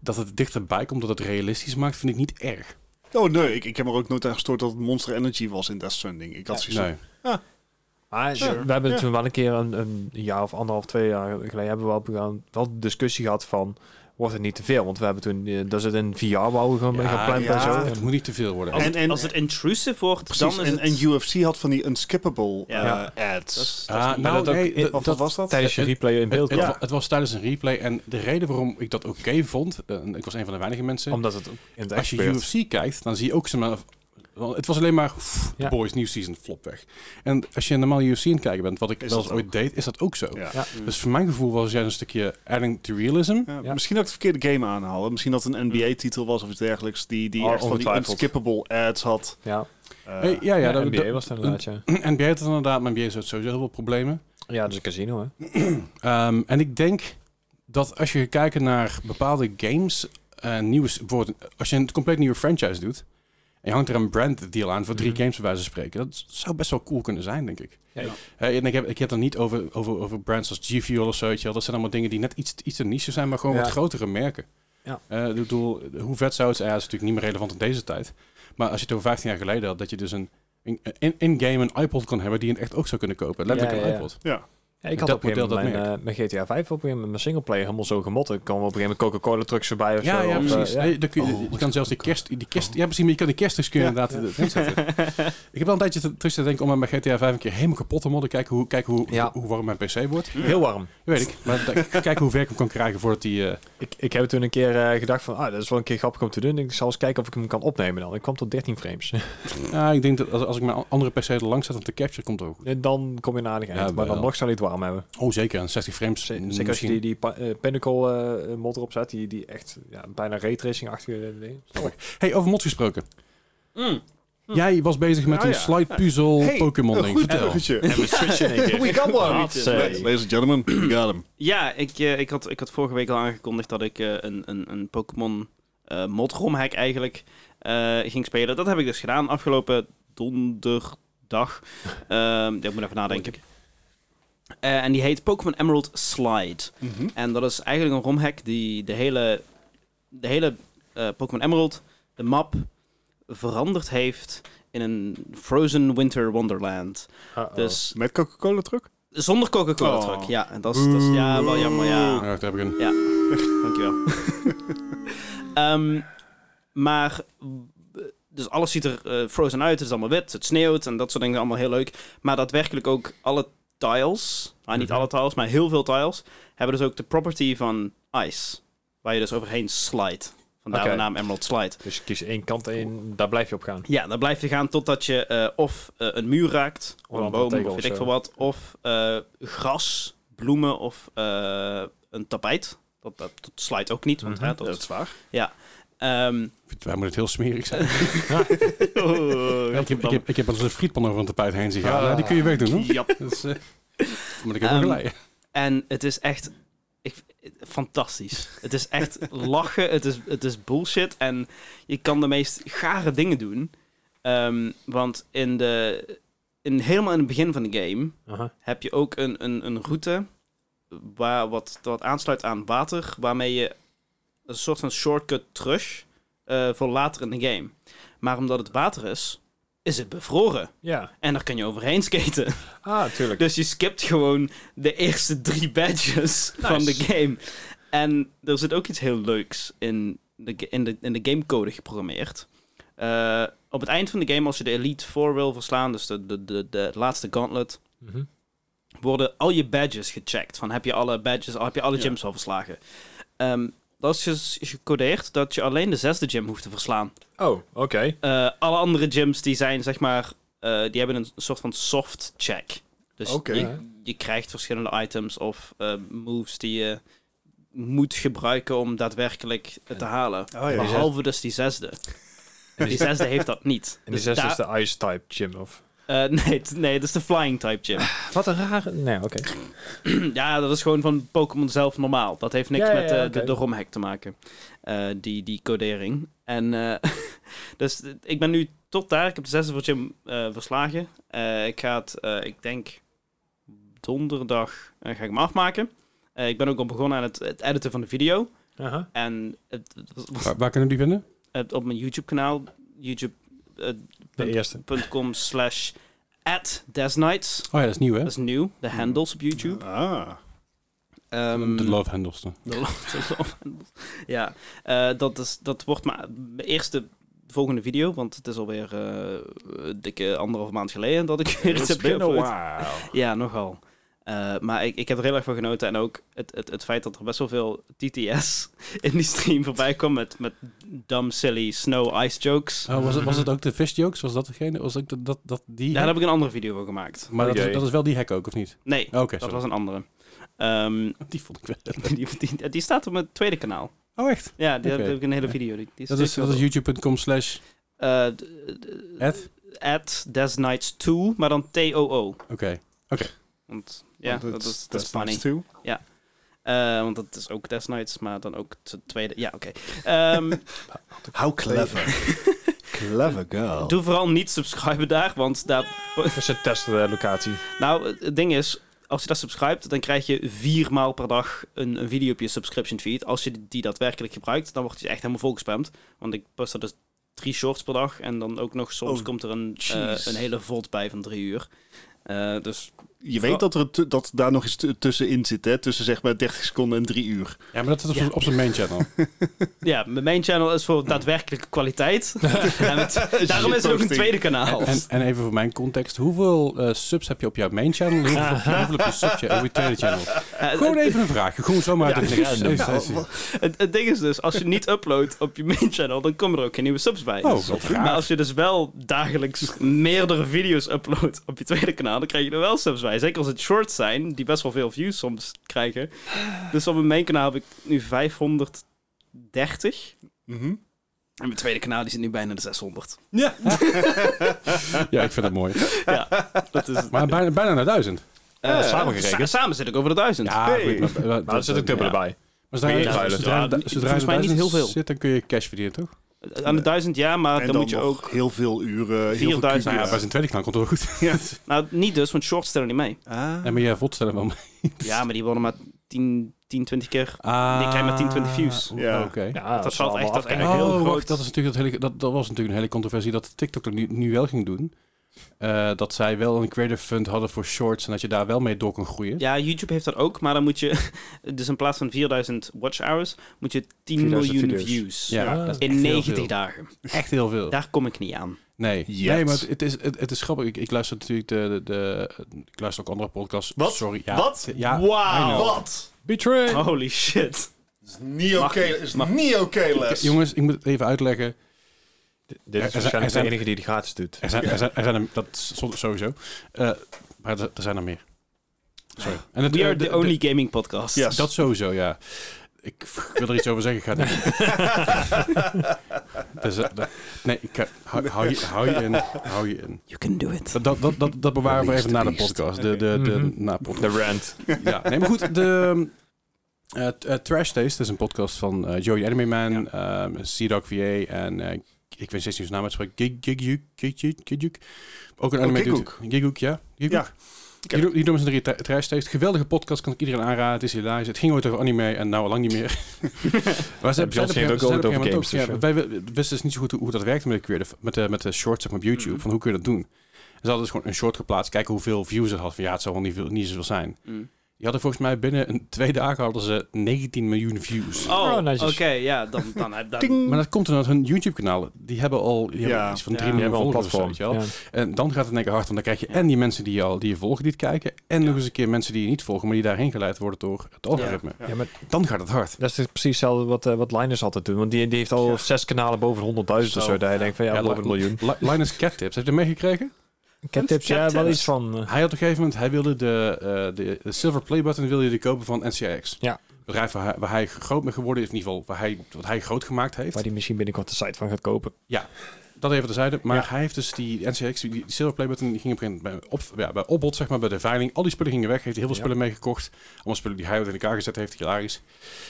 dat het dichterbij komt, dat het realistisch maakt, vind ik niet erg.
Oh nee, ik, ik heb er ook nooit aan gestoord dat het Monster Energy was in Death Stranding. Ik had zoiets van,
Nee.
Maar
Sure.
we hebben
Ja.
toen wel een keer, een, een jaar of anderhalf, twee jaar geleden, hebben we wel, begaan- wel de discussie ggehad van, wordt het niet te veel? Want we hebben toen, eh, daar zit een VR wou we gewoon mee
Ja,
gepland en
ja.
zo.
Het moet niet te veel worden.
Als,
En-
het,
en-
als het intrusive wordt,
precies.
dan is
En,
het...
en UFC had van die unskippable
Ja.
eh, ads.
Dat is-
Ah,
dat is-
nou,
dat ook-
nee,
eh,
dat-
of wat
dat-
was dat?
Tijdens je
het-
replay in beeld
Het,
kwam.
wa- het was tijdens een replay. En de reden waarom ik dat oké vond, eh, en ik was een van de weinige mensen.
Omdat het in het echt
als je
gebeurt.
UFC kijkt, dan zie je ook zomaar. wel, Het was alleen maar pff, de
Ja.
boys, nieuw season, flop weg. En als je normaal UFC aan het kijken bent, wat ik
Is
wel
dat
eens ooit deed, is dat ook zo.
Ja. Mm.
Ja.
Dus voor mijn gevoel was juist een stukje adding to realism.
Ja,
Ja.
Misschien dat ik de verkeerde game aanhaalde. Misschien dat het een NBA-titel was of iets dergelijks. Die, die
Oh,
echt van die
ongetwijfeld.
unskippable ads had.
Ja,
Eh,
Hey, ja, ja,
ja,
dat,
NBA
dat-
was het inderdaad, ja.
NBA had het inderdaad, maar NBA heeft sowieso heel veel problemen.
Ja, dat is een casino, hè.
Ehm, en ik denk dat als je kijkt naar bepaalde games, eh nieuws, bijvoorbeeld als je een compleet nieuwe franchise doet, en je hangt er een brand deal aan voor drie
Mhm.
games bij wijze van spreken, dat zou best wel cool kunnen zijn, denk ik.
Ja.
Hè, en ik heb, ik heb het niet over, over, over brands als G-Fuel of zo, weet je wel. dat zijn allemaal dingen die net iets, iets te niche zijn, maar gewoon
Ja.
wat grotere merken.
Ja.
Eh, ik bedoel, hoe vet zou het zijn, ja, dat is natuurlijk niet meer relevant in deze tijd. Maar als je het over 15 jaar geleden had, dat je dus een een- een- in-game een iPod kan hebben die je echt ook zou kunnen kopen. Letterlijk
Ja, ja,
een
ja.
iPod.
Ja, ik
Dat
had op een gegeven
model, dat
moment mijn, eh, mijn GTA 5 op een gegeven moment mijn singleplayer helemaal zo gemot. Ik kwam op een gegeven moment Coca-Cola trucks voorbij of
Ja,
zo.
ja,
of, eh,
precies.
ja.
Nee, dan kun je, je kan zelfs die kerst... Die kerst Ja, precies, maar je kan die kerstjes kun je
Ja.
inderdaad erin
[LAUGHS]
zetten. Ik heb wel een tijdje te- terug te denken om aan mijn GTA 5 een keer helemaal kapot te modden. Kijken hoe, kijken hoe,
Ja.
hoe warm mijn PC wordt.
Heel warm.
Dat weet ik. Maar da- kijken hoe ver ik hem kan krijgen voordat die... eh,
Ik, ik heb toen een keer eh, gedacht van, ah, dat is wel een keer grappig om te doen. Ik zal eens kijken of ik hem kan opnemen dan. Ik kwam tot 13 frames. [LAUGHS]
nou, ik denk dat als, als ik mijn a- andere PC er langs zet om te capture, komt het ook goed.
En dan kom je naar aardig eind.
Ja,
maar dan
wel.
nog zou hij het warm hebben.
Oh, zeker. En 60 frames.
Zeker
misschien.
als je die, die pa- eh, Pinnacle eh, mod erop zet, die, die echt ja, bijna raytracing-achtige ding.
Hey, over mods gesproken.
Mm.
Hm.
Jij was bezig met
Ah,
een
ja.
slide puzzel
Hey,
Pokémon
een
ding.
goed
Vertel.
[LAUGHS] bruggetje.
we
[LAUGHS]
switchen in één
We
keer.
got one.
Ah,
Hot, eh.
Hey.
Ladies and gentlemen, [CLEARS THROAT] we got him.
Ja, ik, eh, ik, had, ik had vorige week al aangekondigd dat ik eh, een, een, een Pokémon eh mod romhack eigenlijk eh, ging spelen. Dat heb ik dus gedaan afgelopen donderdag. [LAUGHS] Ehm, ja, ik moet even nadenken. Eh, en die heet Pokémon Emerald Slide. En dat is eigenlijk een romhack die de hele, de hele eh, Pokémon Emerald, de map, veranderd heeft in een Frozen Winter Wonderland.
Uh-oh.
Dus
Met Coca-Cola truck?
zonder Coca-Cola
Oh.
truck. Ja, en dat is, dat is ja, wel jammer. Ja.
Ja, Ah, daar heb ik een...
Dankjewel. [LAUGHS] Ehm, maar, eh, dus alles ziet er eh, frozen uit. Het is allemaal wit, het sneeuwt en dat soort dingen. Allemaal heel leuk. Maar daadwerkelijk ook alle tiles, nou niet
Mhm.
alle tiles, maar heel veel tiles, hebben dus ook de property van ice. Waar je dus overheen slide. Vandaar
Oké.
de naam Emerald Slide.
Dus je kies één kant en daar blijf je op gaan.
Ja, dan blijf je gaan totdat je eh, of eh, een muur raakt,
Of
of een
een
boom,
tegel
of
of
weet ik
zo.
veel wat. Of eh, gras, bloemen of eh, een tapijt. Dat, dat, dat slijt ook niet, want
Mhm.
hè, dat
Dat is waar.
Ehm,
Wij moeten het heel smerig zijn.
oh,
ik, heb, ik, heb, ik heb als een frietpan over een tapijt heen zien gaan.
Ah.
Nou, die kun je wegdoen, hoor.
Ja.
Dat is, eh, [LAUGHS] moet ik even
Ehm,
[LAUGHS] geleiden.
[LAUGHS] En het is echt ik, fantastisch. Het is echt lachen, het is, het is bullshit en je kan de meest gare dingen doen. Ehm, want in de, in, helemaal in het begin van de game
Aha.
heb je ook een, een, een route waar, wat, wat aansluit aan water, waarmee je een soort van shortcut terug eh, voor later in de game. Maar omdat het water is, is het bevroren.
Ja.
En daar kan je overheen skaten.
Ah, tuurlijk.
Dus je skipt gewoon de eerste drie badges van de game. En er zit ook iets heel leuks in de, ge- in de, in de gamecode geprogrammeerd. Eh, op het eind van de game, als je de Elite 4 wil verslaan, dus de, de, de, de laatste gauntlet,
Mhm.
worden al je badges gecheckt. Van heb je alle badges, heb je alle
Ja.
gyms al verslagen? Ehm, dat is ges- gecodeerd dat je alleen de zesde gym hoeft te verslaan.
Oh, oké.
Eh, alle andere gyms die zijn, zeg maar, eh, die hebben een soort van soft check. Dus
Oké.
je, je krijgt verschillende items of eh, moves die je moet gebruiken om daadwerkelijk het te halen.
Oh,
ja, ja.
Behalve dus die zesde.
En
Die
die,
zesde heeft dat niet.
en die
Dus
zesde is
daar-
de ice-type gym, of...
eh, [LAUGHS] nee, t- nee, dat is de flying type gym.
Wat een rare... Nee, oké.
ja, dat is gewoon van Pokémon zelf normaal. Dat heeft niks
Ja, ja,
met
ja,
eh,
oké.
de, de romhack te maken. Eh, die, die codering. En eh, [LAUGHS] dus eh, ik ben nu tot daar. Ik heb de zesde voor Jim eh, verslagen. Eh, ik ga het, eh, ik denk donderdag eh, ga ik hem afmaken. Eh, ik ben ook al begonnen aan het, het editen van de video.
Aha.
En het, het was- was-
Waar, waar kunnen we die vinden?
het op mijn YouTube kanaal. YouTube.com
De eerste.
slash at Desnights.
Oh ja, dat is nieuw, hè?
Dat is nieuw. De handles op YouTube.
Ah.
Ehm,
De Love Handles. dan.
de [LAUGHS] Lord of the Rings. ja, eh, dat, is, dat wordt maar mijn eerste volgende video, want het is alweer eh, een dikke anderhalf maand geleden dat ik weer iets
It's
heb
been a
geüpload.
while.
Ja, nogal. Eh, maar ik, ik heb er heel erg van genoten. En ook het, het, het feit dat er best wel veel TTS [LAUGHS] in die stream voorbij kwam. Met, met dumb, silly snow ice jokes.
Oh, was, het, was het ook de fish jokes? Was dat degene? Was ook dat, dat, dat die?
Daar heb ik een andere video voor gemaakt.
Maar dat
Oké.
is, dat is wel die hack ook, of niet?
Nee,
Oh, Oké,
dat
sorry.
was een andere. Ehm, [LAUGHS]
[LAUGHS] Die vond ik wel.
die, die, die staat op mijn tweede kanaal.
Oh, echt?
Ja, die
Oké.
heb ik een hele video. Die, die
Dat is,
stuur ik
dat is
wel.
youtube.com slash...
Eh, d- d-
At?
At Desnights 2, maar dan T-O-O.
Oké.
Want ja,
Want
dat
it's-
is, dat is
that's nice
funny.
too.
Eh, want dat is ook Desnights, maar dan ook het tweede. Ja, oké. Ehm,
How clever. clever girl.
doe vooral niet subscriben daar, want daar...
Ze testen de locatie.
Nou, eh, het ding is, als je dat subscribt, dan krijg je vier maal per dag een, een video op je subscription feed. Als je die, die daadwerkelijk gebruikt, dan word je echt helemaal volgespamd. Want ik post er dus drie shorts per dag en dan ook nog soms
Oh,
komt er een, eh,
jeez.
een hele volt bij van drie uur. Eh, dus
Je weet dat, er een tu- dat daar nog eens t- tussenin zit, hè? Tussen zeg maar 30 seconden en 3 uur.
Ja, maar dat is op,
Ja.
op zijn main channel. [LAUGHS]
Ja, mijn main channel is voor daadwerkelijke
[LAUGHS]
kwaliteit. en het- daarom is er ook een tweede kanaal.
en, en even voor mijn context. Hoeveel eh, subs heb je op jouw main channel? Hoeveel,
Ah.
hoeveel heb je subs je op je tweede
[LAUGHS]
channel?
Eh,
Gewoon
het-
even een vraagje. Gewoon zomaar uit het niks.
random.
Even- even-
het, het ding is dus, als je niet uploadt op je main channel, dan komen er ook geen nieuwe subs bij.
Oh, wat
maar
raar.
als je dus wel dagelijks meerdere video's uploadt op je tweede kanaal, dan krijg je er wel subs bij. Zeker als het shorts zijn, die best wel veel views soms krijgen. Dus op mijn main kanaal heb ik nu 530.
Mhm.
En mijn tweede kanaal die zit nu bijna de 600.
Ja, ik vind het mooi.
Ja, dat is...
Maar bijna, bijna naar duizend.
eh,
samengerekend.
sa- samen zit ik over de 1000.
Ja,
Hey.
goed, maar,
Maar er zit ook dubbele
Ja.
bij.
Maar zodra,
Kun je
je-
inruilen.
zodra,
Ja,
je-
niet-
zodra je
volgens mij niet
1000
heel veel.
zit, dan kun je cash verdienen, toch?
Eh, Aan de 1000 ja, maar
en
Ah, dan, moet je
nog
ook...
heel veel uren, heel veel
4000
Nou ja,
kubics.
bij zijn tweede kanaal komt het wel goed.
Nou, niet dus, want shorts stellen niet mee.
En maar jij vod stellen wel mee.
Ja, maar die worden maar 10, 10 20 keer.
Ah,
Die krijgen maar 10, 20 views.
Ja.
Ja.
Oh, Oké.
Ja,
dat valt echt- dat is echt
afkijken.
een heel
Oh,
groot-
wacht, dat, is natuurlijk dat, hele, dat, dat was natuurlijk een hele controversie dat TikTok dat nu, nu wel ging doen. Eh, dat zij wel een creative fund hadden voor shorts en dat je daar wel mee door kon groeien.
Ja, YouTube heeft dat ook, maar dan moet je... [LAUGHS] Dus in plaats van 4000 watch hours, moet je 10
4000
miljoen
video's.
views.
Ja,
Ja.
dat is
In
echt heel
90
veel.
dagen.
Echt heel veel.
Daar kom ik niet aan.
Nee.
Yet.
nee, maar het, het is, het, het is grappig. Ik, ik luister natuurlijk de, de, de- Ik luister ook andere podcasts.
Wat?
Sorry. Ja,
Wat?
Ja, I know.
Wat?
Betray.
Holy shit.
Is niet oké, is niet oké, Les.
Jongens, ik moet het even uitleggen.
Dit
Er
is
zijn-
waarschijnlijk
er
de
zijn-
enige die het gratis doet.
Er zijn er, zijn, er, zijn er- dat is zo- sowieso. Eh, maar er, er zijn er meer. Sorry. En het,
We
eh,
are
de-
the only gaming podcast.
Ja.
de- dat sowieso, ja. Ik wil er iets over zeggen, ik ga het niet. [LAUGHS] dus, eh, de- nee, ik, ga- hou, hou, je, hou je in. Hou je in.
You can do it.
Dat, dat, dat, dat, dat bewaren we even na de podcast. De, de, de,
Mhm.
na podcast.
De rant.
[LAUGHS] Ja, nee, maar goed. De, eh, t- eh, Trash Taste is een podcast van eh Joey Anime Man, ehm C-Dog VA en eh, ik weet steeds niet zijn naam uitspreekt. Gig- Gigjuk, Gigjuk, Gigjuk. Ook
Oh,
een anime dude.
Giguk.
Giguk, ja. Giguk.
Ja.
Die doen- die doen ze drie tra- Trash Taste. Geweldige podcast, kan ik iedereen aanraden. Het is hilarisch. Het ging ooit over anime en nou al lang niet
[LAUGHS]
meer. maar ze
Ja, Beyoncé heeft ook
ze op
ooit over
een gegeven moment
games, dus
ja,
ja.
wij wi- wisten dus niet zo goed hoe, hoe dat werkte met de, creative- met de, met de shorts zeg maar, op YouTube.
Mhm.
Van hoe kun je dat doen? En ze hadden dus gewoon een short geplaatst. Kijken hoeveel views het had. Van ja, het zou wel niet, veel, niet zoveel zijn.
Mm.
Die hadden volgens mij binnen een, twee dagen hadden ze 19 miljoen views.
Oh,
Oh, netjes.
oké, ja, dan, dan heb dan,
Ting.
Maar dat komt omdat hun YouTube-kanalen, die hebben al die hebben
Ja.
iets van
Ja.
3
Die
Die
miljoen
hebben al een
volgers of zo,
platform.
weet je wel.
Ja.
En dan gaat het in één keer hard, want dan krijg je en die mensen die je, al, die je volgen, die het kijken, en nog eens een keer mensen die je niet volgen, maar die daarheen geleid worden door het algoritme.
Ja.
Ja, maar
Dan gaat het hard.
dat is dus precies hetzelfde wat, eh, wat Linus altijd doet. Want die, die heeft al
Ja.
zes kanalen boven 100.000 of
Zo.
zo. Daar je denkt van, ja,
Ja,
boven een
Li- [LAUGHS]
miljoen.
Li- Linus Cat Tips, heeft je dat meegekregen?
Cattips, ja,
Cat
wel
tips.
iets van... eh,
Hij had op een gegeven moment, hij wilde de, eh, de, de silver play button wilde hij kopen van NCIX.
Ja.
Het bedrijf waar hij, waar hij groot mee geworden is, in ieder geval waar hij, wat hij groot gemaakt heeft.
waar die misschien binnenkort de site van gaat kopen.
Dat even terzijde. Maar
Ja.
hij heeft dus die NCX, die die Silver Play Button, die ging op een gegeven moment bij, op, ja, bij opbod, zeg maar, bij de veiling. Al die spullen gingen weg. Heeft hij heel veel
Ja.
spullen meegekocht. Allemaal spullen die hij in elkaar gezet heeft, hilarisch.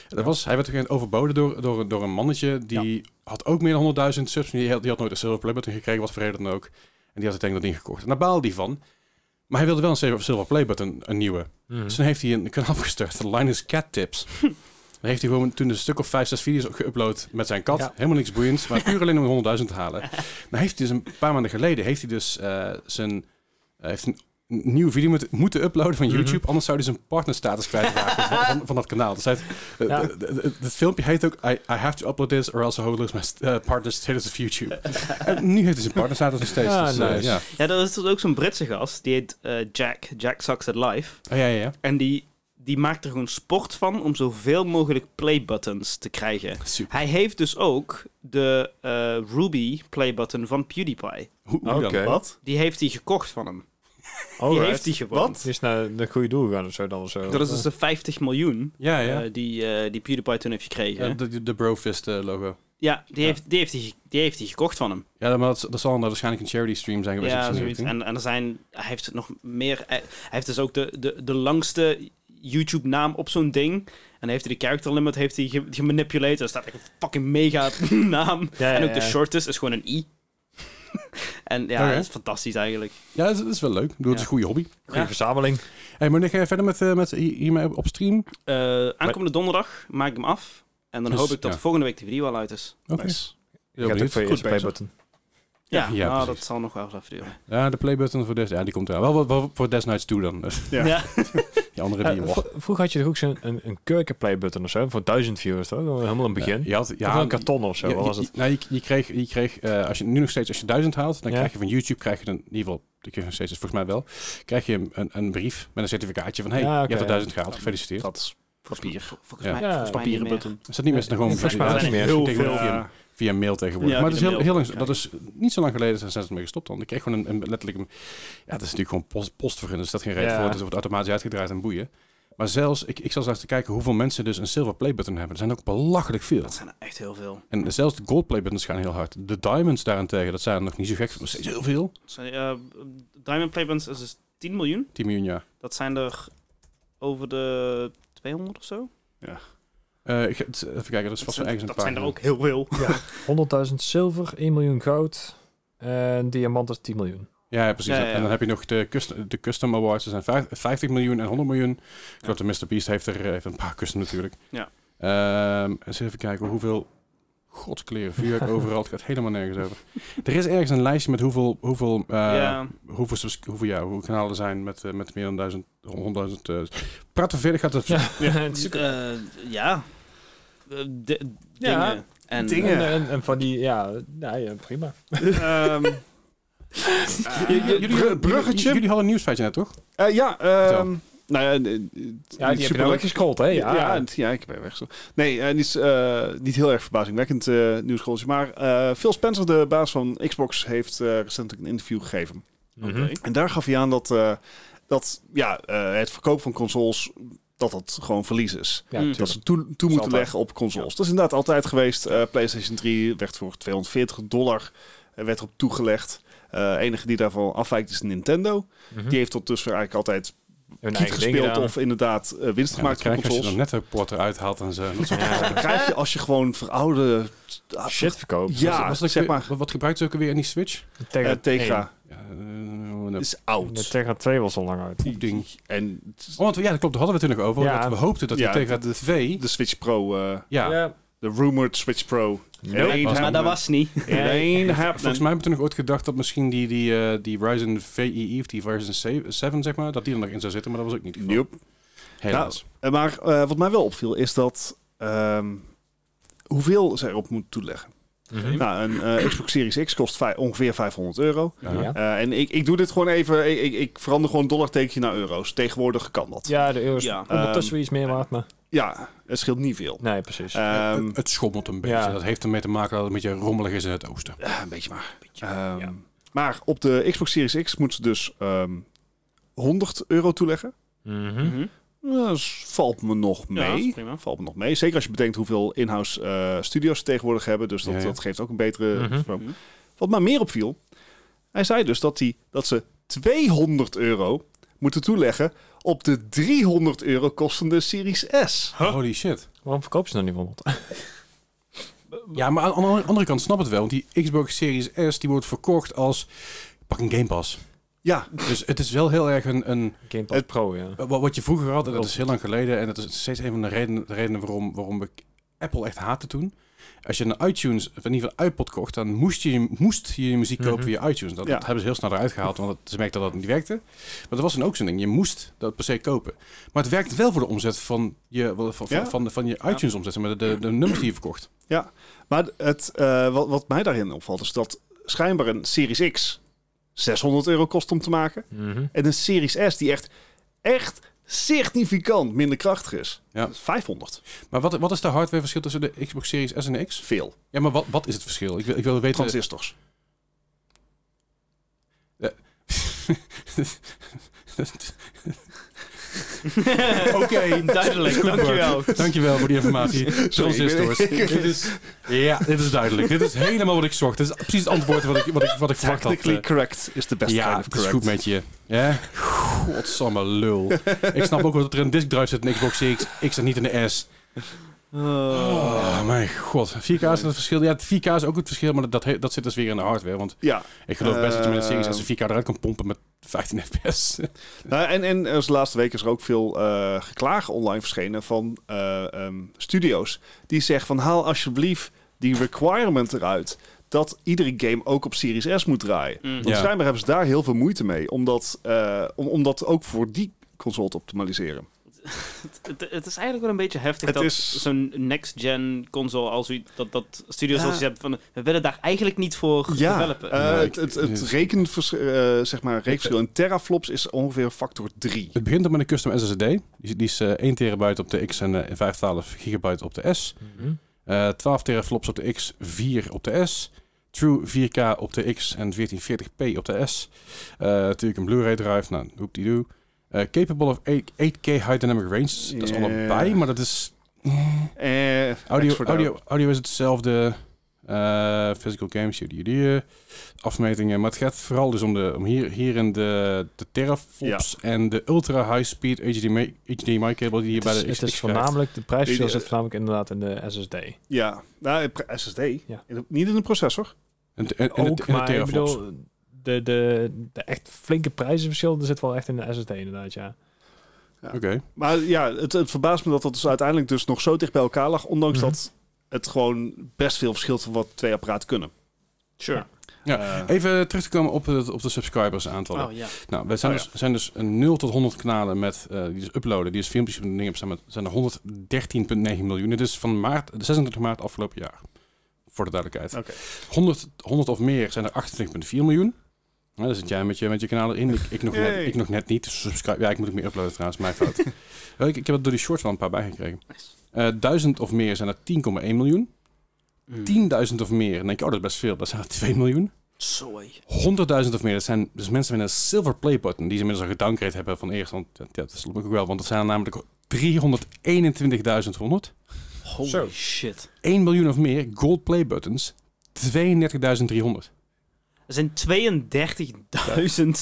Dat was, hij werd op een gegeven moment overboden door, door, door een mannetje. Die had ook meer dan 100.000 subs. maar Die had, die had nooit een Silver Play Button gekregen, wat voor reden dan ook. En die had uiteindelijk dat ding gekocht. En daar baalde hij van. Maar hij wilde wel een Silver- Silver Play Button, een nieuwe.
Mhm.
Dus dan heeft hij een kanaal [LAUGHS] gestart, Linus Cat Tips. Dan heeft hij gewoon toen een stuk of vijf, zes video's geüpload met zijn kat.
Ja.
Helemaal niks boeiends, maar puur alleen om 100.000 te halen. Nou heeft hij dus een paar maanden geleden, heeft hij dus eh, zijn, hij heeft een nieuwe video moeten- moeten uploaden van YouTube. Anders zou hij zijn partnerstatus kwijtraken van, van, van dat kanaal. Dus hij heeft, eh,
Ja.
d- d- d- het filmpje heet ook I, I have to upload this or else I will lose my st- eh, partner status of YouTube. en nu heeft hij zijn partnerstatus nog steeds.
Ah,
dus, eh,
nice.
ja.
Ja, dat is dus ook zo'n Britse gast. Die heet eh, Jack. Jack Sucks at Life.
Oh, ja, ja, ja.
En die, die maakt er gewoon sport van om zoveel mogelijk playbuttons te krijgen.
Super.
Hij heeft dus ook de eh, Ruby playbutton van PewDiePie.
Hoe, hoe dan?
Oké.
Wat?
Die heeft hij gekocht van hem.
Alright.
Die heeft hij gewoon.
Het is naar een goede doel gegaan of zo dan of zo.
Dat is dus de 50 miljoen
Ja, ja.
eh, die, eh, die PewDiePie toen heeft gekregen.
Ja, de, de Brofist eh, logo.
ja, die, Heeft, die, heeft hij, ge- die heeft hij gekocht van hem.
Ja, maar dat, dat zal dan waarschijnlijk een charity stream zijn geweest. of
Ja,
zo,
zoiets.
denk ik.
En, en er zijn, hij heeft nog meer. Hij hij heeft dus ook de, de, de langste YouTube-naam op zo'n ding. En heeft hij de character limit heeft hij ge- gemanipuleerd. Daar staat echt een fucking mega [LAUGHS] naam.
Ja, ja,
en ook de
ja.
shortest is gewoon een i. [LAUGHS] en ja,
Oké.
dat is fantastisch eigenlijk.
Ja, dat is, dat is wel leuk. Ik bedoel, Het is een goede hobby.
Goede verzameling.
Hey, moet ik eh, verder met, eh, met hier- hiermee op stream? Oké.
Eh, aankomende donderdag maak ik hem af. En dan
Dus,
hoop ik dat
ja.
volgende week de video al uit is.
Nice.
Heel
Je gaat ook
benieuwd.
voor je
Goed
eerste
bezig.
playbutton.
Ja,
ja,
nou,
precies.
dat zal nog wel eens even duren.
Ja, de playbutton voor Death, ja, die komt eraan. Wel wat- wat voor Death Nights 2 dan. [LAUGHS]
Ja.
Ja.
Die andere
Ja,
die...
v- Eh, vroeger had je toch ook zo'n een, een kurken playbutton of zo, voor duizend viewers toch? Helemaal een begin.
Eh, Je had, ja,
ja, een karton of zo,
je-
wat
[LAUGHS]
was het?
Je, nou, je, je kreeg, je kreeg eh, als je nu nog steeds, als je duizend haalt, dan
Ja.
krijg je van YouTube, krijg je dan, in ieder geval, dat kun je nog steeds, dus volgens mij wel, krijg je een, een, een brief met een certificaatje van, hey,
Ja,
je
oké,
hebt er
ja.
duizend gehaald, gefeliciteerd.
Dat is papier.
Vol- Volgens
Ja.
mij,
Ja,
volgens mij
Papieren
niet meer.
button.
Is dat niet meer dan gewoon...
Volgens mij
Ja,
is het
dat is
heel
tegenwoordig
veel,
via,
ja.
via mail tegenwoordig.
Ja,
maar dat is,
via
heel,
mail
heel lang, dat
krijgen.
is niet zo lang geleden zijn ze ermee gestopt dan. Ik kreeg gewoon een, een letterlijk... Een, ja, dat is natuurlijk gewoon post, postvergunning, dus dat geen reden
Ja.
voor. Het is wordt automatisch uitgedraaid en boeien. Maar zelfs, ik, ik zal zelfs te kijken hoeveel mensen dus een silver playbutton hebben. Er zijn ook belachelijk veel.
Dat zijn er echt heel veel.
En zelfs de gold playbuttons gaan heel hard. De diamonds daarentegen, dat zijn er nog niet zo gek. veel, Maar steeds heel veel.
Dat zijn, eh, Diamond Playbands is dus 10 miljoen.
10 miljoen jaar.
Dat zijn er over de 200 of zo.
Eh, ik- het- even kijken, dat is
Dat
vast wel
zijn,
ergens een
dat
paar.
zijn er ook heel veel.
100.000 zilver, 1 miljoen goud en diamant is 10 miljoen.
Ja, ja, precies.
Ja, ja, ja.
En dan heb je nog de, custom, de custom awards. Er zijn vijf- 50 miljoen en 100 miljoen. Ik geloof dat Mr. Beast heeft er eh, heeft een paar custom natuurlijk.
Ja.
Ehm, eens even kijken hoeveel godskleren vuurwerk overal. Het gaat helemaal nergens over. Er is ergens een lijstje met hoeveel, hoeveel, eh,
ja,
hoeveel, subs- hoeveel, ja, hoeveel kanalen er zijn met, eh, met meer dan 1000, 100.000. eh praat er verder gaat het.
Ja, [LAUGHS] en,
Eh, ja. Eh, de-
Ja.
Dingen. En,
Dingen.
en, en- en van die, ja, nou ja prima.
[LAUGHS]
Ehm, eh, br- bruggetje.
Jullie hadden een nieuwsfeitje net, toch?
Eh, ja, ehm, nou ja, eh, eh,
Ja, die heb je
superleuk.
nou weggescrollt, hè?
Ja, ja, het- ja, ik heb hem weg. zo. Nee, eh, niet, eh, niet heel erg verbazingwekkend eh nieuwsgoaltje. Maar eh, Phil Spencer, de baas van Xbox, heeft eh, recentelijk een interview gegeven.
Oké.
Mhm.
En daar gaf hij aan dat, eh, dat ja, eh, het verkoop van consoles dat dat gewoon verlies is.
Ja,
Mm.
Dat
natuurlijk.
ze toe, toe moeten
altijd.
leggen op consoles. Dat is inderdaad altijd geweest. Eh, PlayStation 3 werd voor 240 dollar eh, werd op toegelegd. Eh enige die daarvan afwijkt is Nintendo.
Mhm.
Die heeft tot dusver eigenlijk altijd
Hun
kiet
eigen ding
gespeeld
gedaan.
of inderdaad eh, winst
Ja, dat
gemaakt van
krijg je als je
consoles.
dan net een port eruit haalt en zo. Dat soort
Ja.
Dat krijg je als je gewoon ah, veroude
shit verkoopt.
Ja,
Was dat ook
zeg
weer-
maar.
Wat, wat gebruikt ze ook weer in die Switch?
eh, Tegra
Ja, eh, dat
is
De
oud.
Tegra 2 was al lang uit.
ding.
En
Oh, want, ja, dat klopt. Daar hadden we het toen nog over.
Ja.
Dat we hoopten dat
Ja,
die tegen de V...
de Switch Pro, eh,
Ja,
de rumored Switch Pro.
Nope.
En één
Maar
hebben-
dat was niet.
en één hebben-
volgens mij hebben we toen nog ooit gedacht dat misschien die, die, E eh, die Ryzen VII of die Ryzen 7, zeg maar, dat die er nog in zou zitten. Maar dat was ook niet het geval.
Nope.
Helaas.
Eh, Maar eh, wat mij wel opviel is dat ehm, hoeveel ze erop moet toeleggen.
Mhm.
Nou, een eh, Xbox Series X kost vij- ongeveer 500 euro.
Ja.
Ja.
Eh, en ik, ik doe dit gewoon even, ik, ik, ik verander gewoon dollartekentje naar euro's. Tegenwoordig kan dat.
Ja, de euro is
Ja.
ondertussen
Ehm,
weer iets meer waard, maar...
Ja, het scheelt niet veel.
Nee, precies.
Ehm,
eh, het, het schommelt een beetje.
ja.
Dat heeft ermee te maken dat het een beetje rommelig is in het oosten.
ja, een beetje maar. Ehm, Maar op de Xbox Series X moet ze dus ehm, 100 euro toeleggen.
Mhm.
Nou, Dat valt me nog
Ja, dat
mee.
is [LAUGHS] prima.
valt me nog mee. Zeker als je bedenkt hoeveel in-house eh, studios ze tegenwoordig hebben. Dus dat,
Ja, ja.
dat geeft ook een betere...
Mhm.
stroom.
Mhm.
Wat mij meer opviel. Hij zei dus dat, die, dat ze 200 euro moeten toeleggen op de 300 euro kostende Series S.
Holy shit.
Waarom verkoop ze dan niet 100? [LAUGHS]
Ja, maar aan de andere kant snap het wel. Want die Xbox Series S die wordt verkocht als... Pak een Game Pass.
Ja,
Dus het is wel heel erg een... een
Game Pass Pro, ja.
wat wat je vroeger had, en dat is heel lang geleden... en dat is steeds een van de redenen, de redenen waarom, waarom ik Apple echt haatte toen. Als je een iTunes, of in ieder geval iPod kocht... dan moest je moest je, je muziek kopen
Mhm.
via iTunes. Dat,
Ja.
dat hebben ze heel snel eruit gehaald... want het- ze merkten dat dat niet werkte. Maar dat was dan ook zo'n ding. Je moest dat per se kopen. Maar het werkt wel voor de omzet van je, van, van,
Ja.
van, van je iTunes-omzet... zeg maar de, de, de nummers die je verkocht.
maar het, eh, wat, wat mij daarin opvalt is dat schijnbaar een Series X 600 euro kost om te maken.
Mhm.
En een Series S die echt, echt significant minder krachtig is.
Ja.
Dat is 500.
Maar wat, wat is de hardwareverschil tussen de Xbox Series S en de X?
Veel.
Ja, maar wat, wat is het verschil? Ik wil, ik wil weten...
Transistors.
Oké,
Duidelijk, dankjewel.
Dankjewel voor die
[LAUGHS]
informatie. Transistors. dit is, ja, dit is duidelijk. Dit is helemaal wat ik zocht. Dit is precies het antwoord wat ik, wat ik, wat ik verwacht had.
Technically
Eh,
correct is de best
ja,
kind of
het is
correct.
goed met je. Ja? Godsamme
[LAUGHS]
lul. ik snap ook wel dat er een disk drive zit in de Xbox Series X en niet in de S. Oh, mijn god. 4K is het verschil. Ja, het 4K is ook het verschil, maar dat- dat, he- dat zit dus weer in de hardware. Want
Ja,
ik geloof best dat je met een Series
Ehm.
S een 4K eruit kan pompen met 15 fps.
Nou, en, en er is de laatste week is er ook veel eh geklaag online verschenen van eh, ehm, studio's. Die zeggen van haal alsjeblieft die requirement eruit dat iedere game ook op Series S moet draaien.
Mm.
Want
Ja.
schijnbaar hebben ze daar heel veel moeite mee om dat, eh, om, om dat ook voor die console te optimaliseren.
Het, het is eigenlijk wel een beetje heftig
Het
dat
is-
zo'n next-gen console als u dat, dat studios
Ja.
als je hebt van we willen daar eigenlijk niet voor developen.
eh,
Ja, ik-
het, het, het rekenvers- eh, zeg maar, rekenverschil in teraflops is ongeveer factor 3.
Het begint dan met een custom SSD. Die, is- die is eh, 1 terabyte op de X en eh, 512 gigabyte op de S.
Mhm.
Eh 12 teraflops op de X, 4 op de S. True 4K op de X en 1440p op de S. Eh, natuurlijk een Blu-ray drive, nou, hoep die doe. capable of 8, 8K high dynamic range. Dat is
Ja.
allebei, maar dat is...
Eh,
Audio,
extra-
audio, audio is hetzelfde. Eh, physical games, jullie, jullie. eh, Afmetingen. Maar het gaat vooral dus om, de, om hier, hier in de, de teraflops en de ultra high speed HDMI, HDMI cable die je
Het
bij de Xbox
is, het is
krijgt.
voornamelijk, de prijsverschil
Die-
zit voornamelijk inderdaad in de SSD.
Ja, nou, eh, SSD.
Ja.
In de- niet in de processor.
En, en, en,
Ook,
de, en de
maar ik
teraflops.
bedoel, de, de, de echt flinke prijzenverschil er zit wel echt in de SSD inderdaad, ja.
Oké.
Maar ja, het, het verbaast me dat dat dus uiteindelijk dus nog zo dicht bij elkaar lag. Ondanks
Mhm.
dat het gewoon best veel verschilt van wat twee apparaten kunnen. Eh,
Sure.
Ja,
Even terug te komen op, het, op de subscribers aantallen.
Oh ja.
Nou, we zijn,
Oh,
dus, zijn dus een 0 tot 100 kanalen met, eh, die dus uploaden, die dus filmpjes op de dingen hebben, zijn er 113,9 miljoen. Dit is van maart, 26 maart afgelopen jaar. Voor de duidelijkheid.
Oké.
100, 100 of meer zijn er 28,4 miljoen. Nou, daar zit jij met je, met je kanalen in. Ik, ik, nog net,
Yay.
ik nog net niet. Dus subscribe. Ja, ik moet ook meer uploaden trouwens. Mijn
[LAUGHS]
fout. Wel, ik, ik heb er door die shorts wel een paar bijgekregen. Eh duizend of meer zijn er 10,1 miljoen.
Mm.
10.000 of meer. Dan denk je, oh, dat is best veel. Dat zijn er 2 miljoen.
Sorry.
100.000 of meer. Dat zijn dus mensen met een silver play button. Die ze inmiddels al gedowngrade hebben van eerst. Want ja, dat sloeg ik ook wel. Want dat zijn er namelijk 321.100.
Holy
Zo.
shit.
1 miljoen of meer gold play buttons. 32.300.
Er zijn 32.000 [LAUGHS]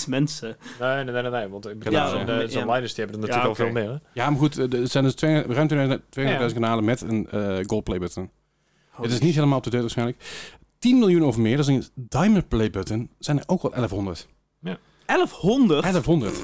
mensen.
Nee, nee, nee, nee, want ik
bedoel, Ja, zo'n-
zo'n
ja.
zo'n
liners die hebben er
natuurlijk
natuurlijk
al
al veel meer.
Ja, maar goed. eh, Er zijn dus twee- ruim 200.000
Ja.
kanalen met een eh gold play button.
Holy
Het is niet helemaal op de date waarschijnlijk. 10 miljoen of meer. Dat is een diamond play button. Zijn er ook wel 1100.
1100?
1100.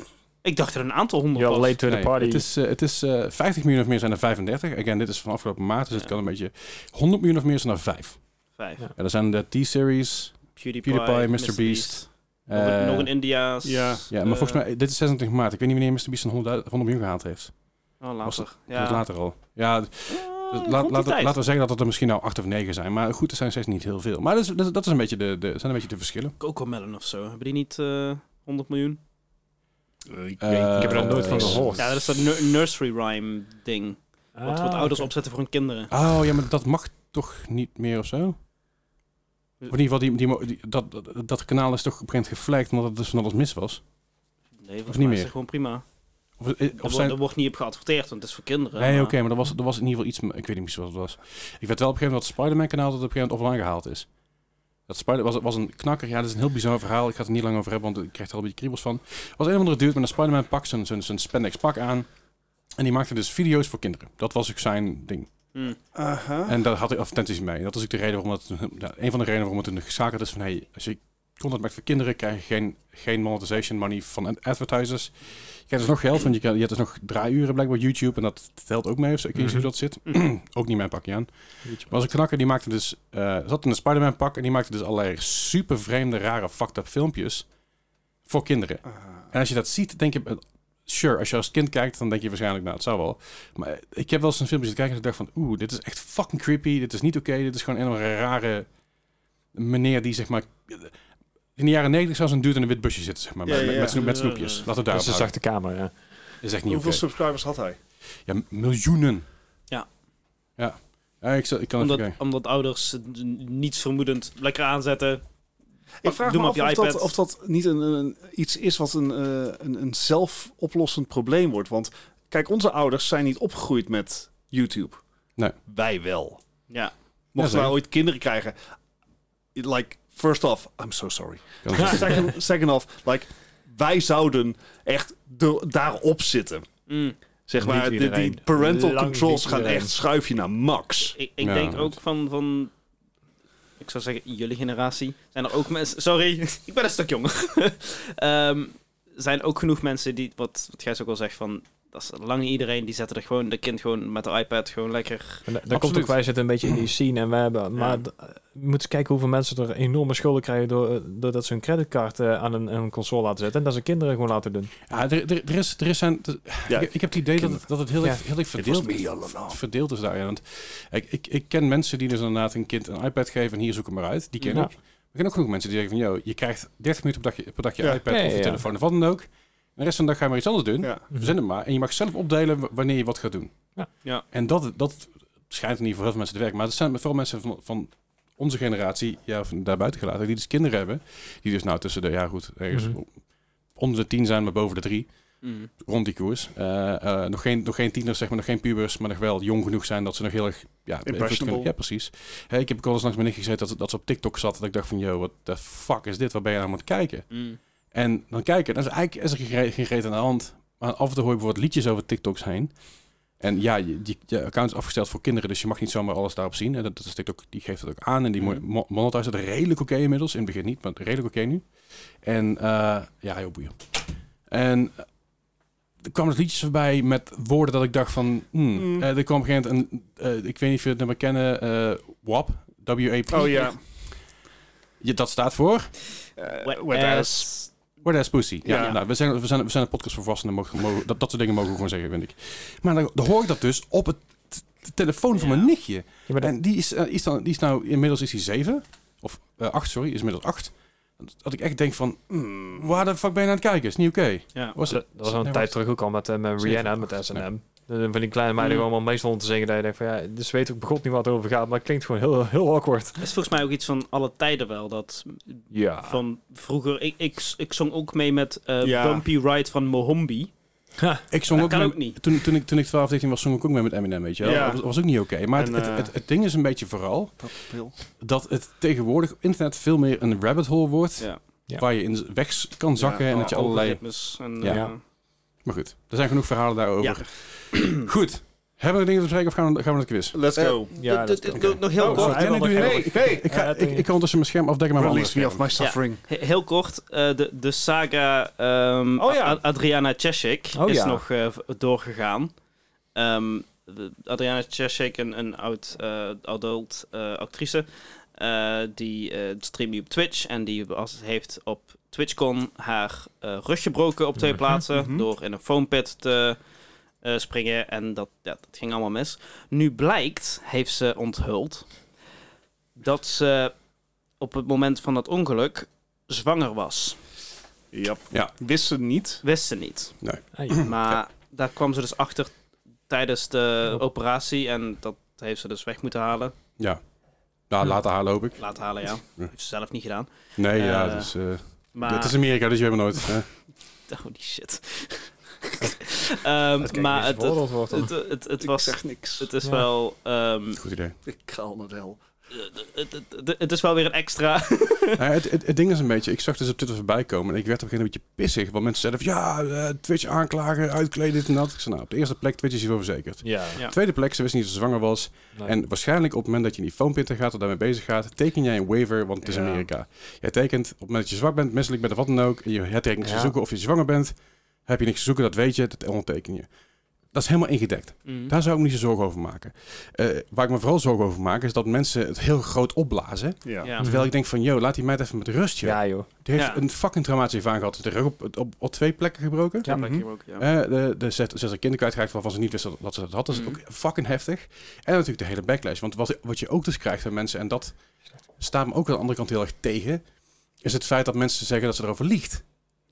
Ik dacht er een aantal honderd
Ja,
was.
late to the
Nee,
party.
Het is, eh, het is eh, 50 miljoen of meer zijn er 35. Again, dit is van afgelopen maart, dus het
Ja.
kan een beetje... 100 miljoen of meer zijn er 5.
Vijf.
Ja.
En dat zijn de T-series.
PewDiePie,
PewDiePie, Mr.
Mr.
Beast.
Beast.
eh,
Nog een- Eh, nog een India's.
ja.
ja, maar volgens mij, dit is 26 maart. Ik weet niet wanneer Mr. Beast een 100, 100 miljoen gehaald heeft.
Oh,
Was
later.
Dat was
Ja.
later al. Ja, dus laat-
Ah, rond die
laat-
tijd.
laten we zeggen dat het er misschien nou acht of negen zijn. Maar goed, er zijn steeds niet heel veel. Maar dat, is, dat, is- dat is een beetje de, de, zijn een beetje de verschillen.
Cocomelon of zo. Hebben die niet eh 100 miljoen?
Ik,
Eh,
weet- ik heb er nog nooit van
eh,
gehoord.
Ja, dat is dat nu- nursery rhyme ding.
Ah.
Wat, wat ouders opzetten voor hun kinderen.
Oh ja, maar dat mag toch niet meer of zo? Of in ieder geval, die, die, mo- die- dat, dat, dat kanaal is toch op een gegeven moment geflekt omdat het dus van alles mis was?
Nee, volgens
niet
mij is
meer?
dat gewoon prima.
Of, eh,
Er,
of
wordt-
zijn,
er wordt niet op geadverteerd, want het is voor kinderen.
Nee,
maar-
oké, maar er was, er was in ieder geval iets... Ik weet niet precies wat het was. Ik weet wel op een gegeven moment dat het Spider-Man-kanaal dat op een gegeven moment offline gehaald is. Dat Spider was, was een knakker. Ja, dat is een heel bizar verhaal. Ik ga het er niet lang over hebben, want ik krijg er al een beetje kriebels van. Er was een of andere dude met een Spider-Man pak, zijn, zijn, zijn spandex pak aan. En die maakte dus video's voor kinderen. Dat was ook zijn ding.
Hm.
Aha.
En daar had ik advertenties mee. Dat is ook de reden waarom het... ja, een van de redenen waarom het een geschakeld is van... Hey, als je content maakt voor kinderen, krijg je geen, geen monetization money van ad- advertisers. Je krijgt dus nog geld, want je, kan, je hebt dus nog draaiuren blijkbaar op YouTube. En dat telt ook mee of zo. Ik weet niet hoe dat zit. [CLEARS THROAT] ook niet mijn pakje aan. Maar als een knakker die maakte dus. eh, zat in een Spider-Man pak en die maakte dus allerlei super vreemde, rare, fucked up filmpjes. Voor kinderen. En als je dat ziet, denk je. eh, Sure, als je als kind kijkt, dan denk je waarschijnlijk, nou, het zou wel. Maar eh, ik heb wel eens een filmpje zitten kijken en ik dacht van, oeh, dit is echt fucking creepy. Dit is niet oké. Dit is gewoon een of andere rare meneer die, zeg maar... In de jaren negentig zou zo'n dude in een wit busje zitten, zeg maar.
Ja,
met,
ja,
met-
ja.
Met, snoep- met snoepjes. Laten we het
Dat
daarop
is een
houden.
zachte kamer, ja.
Dat is echt niet
Hoeveel
oké.
subscribers had hij?
Ja, m- miljoenen.
Ja.
Ja. Ja, ik, zal- ik kan
Omdat,
even kijken.
omdat ouders eh, niets vermoedend lekker aanzetten.
Ik vraag
Doe
me
hem op
af of
je
dat,
iPad.
of dat niet een, een- iets is wat een, eh, een, een zelfoplossend probleem wordt. Want kijk, onze ouders zijn niet opgegroeid met YouTube.
Nee.
Wij wel.
Ja.
Ja,
Mochten
zeker.
wij ooit kinderen krijgen... Like, first off, I'm so sorry.
Kan
[LAUGHS]
even-
second, second off, like, wij zouden echt de, daarop zitten.
Mm.
Zeg
Niet
maar, die, die
iedereen.
parental
Lang
controls
niet
gaan
iedereen.
echt schuifje naar max.
Ik, ik
Ja,
denk
goed.
ook van, van... Ik zou zeggen, jullie generatie. Zijn er ook mensen... Sorry, [LAUGHS] ik ben een stuk jonger. Ehm, zijn ook genoeg mensen die... Wat, wat Gijs ook al zegt, van... Dat is lang niet iedereen. Die zetten er gewoon... De kind gewoon met de iPad gewoon lekker...
En da- daar komt
Absoluut.
ook, wij zitten een beetje in die scene en wij hebben... Maar d- je moet eens kijken hoeveel mensen er enorme schulden krijgen... Door, eh, doordat ze hun creditcard eh, aan een, aan een console laten zetten... en dat ze kinderen gewoon laten doen.
Ja, er, er, er is, er is zijn,
Ja.
ik, ik heb het idee dat het, dat het heel erg
Ja.
heel erg
It was
verdeeld,
me all along.
verdeeld is daar. ja. Want ik, ik, ik ken mensen die dus inderdaad een kind een iPad geven en hier zoek hem maar uit. Die ken
Ja.
ik. Maar ik ken ook genoeg mensen die zeggen van, yo, je krijgt 30 minuten per dag je, per dag je
Ja.
iPad
Ja,
of
ja,
je
ja.
telefoon of wat dan ook. En de rest van de dag ga je maar iets anders doen.
Ja.
Verzin het maar. En je mag zelf opdelen w- wanneer je wat gaat doen.
Ja.
Ja.
En dat, dat schijnt in ieder geval heel veel mensen te werken. Maar het zijn vooral mensen van, van onze generatie, ja, van daarbuiten gelaten, die dus kinderen hebben. Die dus nou tussen de, ja goed, ergens
Mhm.
onder de tien zijn, maar boven de drie
Mm.
rond die koers. Eh, eh, nog, geen, nog geen tieners, zeg maar, nog geen pubers, maar nog wel jong genoeg zijn dat ze nog heel erg... Ja,
Impressionable.
kunnen- Ja, precies. Hè, ik heb ook al eens langs mijn nichtje gezeten dat, ze- dat ze op TikTok zat. Dat ik dacht van, yo, wat the fuck is dit? Waar ben je nou aan het kijken?
Mm.
En dan kijken, dan is, eigenlijk is er geen reet- geen reet aan de hand. Maar af en toe hoor je bijvoorbeeld liedjes over TikToks heen. En ja, je, je, je account is afgesteld voor kinderen, dus je mag niet zomaar alles daarop zien. En dat, dat is TikTok, die geeft dat ook aan. En die
Mhm.
mo- mo- monetize dat redelijk oké inmiddels. In het begin niet, maar redelijk oké nu. En eh, ja, heel boeiend. En eh, er kwamen dus liedjes voorbij met woorden dat ik dacht van... hmm,
Mm.
eh, er kwam op een gegeven moment een... eh, ik weet niet of je het nummer kennen, eh, WAP. W-A-P.
Oh ja.
Je- dat staat voor...
Eh,
Wet
wet
ass.
ass.
Word as pussy. Ja,
Ja.
Nou, we, zijn, we, zijn, we zijn een podcast voor volwassenen. Mogen, mogen- dat, dat soort dingen mogen we gewoon zeggen, vind ik. Maar dan, dan hoor ik dat dus op het t- t- telefoon van
Ja.
mijn nichtje.
Ja, maar dat-
En die is, eh, is, dan, die is nou... Inmiddels is hij zeven. Of eh, acht, sorry. Is inmiddels acht. Dat ik echt denk van...
Hmm.
Waar de fuck ben je aan het kijken? Is niet oké.
Ja.
Was
dat
het?
dat was al een
Nee,
tijd terug ook al met, eh, met
Zeven,
Rihanna,
acht,
met S&M.
ja.
Eh, Van die kleine meiden
Mm.
gewoon allemaal meestal om te zingen. Dat je denkt van ja, dus weet ik begot niet wat het over gaat. Maar het klinkt gewoon heel, heel awkward.
Dat is volgens mij ook iets van alle tijden wel. Dat
Ja.
Ah.
van vroeger... Ik, ik, ik zong ook mee met eh,
Ja.
Bumpy Ride van Mohombi.
Ik zong
Dat
ook...
kan
mee-
ook niet.
Toen, toen, ik, toen ik 12, 13 was, zong ik ook mee met Eminem, weet je wel.
Ja.
Dat was, was ook niet oké. Maar het,
En,
het,
eh,
het, het ding is een beetje vooral...
Dat wil.
dat het tegenwoordig op internet veel meer een rabbit hole wordt...
Ja.
Ja.
waar je in weg s- kan zakken en dat je allerlei...
Oh, Algoritmes En,
Ja.
eh,
Ja.
Maar goed, er zijn genoeg verhalen daarover. Goed, hebben we dingen te bespreken of gaan we, gaan we naar de quiz?
Let's go.
ja,
Doe-
dat
doe-
kan.
doe- Nog heel
Oh,
kort.
sorry. nee, doe je
Hey,
niet.
Hey, hey.
Ik, ga,
Eh,
ik,
toen-
ik kan ondertussen mijn scherm afdekken, maar mijn
Release me
andere
of my
scherm.
suffering.
He- Heel kort, eh, de, de saga ehm,
Oh ja.
A- Adriana Cesic
Oh
is
ja.
nog eh, v- doorgegaan. Ehm, de- Adriana Cesic, een, een oud eh, adult eh, actrice, eh, die eh streamt nu op Twitch. En die was, heeft op TwitchCon haar eh, rug gebroken op twee plaatsen
mhm.
door in een foam pit te eh, springen en dat, ja, dat ging allemaal mis. Nu blijkt, heeft ze onthuld, dat ze op het moment van dat ongeluk zwanger was.
Ja.
Ja.
Wist ze niet.
Wist ze niet.
Ai.
Maar daar kwam ze dus achter tijdens de operatie en dat heeft ze dus weg moeten halen.
Ja. Nou, laten haar loop ik.
Laten halen, ja. Heeft ze zelf niet gedaan.
Nee, ja,
Eh,
dus, eh,
Maar...
het is Amerika, dus je hebt me nooit. hè.
[LAUGHS] Holy shit. Ehm,
Kijk,
maar
eens
het, het,
veroordeeld wordt dan.
het, het, het was...
zeg niks.
Het is
Ja.
wel... ehm,
Goed idee.
Ik kaal naar de hel.
het, het, eh, het- het is wel weer een extra...
Nou, het, het, het ding is een beetje, ik zag dus op Twitter voorbij komen en ik werd op een gegeven moment een beetje pissig. Want mensen zeiden van, ja, eh, Twitch aanklagen, uitkleden, dit en dat. Ik zei, nou, op de eerste plek, Twitch is hiervoor verzekerd.
Ja.
Ja.
Tweede plek, ze wist niet dat ze zwanger was.
Nee.
En waarschijnlijk op het moment dat je in die foampinter gaat of daarmee bezig gaat, teken jij een waiver, want het is
Ja.
Amerika. Jij tekent op het moment dat je zwak bent, misselijk bent of wat dan ook, en je hebt er niks te
Ja.
zoeken of je zwanger bent, heb je niks te zoeken, dat weet je, dat onderteken je. Dat is helemaal ingedekt.
Mm.
Mhm.
Daar zou ik me niet zo zorgen over maken. Eh, waar ik me vooral zorgen over maak, is dat mensen het heel groot opblazen.
Ja.
Ja.
Terwijl ik denk van, yo, laat die meid even met rust, joh.
Ja, joh.
Die heeft
Ja.
een fucking traumatische ervaring gehad. De rug op, op, op twee plekken gebroken.
Ja.
Mhm.
Blijkt hier ook, ja.
Eh, de, de zes, zes kinderen kwijtgeraakt waarvan ze niet wisten dat, dat ze dat had. Dat is
Mhm.
ook fucking heftig. En natuurlijk de hele backlash. Want wat, wat je ook dus krijgt van mensen, en dat staat me ook aan de andere kant heel erg tegen, is het feit dat mensen zeggen dat ze erover liegt.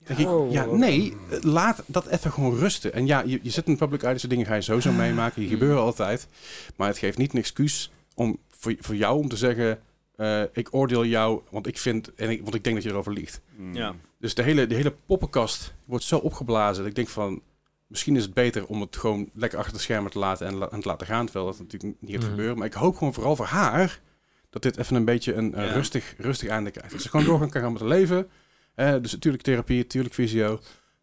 Ja, ik,
Oh,
ja
wat-
nee, eh, laat dat even gewoon rusten. En ja, je, je zit in het public eye, dus die dingen ga je sowieso meemaken. Die
Mhm.
gebeuren altijd. Maar het geeft niet een excuus om, voor, voor jou om te zeggen, eh, ik oordeel jou, want ik, vind, en ik, want ik denk dat je erover liegt.
Ja.
Dus de hele, de hele poppenkast wordt zo opgeblazen dat ik denk van... Misschien is het beter om het gewoon lekker achter de schermen te laten en, la- en te laten gaan. Terwijl dat natuurlijk niet gaat
Mhm.
gebeuren. Maar ik hoop gewoon vooral voor haar dat dit even een beetje een eh,
Ja.
rustig, rustig einde krijgt. Dat ze gewoon doorgaan kan gaan met haar leven. Eh, dus natuurlijk therapie, natuurlijk visio.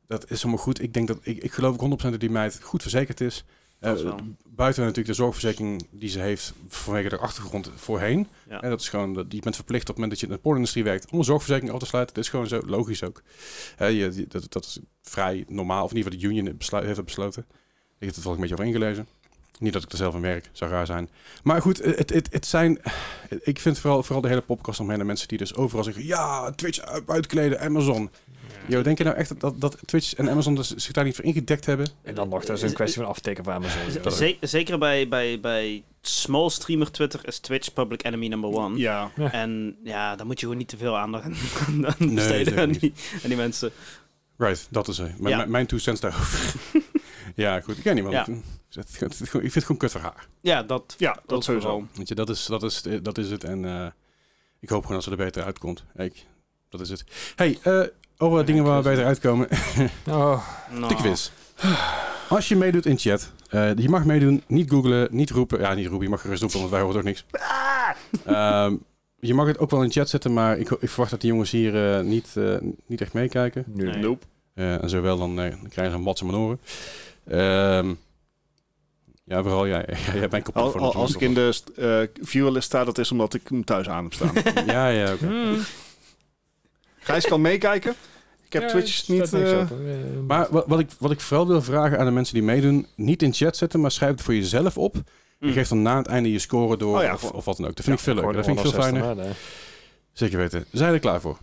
Dat is allemaal goed. Ik denk dat ik, ik geloof ook 100% dat die meid goed verzekerd is. Eh,
Dat wel.
buiten natuurlijk de zorgverzekering die ze heeft vanwege de achtergrond voorheen.
Ja.
En dat is gewoon, dat- je bent verplicht op het moment dat je in de pornindustrie werkt om een zorgverzekering af te sluiten. Dat is gewoon zo, logisch ook. Hè, je, je- dat, dat is vrij normaal, of in ieder geval de union het besluit, heeft het besloten. Ik heb het volgens een beetje over ingelezen. Niet dat ik er zelf aan werk, zou raar zijn. Maar goed, het, het, het zijn, ik vind vooral, vooral de hele podcast omheen de mensen die dus overal zeggen, ja, Twitch uit- uitkleden, Amazon. Yo, denk je nou echt dat, dat Twitch en Amazon dus zich daar niet voor ingedekt hebben?
En dan nog, dat is een kwestie van afteken van Amazon.
Z-
joh.
ze- zeker bij, bij, bij small streamer Twitter is Twitch public enemy number one.
Ja.
En ja, daar moet je gewoon niet te veel aandacht aan [LAUGHS] aan- aan
Nee,
besteden
zeker
aan die, aan die mensen.
Right, dat is eh, mijn-
Ja.
mijn- mijn two cents daarover. [LAUGHS] ja, goed, ik ken niemand.
Ja.
Het- het- het- het- Ik vind het gewoon kut voor haar.
Ja, dat,
Ja, dat,
dat
sowieso.
vooral.
Weet je, dat is, dat is, dat is het. En eh, ik hoop gewoon dat ze er beter uitkomt. Ik, dat is het. Hey, eh over
Ja,
dingen waar we
quiz.
beter uitkomen.
Oh,
Nou,
De quiz. Als je meedoet in chat, eh, je mag meedoen, niet googlen, niet roepen. Ja, niet roepen, je mag gerust roepen, want wij horen toch [LAUGHS] niks. Ehm, je mag het ook wel in chat zetten, maar ik, ik verwacht dat die jongens hier eh, niet, eh, niet echt meekijken.
nu.
Nee.
Nope.
Eh, en zowel dan eh, dan krijgen ze een watse manoren. Ehm ja, vooral jij. [LAUGHS] jij hebt mijn kapot
Al,
voor
al- als ik in de st- eh, viewerlist sta, dat is omdat ik hem thuis aan heb
[LAUGHS]
staan.
Ja, ja, oké.
Mm. Gijs kan meekijken. Ik heb Twitch niet... eh,
Maar wat, wat, ik, wat ik vooral wil vragen aan de mensen die meedoen, niet in chat zetten, maar schrijf het voor jezelf op.
Mm.
En geef dan na het einde je score door
Oh ja,
of,
gewoon-
of wat dan ook. Dat vind ik veel leuker. Dat vind ik veel fijner. Zeker weten. Zijn we er klaar voor?
[LAUGHS]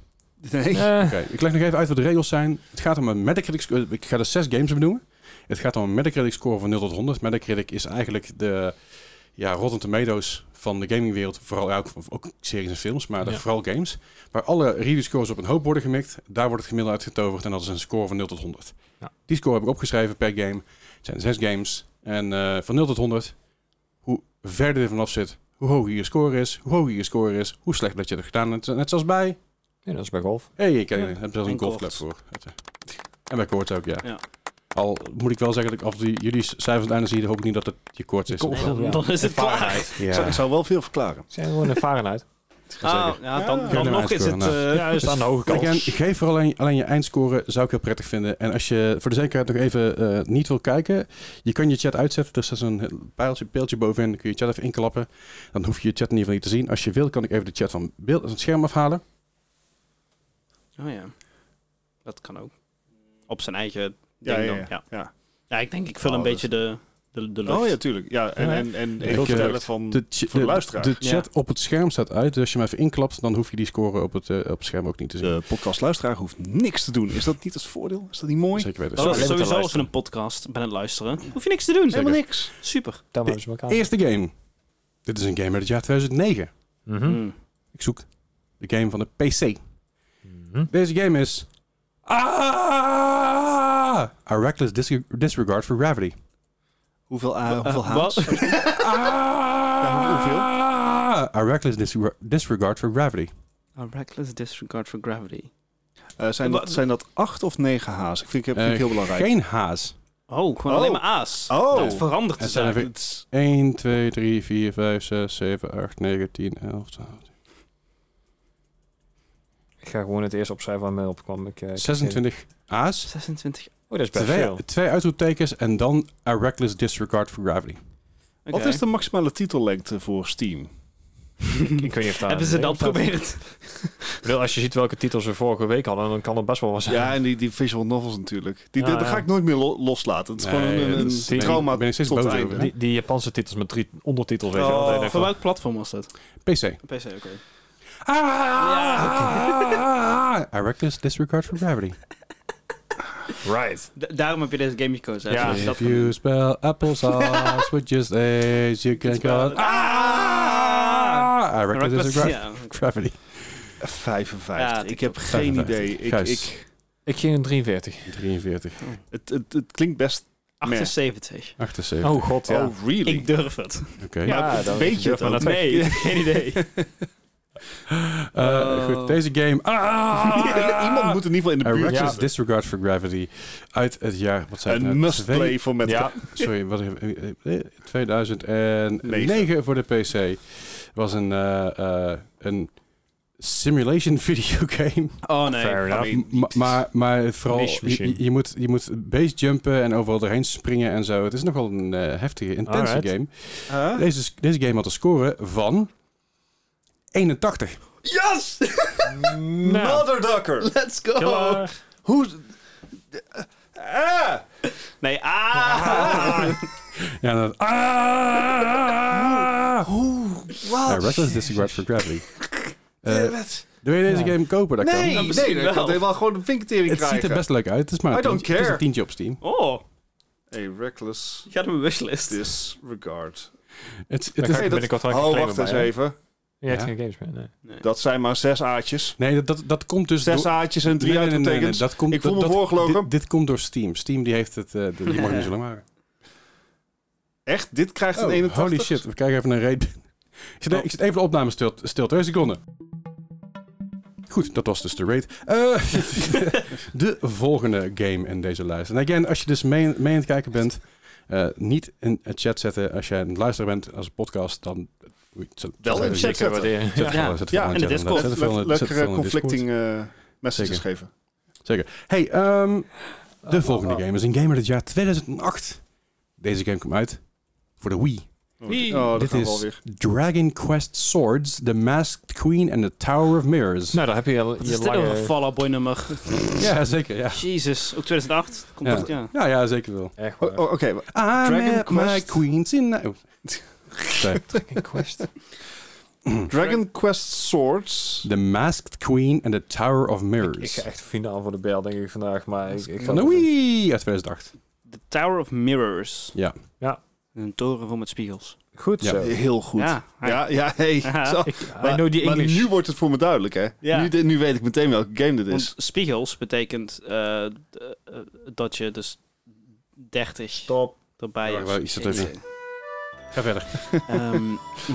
nee.
[LAUGHS] Oké,
Eh.
ik leg nog even uit wat de regels zijn. Het gaat om een Metacritic score. Ik ga er zes games benoemen. Het gaat om een Metacritic score van 0 tot 100. Metacritic is eigenlijk de ja, Rotten Tomatoes van de gamingwereld. Vooral ja, ook, ook series en films, maar dan
Ja.
vooral games. Waar alle review scores op een hoop worden gemikt. Daar wordt het gemiddelde uitgetoverd en dat is een score van 0 tot 100.
Ja.
Die score heb ik opgeschreven per game. Het zijn zes games. En eh, van 0 tot 100, hoe verder je vanaf zit, hoe hoger je score is, hoe hoger je score is, hoe slecht dat je het gedaan hebt. Net zoals bij
Ja, dat is bij golf.
Hé, ik eh, heb zelfs
En
een golfclub voor. En bij koorts ook, ja.
Ja.
Al moet ik wel zeggen dat ik af en toe jullie cijfers aan het einde zie, dan hoop ik niet dat het je koorts is.
Koorts.
Nee, dan, dan is het klaar.
Ik zou-
Ja.
Ik zou wel veel verklaren.
Zijn gewoon een Fahrenheit.
Ah, ja, dan,
Ja,
dan
dan
nog is het...
uitscoren,
eh,
[LAUGHS] Ja, is aan de hoge kant.
Again, geef vooral alleen, alleen je eindscore, zou ik heel prettig vinden. En als je voor de zekerheid nog even eh, niet wil kijken, je kan je chat uitzetten. Er staat zo'n pijltje, pijltje bovenin, dan kun je je chat even inklappen. Dan hoef je je chat in ieder geval niet te zien. Als je wil, kan ik even de chat van, beeld, van het scherm afhalen.
Oh ja. Dat kan ook. Op zijn eigen
Ja,
ding
ja,
dan.
ja.
Ja. ja, ik denk ik vul
Oh,
een
dus-
beetje de, de, de lucht.
Oh ja, tuurlijk. Ja, en,
Ja.
en, en
Ik,
heel
eh,
vertellen van...
De, ch-
Mm. voor de luisteraar.
de chat op het scherm staat uit. Dus als je hem even inklapt, dan hoef je die score op het, eh, op het scherm ook niet te zien.
de podcastluisteraar hoeft niks te doen. Is dat niet het voordeel? Is dat niet mooi?
Zeker weten.
Dat is
alleen maar te
sowieso als we
luisteren.
een podcast ben het luisteren. Hoef je niks te doen.
Helemaal niks.
Super.
Daarom
De-
hebben ze elkaar.
Eerste game. Dit is een game uit het jaar 2009.
Mhm.
Hmm.
Ik zoek de game van de PC.
Mhm.
Deze game is... Ah! A Reckless Dis- Disregard for
[LAUGHS]
Gravity.
Hoeveel, A, hoeveel
Eh,
H's?
wat?
Ah!
hoeveel?
A Reckless Disregar- Disregard for Gravity.
A reckless disregard for gravity.
Eh, zijn, dat, zijn dat acht of negen H's? Ik vind ik heb
Eh,
vind ik heel belangrijk.
Geen haas.
Oh, gewoon
Oh.
alleen maar A's.
Oh.
Dat
Het
verandert het
zijn
zijn.
even-
Het is-
1, 2, 3, 4, 5, 6, 7, 8, 9, 10, 11, 12,
Ik ga gewoon het eerst opschrijven waar mij opkwam. Ik, eh, ik-
26 A's.
26.
Oh, dat is best veel.
Twee, twee uitroeptekens en dan A Reckless Disregard for Gravity.
Oké.
Wat is de maximale titellengte voor Steam?
Ik weet niet of daar-
Hebben ze dat [LAUGHS] geprobeerd?
Ik bedoel, als je ziet welke titels we vorige week hadden, dan kan het best wel wat zijn.
Ja, en die, die visual novels natuurlijk. Die,
Ja,
dat
ja.
ga ik nooit meer lo- loslaten. Het is
Nee,
gewoon een,
dat
een
is-
trauma
ben- ben ik steeds
tot
boos
einde.
over.
Die, die Japanse titels met drie ondertitels, weet je
Oh.
wel. Dan denk ik
Voor
van,
welk platform was dat?
PC.
PC, oké.
Ah!
Ja,
A ah, Reckless Disregard for Gravity.
Right.
Da- daarom heb je deze game gekozen. hè?
Ja.
Dat is dat
If you spell applesauce with just A's, you can
It's
call it...
about-
Ah! A Reckless
Reckless-
Disregard
ja.
for Gravity.
55.
Ja,
ik
ik
heb
ook.
geen
55.
idee. Ik,
Gijs.
ik,
Ik ging een 43.
43,
het, het, het klinkt best...
78.
78.
Oh god, ja.
Oh, really?
Ik durf het.
Oké.
Ja,
Ja,
dat
dan
weet je
durf
het
maar
ook.
dat weet
[LAUGHS]
Nee, geen idee.
Eh,
Oh.
Goed, deze game... Ah!
[LAUGHS] Iemand moet in ieder geval in de
A
buurt
Reckless
zitten.
Disregard for Gravity uit het jaar... Wat zijn
Een must-play voor met...
Ja.
Sorry, wat even, eh, eh, 2009 voor de PC was een, eh, eh, een simulation [LAUGHS] videogame.
Oh nee.
Fair enough.
I mean,
Ma- maar, maar vooral,
Niche
je,
machine.
je- je moet, je moet base jumpen en overal doorheen springen en zo. Het is nogal een eh, heftige, intense
Alright.
game.
Huh?
Deze, deze game had een score van 81.
Yes!
Nou,
Motherducker!
Let's go.
[LAUGHS] killer.
Hoe... Ah!
Nee, ah.
[LAUGHS] Ja, dat... Ah! Ja,
Wat?
Reckless Disregard for Gravity. Eh,
Damn it.
wil je deze
Ja.
game kopen? Dat kan.
nee,
Nou,
nee,
misschien
dat kan
wel.
helemaal gewoon een vinkertering
Het
krijgen.
ziet er best leuk uit. Het is maar
I
een
don't
tientje, het is een
care.
tientje op Steam.
Oh,
Hey, reckless
je gaat op mijn wishlist.
disregard.
Het, het
Dan
is,
ga ik
dat-
binnenkort wel een
Oh,
claimen
wacht
bij,
eens
hè?
even.
Je hebt
Ja.
geen games meer, nee.
Dat zijn maar zes aatjes.
nee, dat, dat, dat komt dus
Zes
door...
aatjes en drie
Nee, nee, nee, nee, nee,
uitroeptekens.
dat komt,
Ik voel
dat-
me
dat-
voorgelogen.
Dit, dit komt door Steam. Steam die heeft het... eh, de- die mag niet zo lang maken.
Echt? Dit krijgt een
Oh,
81?
holy shit. We kijken even naar raid. Ik zit,
Oh.
ik zit even de opname stil, stil. Twee seconden. Goed, dat was dus de raid. Eh, [LAUGHS] de volgende game in deze lijst. En again, als je dus mee, mee aan het kijken bent... eh, niet in het chat zetten. Als jij aan het luisteren bent als podcast, dan... Oei, zet-
Wel
zet-
in
zet-
Zeker
check zetten.
waarderen.
Zet
Ja.
ja. zet
Ja,
ja,
en de Discord.
Zet
Let-
vooral in- zet
Lekkere
vooral in de Discord.
conflicting eh, messages
Zeker.
geven. Oh,
Hey, ehm, de volgende game is een game uit het jaar 2008. Deze game komt uit voor de Wii.
Wie?
Oh, dat
Dit
gaan we
is
alweer.
Dragon Quest Swords, The Masked Queen and the Tower of Mirrors.
Nou, daar heb je je,
Wat
je
is dit nou een
lange...
Fallout Boy nummer?
ja, zeker. Ja.
Jezus, ook 2008. Komt
Ja.
echt, ja.
Ja, ja, zeker wel.
Echt
Oh, oh, Oké, wa-
I met my
Quest.
queens in... Oh. Sorry.
Quest.
Dragon Quest Swords.
the Masked Queen and the Tower of
Ik
Mirrors.
ga echt finaal voor de bel, denk ik, vandaag. Maar ik, ik
Van de Wii uit 2008.
The Tower of Mirrors.
Ja.
Ja.
Een toren vol met spiegels.
Goed
Ja.
zo.
Heel goed.
Ja,
ja, ja, hey.
[LAUGHS] Ja.
Zo.
Ik, I know the
maar
English.
nu wordt het voor me duidelijk, hè?
Ja.
Nu, dit- nu weet ik meteen welke game dit is.
Want spiegels betekent eh, d- eh, dat je dus 30
Top.
erbij
Ja,
is.
wel iets dat even- Ga verder.
[LAUGHS] Ehm,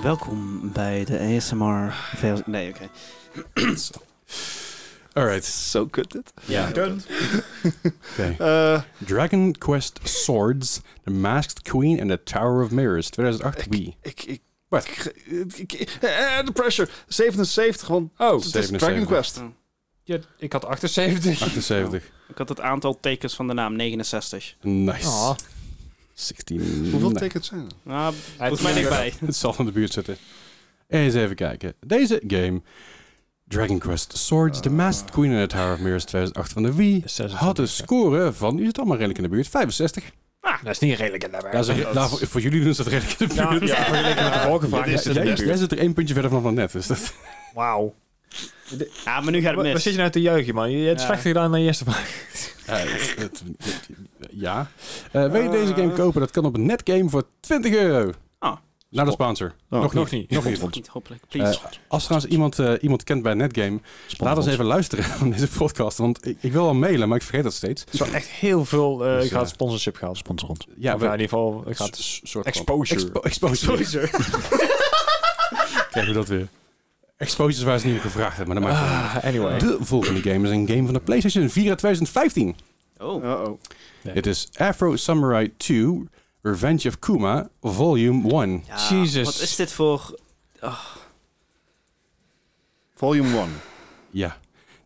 welkom bij de ASMR. versie- Nee, oké.
Alright.
Zo kut dit.
Ja.
Oké.
Eh,
Dragon Quest Swords, The Masked Queen and the Tower of Mirrors. 2008 Wii.
ik, ik,
Wat?
ik- ik- ik- eh, de pressure. 77, want
Oh,
het is Dragon
77.
Quest.
ja, ik had 78.
78.
Ik had het aantal tekens van de naam, 69.
Nice.
Oh,
16.
Ah. Hoeveel
nou,
tekens zijn er?
Nou, volgens mij
is-
dichtbij.
Het zal in de buurt zitten. Eens even kijken. Deze game, Dragon Quest Swords, The Masked Queen and the Tower of Mirrors 2008 van de Wii, had dus- een
26,
score van, u zit allemaal redelijk in de buurt, 65.
Ah,
Dat is niet redelijk in de
Ja, ze- nou, voor, voor jullie doen ze dat redelijk in de
Ja,
buurt.
ja, vergeleken met de [LAUGHS] vorige vraag
dit
is
is
het
het
Jij,
in de
jij
buurt.
zit er één puntje verder vanaf dan net. Dus dat,
Wauw.
Ja, maar nu gaat
Wat
het
wat
mis.
zit je nou te juichen, man? Je hebt
Ja.
slechter gedaan dan de eerste vraag.
[LAUGHS] Ja, Eh, het- het- ja. Eh, wil je deze game kopen? Dat kan op Netgame voor 20 euro.
Ah.
Naar de sponsor.
Oh,
nog,
nog
niet.
niet.
Nog niet.
Fucking hopelijk, please.
Eh, als trouwens iemand, eh, iemand kent bij Netgame, laat ons even luisteren [LAUGHS] aan deze podcast. Want ik, ik wil al mailen, maar ik vergeet dat steeds.
Zo echt heel veel eh
Dus, eh,
gaat sponsorship gehad.
Sponsor ons.
Ja,
of ja, in ieder geval eh, gaat
S- soort van-
exposure.
Expo- exposure. [LAUGHS] Krijgen we dat weer. Exposures waar ze niet om gevraagd hebben, maar dat maakt
Ah, anyway.
niet uit. De volgende game is een game van de PlayStation 4 uit 2015.
Oh,
Uh-oh.
Het is Afro Samurai 2 Revenge of Kuma Volume 1.
ja,
Jesus.
Wat is dit voor...
Volume 1.
Ja.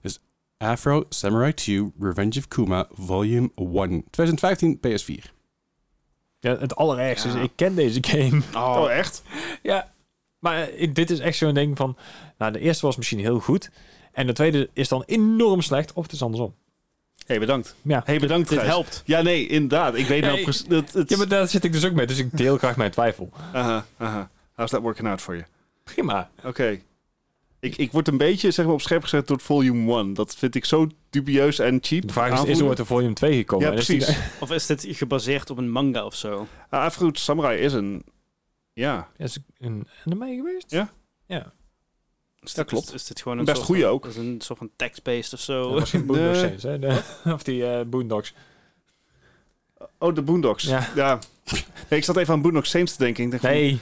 Dus Afro Samurai 2 Revenge of Kuma Volume 1. 2015 PS4.
Ja, het allerergste
Ja.
is, ik ken deze game.
Oh, echt?
Ja, [LAUGHS] maar eh, dit is echt zo'n ding van... Nou, de eerste was misschien heel goed. En de tweede is dan enorm slecht. Of het is andersom.
hey, bedankt.
Ja.
hey, bedankt.
Dit
Gijs.
helpt.
Ja, nee, inderdaad. Ik weet nou
Ja,
precies. dat- het-
Ja, maar daar zit ik dus ook mee. Dus ik deel graag mijn twijfel.
Aha, aha. How's that working out voor je?
Prima.
Oké. Ik, ik word een beetje zeg maar, op scherp gezet door het volume 1. Dat vind ik zo dubieus en cheap.
De vraag is, is er ooit een volume 2 gekomen?
Ja,
En is die-
precies.
Of is dit gebaseerd op een manga of zo?
Ah, Afro Samurai is een...
[LAUGHS]
Ja,
Is een anime geweest?
Ja.
Ja.
Is
Dat
dit-
klopt.
Is, is dit gewoon een
Best
soort
goeie
van-
ook.
Is een soort van text-based of
Dat
zo?
was geen Boondocks
Nee.
eens, hè? De- [LAUGHS] of die eh Boondocks.
Oh, de Boondocks.
Ja.
Nee, ik zat even aan Boondocks Saints te denken. Ik dacht van,
Nee,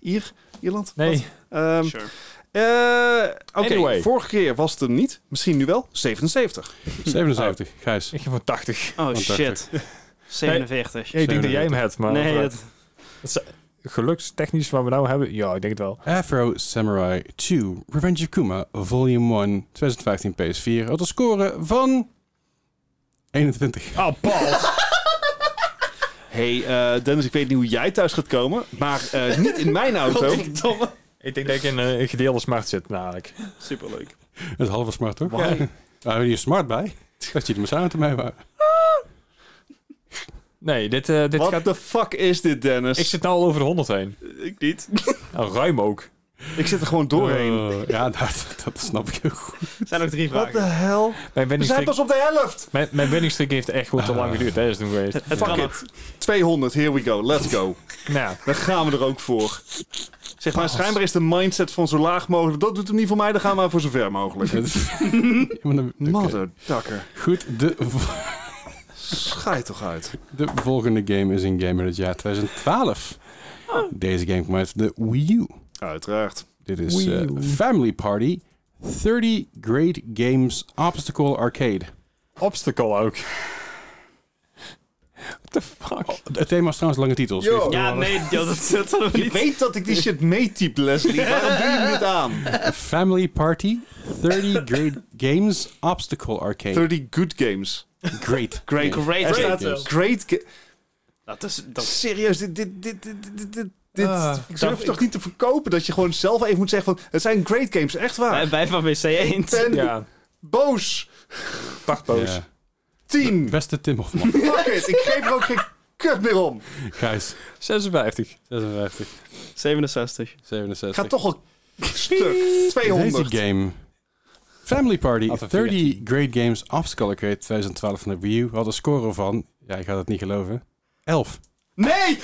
Ier? Ierland?
nee.
Wat? Ehm,
Sure.
eh, Oké,
Anyway.
vorige keer was het hem niet. Misschien nu wel. 77.
77, Gijs.
Ik heb van 80.
Oh,
80.
shit. 47.
Ja, ik denk dat jij hem hebt, maar...
Nee,
dat...
dat...
Gelukstechnisch wat we nou hebben... Ja, ik denk het wel.
Afro Samurai 2 Revenge of Kuma Volume 1 2015 PS4 had een score van 21.
Ah, Paul! [LAUGHS]
hey, eh, Dennis, ik weet niet hoe jij thuis gaat komen. Maar eh, niet in [LAUGHS] mijn auto.
Godverdomme.
ik denk dat ik in eh, een gedeelde smart zit, namelijk.
Superleuk.
[LAUGHS] Dat is halve smart toch? Ja. Daar hebben je smart bij. Dat je er maar samen te mee waren.
Nee, dit, eh, dit
What
gaat...
the fuck is dit, Dennis?
Ik zit nou al over de 100 heen.
Ik niet.
Nou, ruim ook.
Ik zit er gewoon doorheen.
Oh, ja, dat, dat snap ik heel goed.
Er zijn nog drie
What the
vragen.
hell?
Mijn
We zijn
winningstreek,
pas op de helft!
mijn, mijn winningstreek heeft echt gewoon te lang geduurd tijdens toen geweest. [LAUGHS]
Het
Fuck
kan
it. 200, here we go, let's go.
Nou,
Daar gaan we er ook voor. Zeg maar, schijnbaar is de mindset van zo laag mogelijk. Dat doet hem niet voor mij, dan gaan we maar voor zo ver
[LAUGHS]
mogelijk.
Dat- Ja, maar dan- oké.
Motherfucker.
Goed, de, vo-
Schij toch uit.
de volgende game is een game uit het jaar 2012. Deze game komt uit de Wii U.
Uiteraard.
Dit is
Wii
eh,
U.
Family Party 30 Great Games Obstacle Arcade.
obstacle ook. What the fuck?
Het thema is trouwens lange titels.
Yo.
Ja, nee, dat, dat, dat hadden we
Je
niet.
weet dat ik [LAUGHS] die shit meetyp, [LAUGHS] Leslie. Waarom doe je dit aan?
Family Party
[LAUGHS]
30 Great Games Obstacle Arcade.
30 good games.
Great.
Great.
games.
Great
Er
games.
staat great ga-
Dat is... Dat...
Serieus, dit... dit, dit, dit, dit, dit- dit-
Ah,
ik
dat-
durf toch niet te verkopen dat je gewoon zelf even moet zeggen van... Het zijn great games, echt waar.
Wij, wij van WC Eend.
Ben
Ja,
boos.
tachtboos.
Ja. [LAUGHS]
Tien.
Beste Tim
[LAUGHS]
Hofman.
Fuck it, ik geef er ook geen kut meer om.
Gijs.
56.
56,
67.
67.
Gaat toch al stuk. 200.
Deze game. Family Party
Had een
30 Great Games Obstacle Arcade 2012 van de Wii U had een score van, ja, je gaat het niet geloven, 11.
Nee!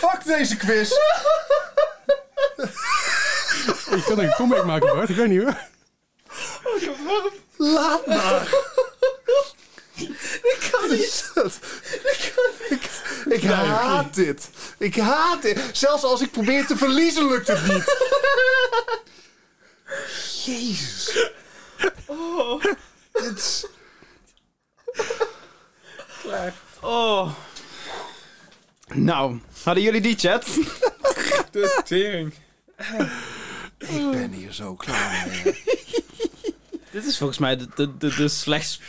Fuck deze quiz!
Ik kan er een comeback maken, Bart. Ik weet niet hoor.
Laat maar! Ik kan niet. Ik, ik haat dit. Ik haat dit. Zelfs als ik probeer te verliezen, lukt het [LAUGHS] niet. Jezus. Dit is-
Oh. Nou, hadden jullie die chat?
De tering.
ik ben hier zo klaar mee.
Dit is volgens mij de, de, de, de slechts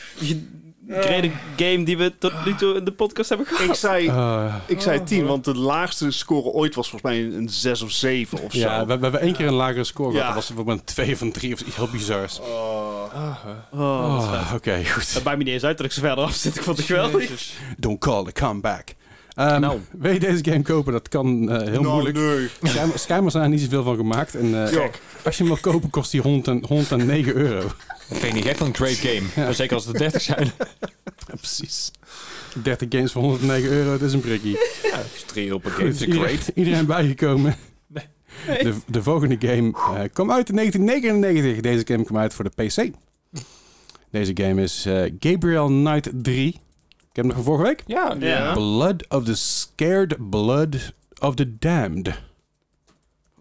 gereden game die we tot nu toe in de podcast hebben gehad.
Ik zei,
Eh,
ik zei 10, want de laagste score ooit was volgens mij een 6 of 7 of zo.
ja, we, we hebben één keer een lagere score gehad.
Ja.
Dat was bijvoorbeeld een 2 of een 3 of iets heel bizars.
Oh.
Ah, hè.
Oh, dat is vet.
Oh, Oké, goed.
Het maakt me niet eens uit dat ik zo verder af zit. Ik vond het geweldig.
Jezus.
Don't call the comeback. Ehm Wil je deze game kopen? Dat kan eh, heel
Nou,
moeilijk.
Nee.
Schijnbaar schijnbaar zijn er niet zoveel van gemaakt. En, eh,
Ja.
als je hem wil kopen, kost die 100 en- 109 euro. [LAUGHS]
Ik vind niet echt een great game. Zeker als het er 30 zijn.
Ja, precies. 30 games voor 109 euro, dat is een prikkie.
Drie op een game.
Goed,
is great.
iedereen, iedereen
[LAUGHS]
bijgekomen. De, de volgende game eh, kwam uit in 1999. Deze game kwam uit voor de PC. Deze game is eh, Gabriel Knight 3. Ik heb hem nog van vorige week.
Ja,
Ja.
Blood of the Scared Blood of the Damned.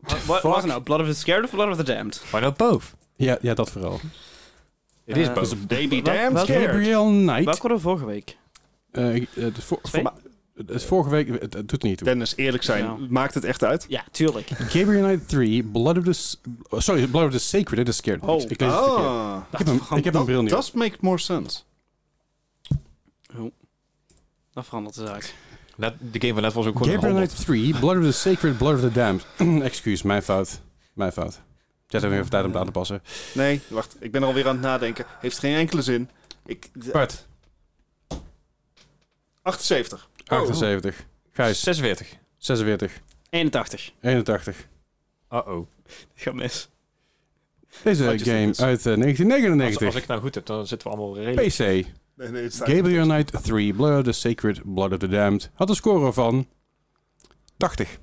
Wa- wa- Wacht nou, Blood of the Scared of Blood of the Damned?
Why not both?
Ja, ja dat vooral.
It is
Eh,
both.
Baby
Wel-
damn
wel-
scared.
Gabriel Knight.
Welke hadden we vorige week?
eh, ik- eh, het, voor-
Twee?
voor- het is vorige week, het, het doet er niet toe.
Dennis, eerlijk zijn,
Ja.
maakt het echt uit?
Ja, tuurlijk.
Gabriel Knight 3, Blood of the... S- Sorry, Blood of the Sacred, it is Scared.
Oh.
ik, lees het verkeerd. ik heb een, ik heb een bril nu.
Does make more sense.
Dat verandert de zaak.
Net, de game van net was ook gewoon
Gabriel
een
Knight 3, Blood of the Sacred, Blood of the Damned. [CLEARS THROAT] Excuus, mijn fout. Mijn fout. Zet er weer even tijd om het aan te passen.
Nee, wacht. Ik ben er alweer aan het nadenken. Heeft geen enkele zin. Ik,
Bart,
78.
78. Gijs,
46.
46.
81.
81.
Uh-oh.
Ik ga mis.
Deze
Wat je
game
zegt is-
uit eh,
Als,
1999.
als ik het nou goed heb, dan zitten we allemaal redelijk...
PC.
Nee, nee, het staat
Gabriel Knight 3, Blood of the Sacred, Blood of the Damned. Had een score van 80.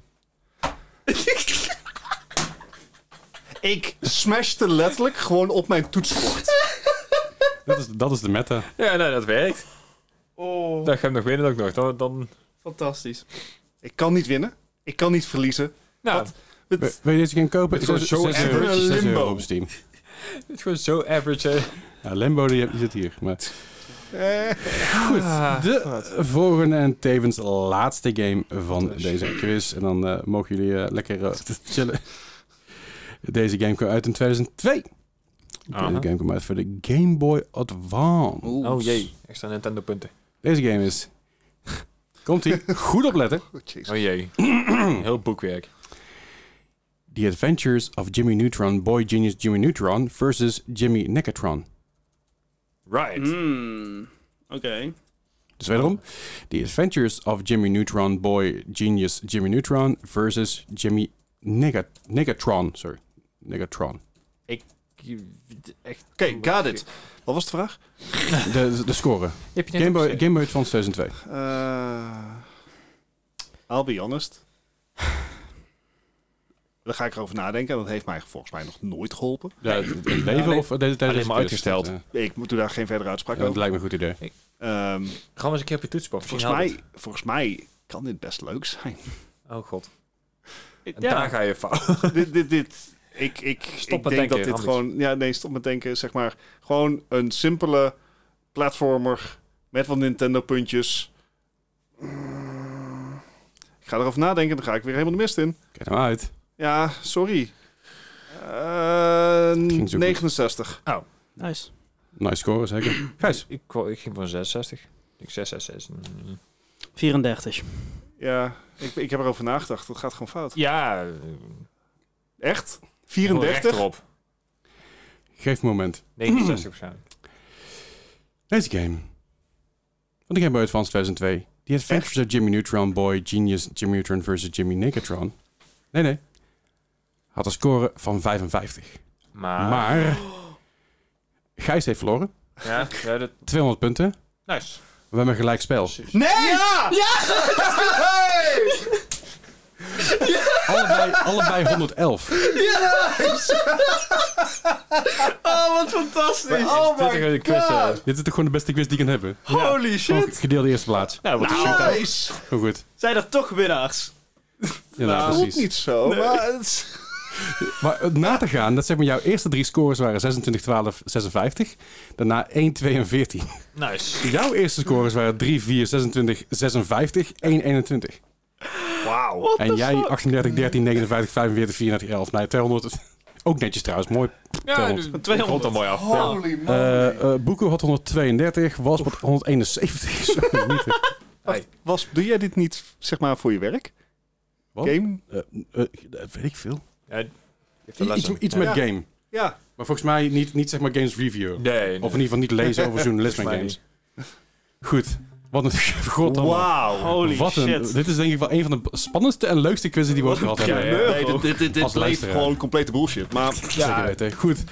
Ik smashte letterlijk gewoon op mijn toetsenbord.
Dat is, dat is de meta.
Ja, nee, dat werkt.
Oh,
Dan ga ik hem nog winnen ook nog. Dan, dan...
fantastisch.
Ik kan niet winnen. Ik kan niet verliezen.
Nou,
Wat?
Wil wil je deze game kopen?
Het is
Zes-
gewoon zo
zes euro-
average.
zes euro
Limbo.
op Steam.
het is gewoon zo average. hè.
Ja, Limbo die, die zit hier. Maar
Eh,
Goed,
Ah.
de volgende en tevens laatste game van deze quiz. En dan eh, mogen jullie eh, lekker eh, chillen. Deze game kwam uit in 2002.
Aha.
Deze game kwam uit voor de Game Boy Advance.
Oh jee, extra Nintendo punten.
Deze game is... Komt-ie, goed opletten.
oh, jezus.
Oh
[CLEARS THROAT]
jee. Heel boekwerk.
The Adventures of Jimmy Neutron, Boy Genius Jimmy Neutron versus Jimmy Negatron.
Right.
Mm, Oké.
Dus wederom, The Adventures of Jimmy Neutron, Boy Genius Jimmy Neutron versus Jimmy Nega- Negatron. Sorry, Negatron.
Echt.
Oké, got it. Wat was de vraag?
De, de score.
Heb je
Game Boy, Game Boy Advance 2002.
Eh, I'll be honest. Daar ga ik erover nadenken. En dat heeft mij volgens mij nog nooit geholpen.
Ja, het het leven
nee.
of eh, deze tijd
Alleen
is
maar
het
uitgesteld.
eerst. Ja,
Ik moet- doe daar geen verdere uitspraak
dat
over.
lijkt me een goed idee.
Ehm,
Ga maar eens een keer op je toetsenbord.
volgens, mij, volgens mij kan dit best leuk zijn. [LAUGHS]
Oh god. En daar
Ja.
ga je fout.
dit, dit, dit. Ik, ik, ik
met
denk
denken,
dat dit
Hans.
gewoon... Ja, nee, stop met denken. Zeg maar gewoon een simpele platformer met wat Nintendo-puntjes. Mm. Ik ga erover nadenken, dan ga ik weer helemaal de mist in.
Kijk nou uit.
Ja, sorry. Eh,
ging zo goed.
69.
Nice.
Nice score, zeker. [CLEARS THROAT] Gijs.
Ik, wou- ik ging voor een 66. Ik 666. Mm.
34.
Ja, ik, ik heb erover nagedacht. Dat gaat gewoon fout.
Ja. eh,
Echt?
gewoon
34?
rechterop.
Geef me een moment.
69 waarschijnlijk.
Deze game. Van de Game Boy Advance 2002. The Adventures of Jimmy Neutron, Boy Genius Jimmy Neutron versus Jimmy Negatron. Nee, nee. Had een score van 55. Ah.
Maar.
Maar Gijs heeft verloren.
Ja, ja dat...
200 punten.
Nice.
Oh
We hebben een gelijk spel.
Nee! Ja!
[LAUGHS] Allebei, allebei 111.
Oh, wat fantastisch.
Oh
Dit is
my
een quiz. eh.
Dit is toch gewoon de beste quiz die je kan hebben?
Holy
Gewoon
shit.
Gedeelde eerste plaats.
Nou, wat een shootout.
Nice!
Hoe goed.
Zijn er toch winnaars?
Ja,
Dat
nou,
voelt
precies.
niet zo, maar... het is-
Maar eh, na te gaan, dat zeg maar jouw eerste drie scores waren 26, 12, 56. Daarna 1, 2 en 14.
Nice.
[LAUGHS] Jouw eerste scores waren 3, 4, 26, 56, 1, 21.
Wauw.
En jij 38, 13, 59, 45, 34, 11. Nee, 200. Nou, [LAUGHS] Ook netjes trouwens, mooi.
Ja,
Telt.
dat
200.
komt er mooi af.
Holy man.
Eh eh Boeken had 132, Walspot 171.
[LAUGHS]
Zo, niet, hè.
Was, doe jij dit niet, zeg maar, voor je werk?
Wat?
Game?
Eh, eh, eh, weet ik veel.
Ja, je hebt de
Iets,
lessen.
iets
Ja.
met game.
Ja,
Maar volgens mij niet, niet zeg maar games review.
Nee.
Of in ieder geval niet lezen over journalisme en games.
Volgens
Goed. Wat een [LAUGHS] god
wauw.
Holy
Wat een,
shit.
dit is denk ik wel een van de spannendste en leukste quizzen die we ooit gehad hebben.
primeur.
Nee, dit, dit, dit, dit
Als
bleef
luisteraar.
gewoon complete bullshit. Maar
Zeker weten. Goed,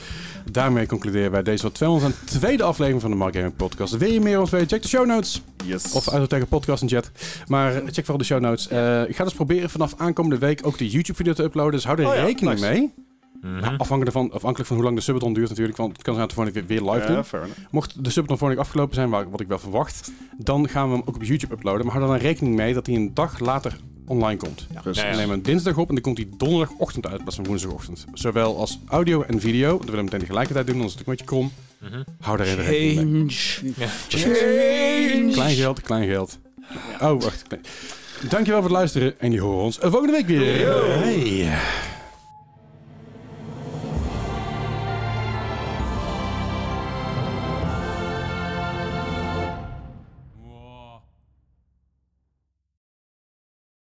daarmee concluderen wij deze 202e aflevering van de Mark Gaming Podcast. Wil je meer van ons weten? Check de show notes.
yes.
Of uit het tegen podcast en chat. Maar check vooral de show notes. Eh, ik ga dus proberen vanaf aankomende week ook de YouTube-video te uploaden. Dus hou er
Oh ja,
rekening
nice.
mee.
Mhm,
Afhankelijk, van, afhankelijk van hoe lang de subathon duurt natuurlijk. Want het kan zijn dat we gewoon weer, weer live doen.
Ja, fair enough.
Mocht de subathon vorige week afgelopen zijn, waar- wat ik wel verwacht... dan gaan we hem ook op YouTube uploaden. Maar hou er dan rekening mee dat hij een dag later online komt.
Rustig.
We nemen hem dinsdag op en dan komt hij donderdagochtend uit in plaats van woensdagochtend. Zowel als audio en video. Dat willen we meteen tegelijkertijd doen, anders is het een beetje krom.
mhm.
Hou daar even rekening mee.
Change.
Klein geld, klein geld. Oh, wacht. Dankjewel voor het luisteren en je hoort ons eh, volgende week weer. Hey.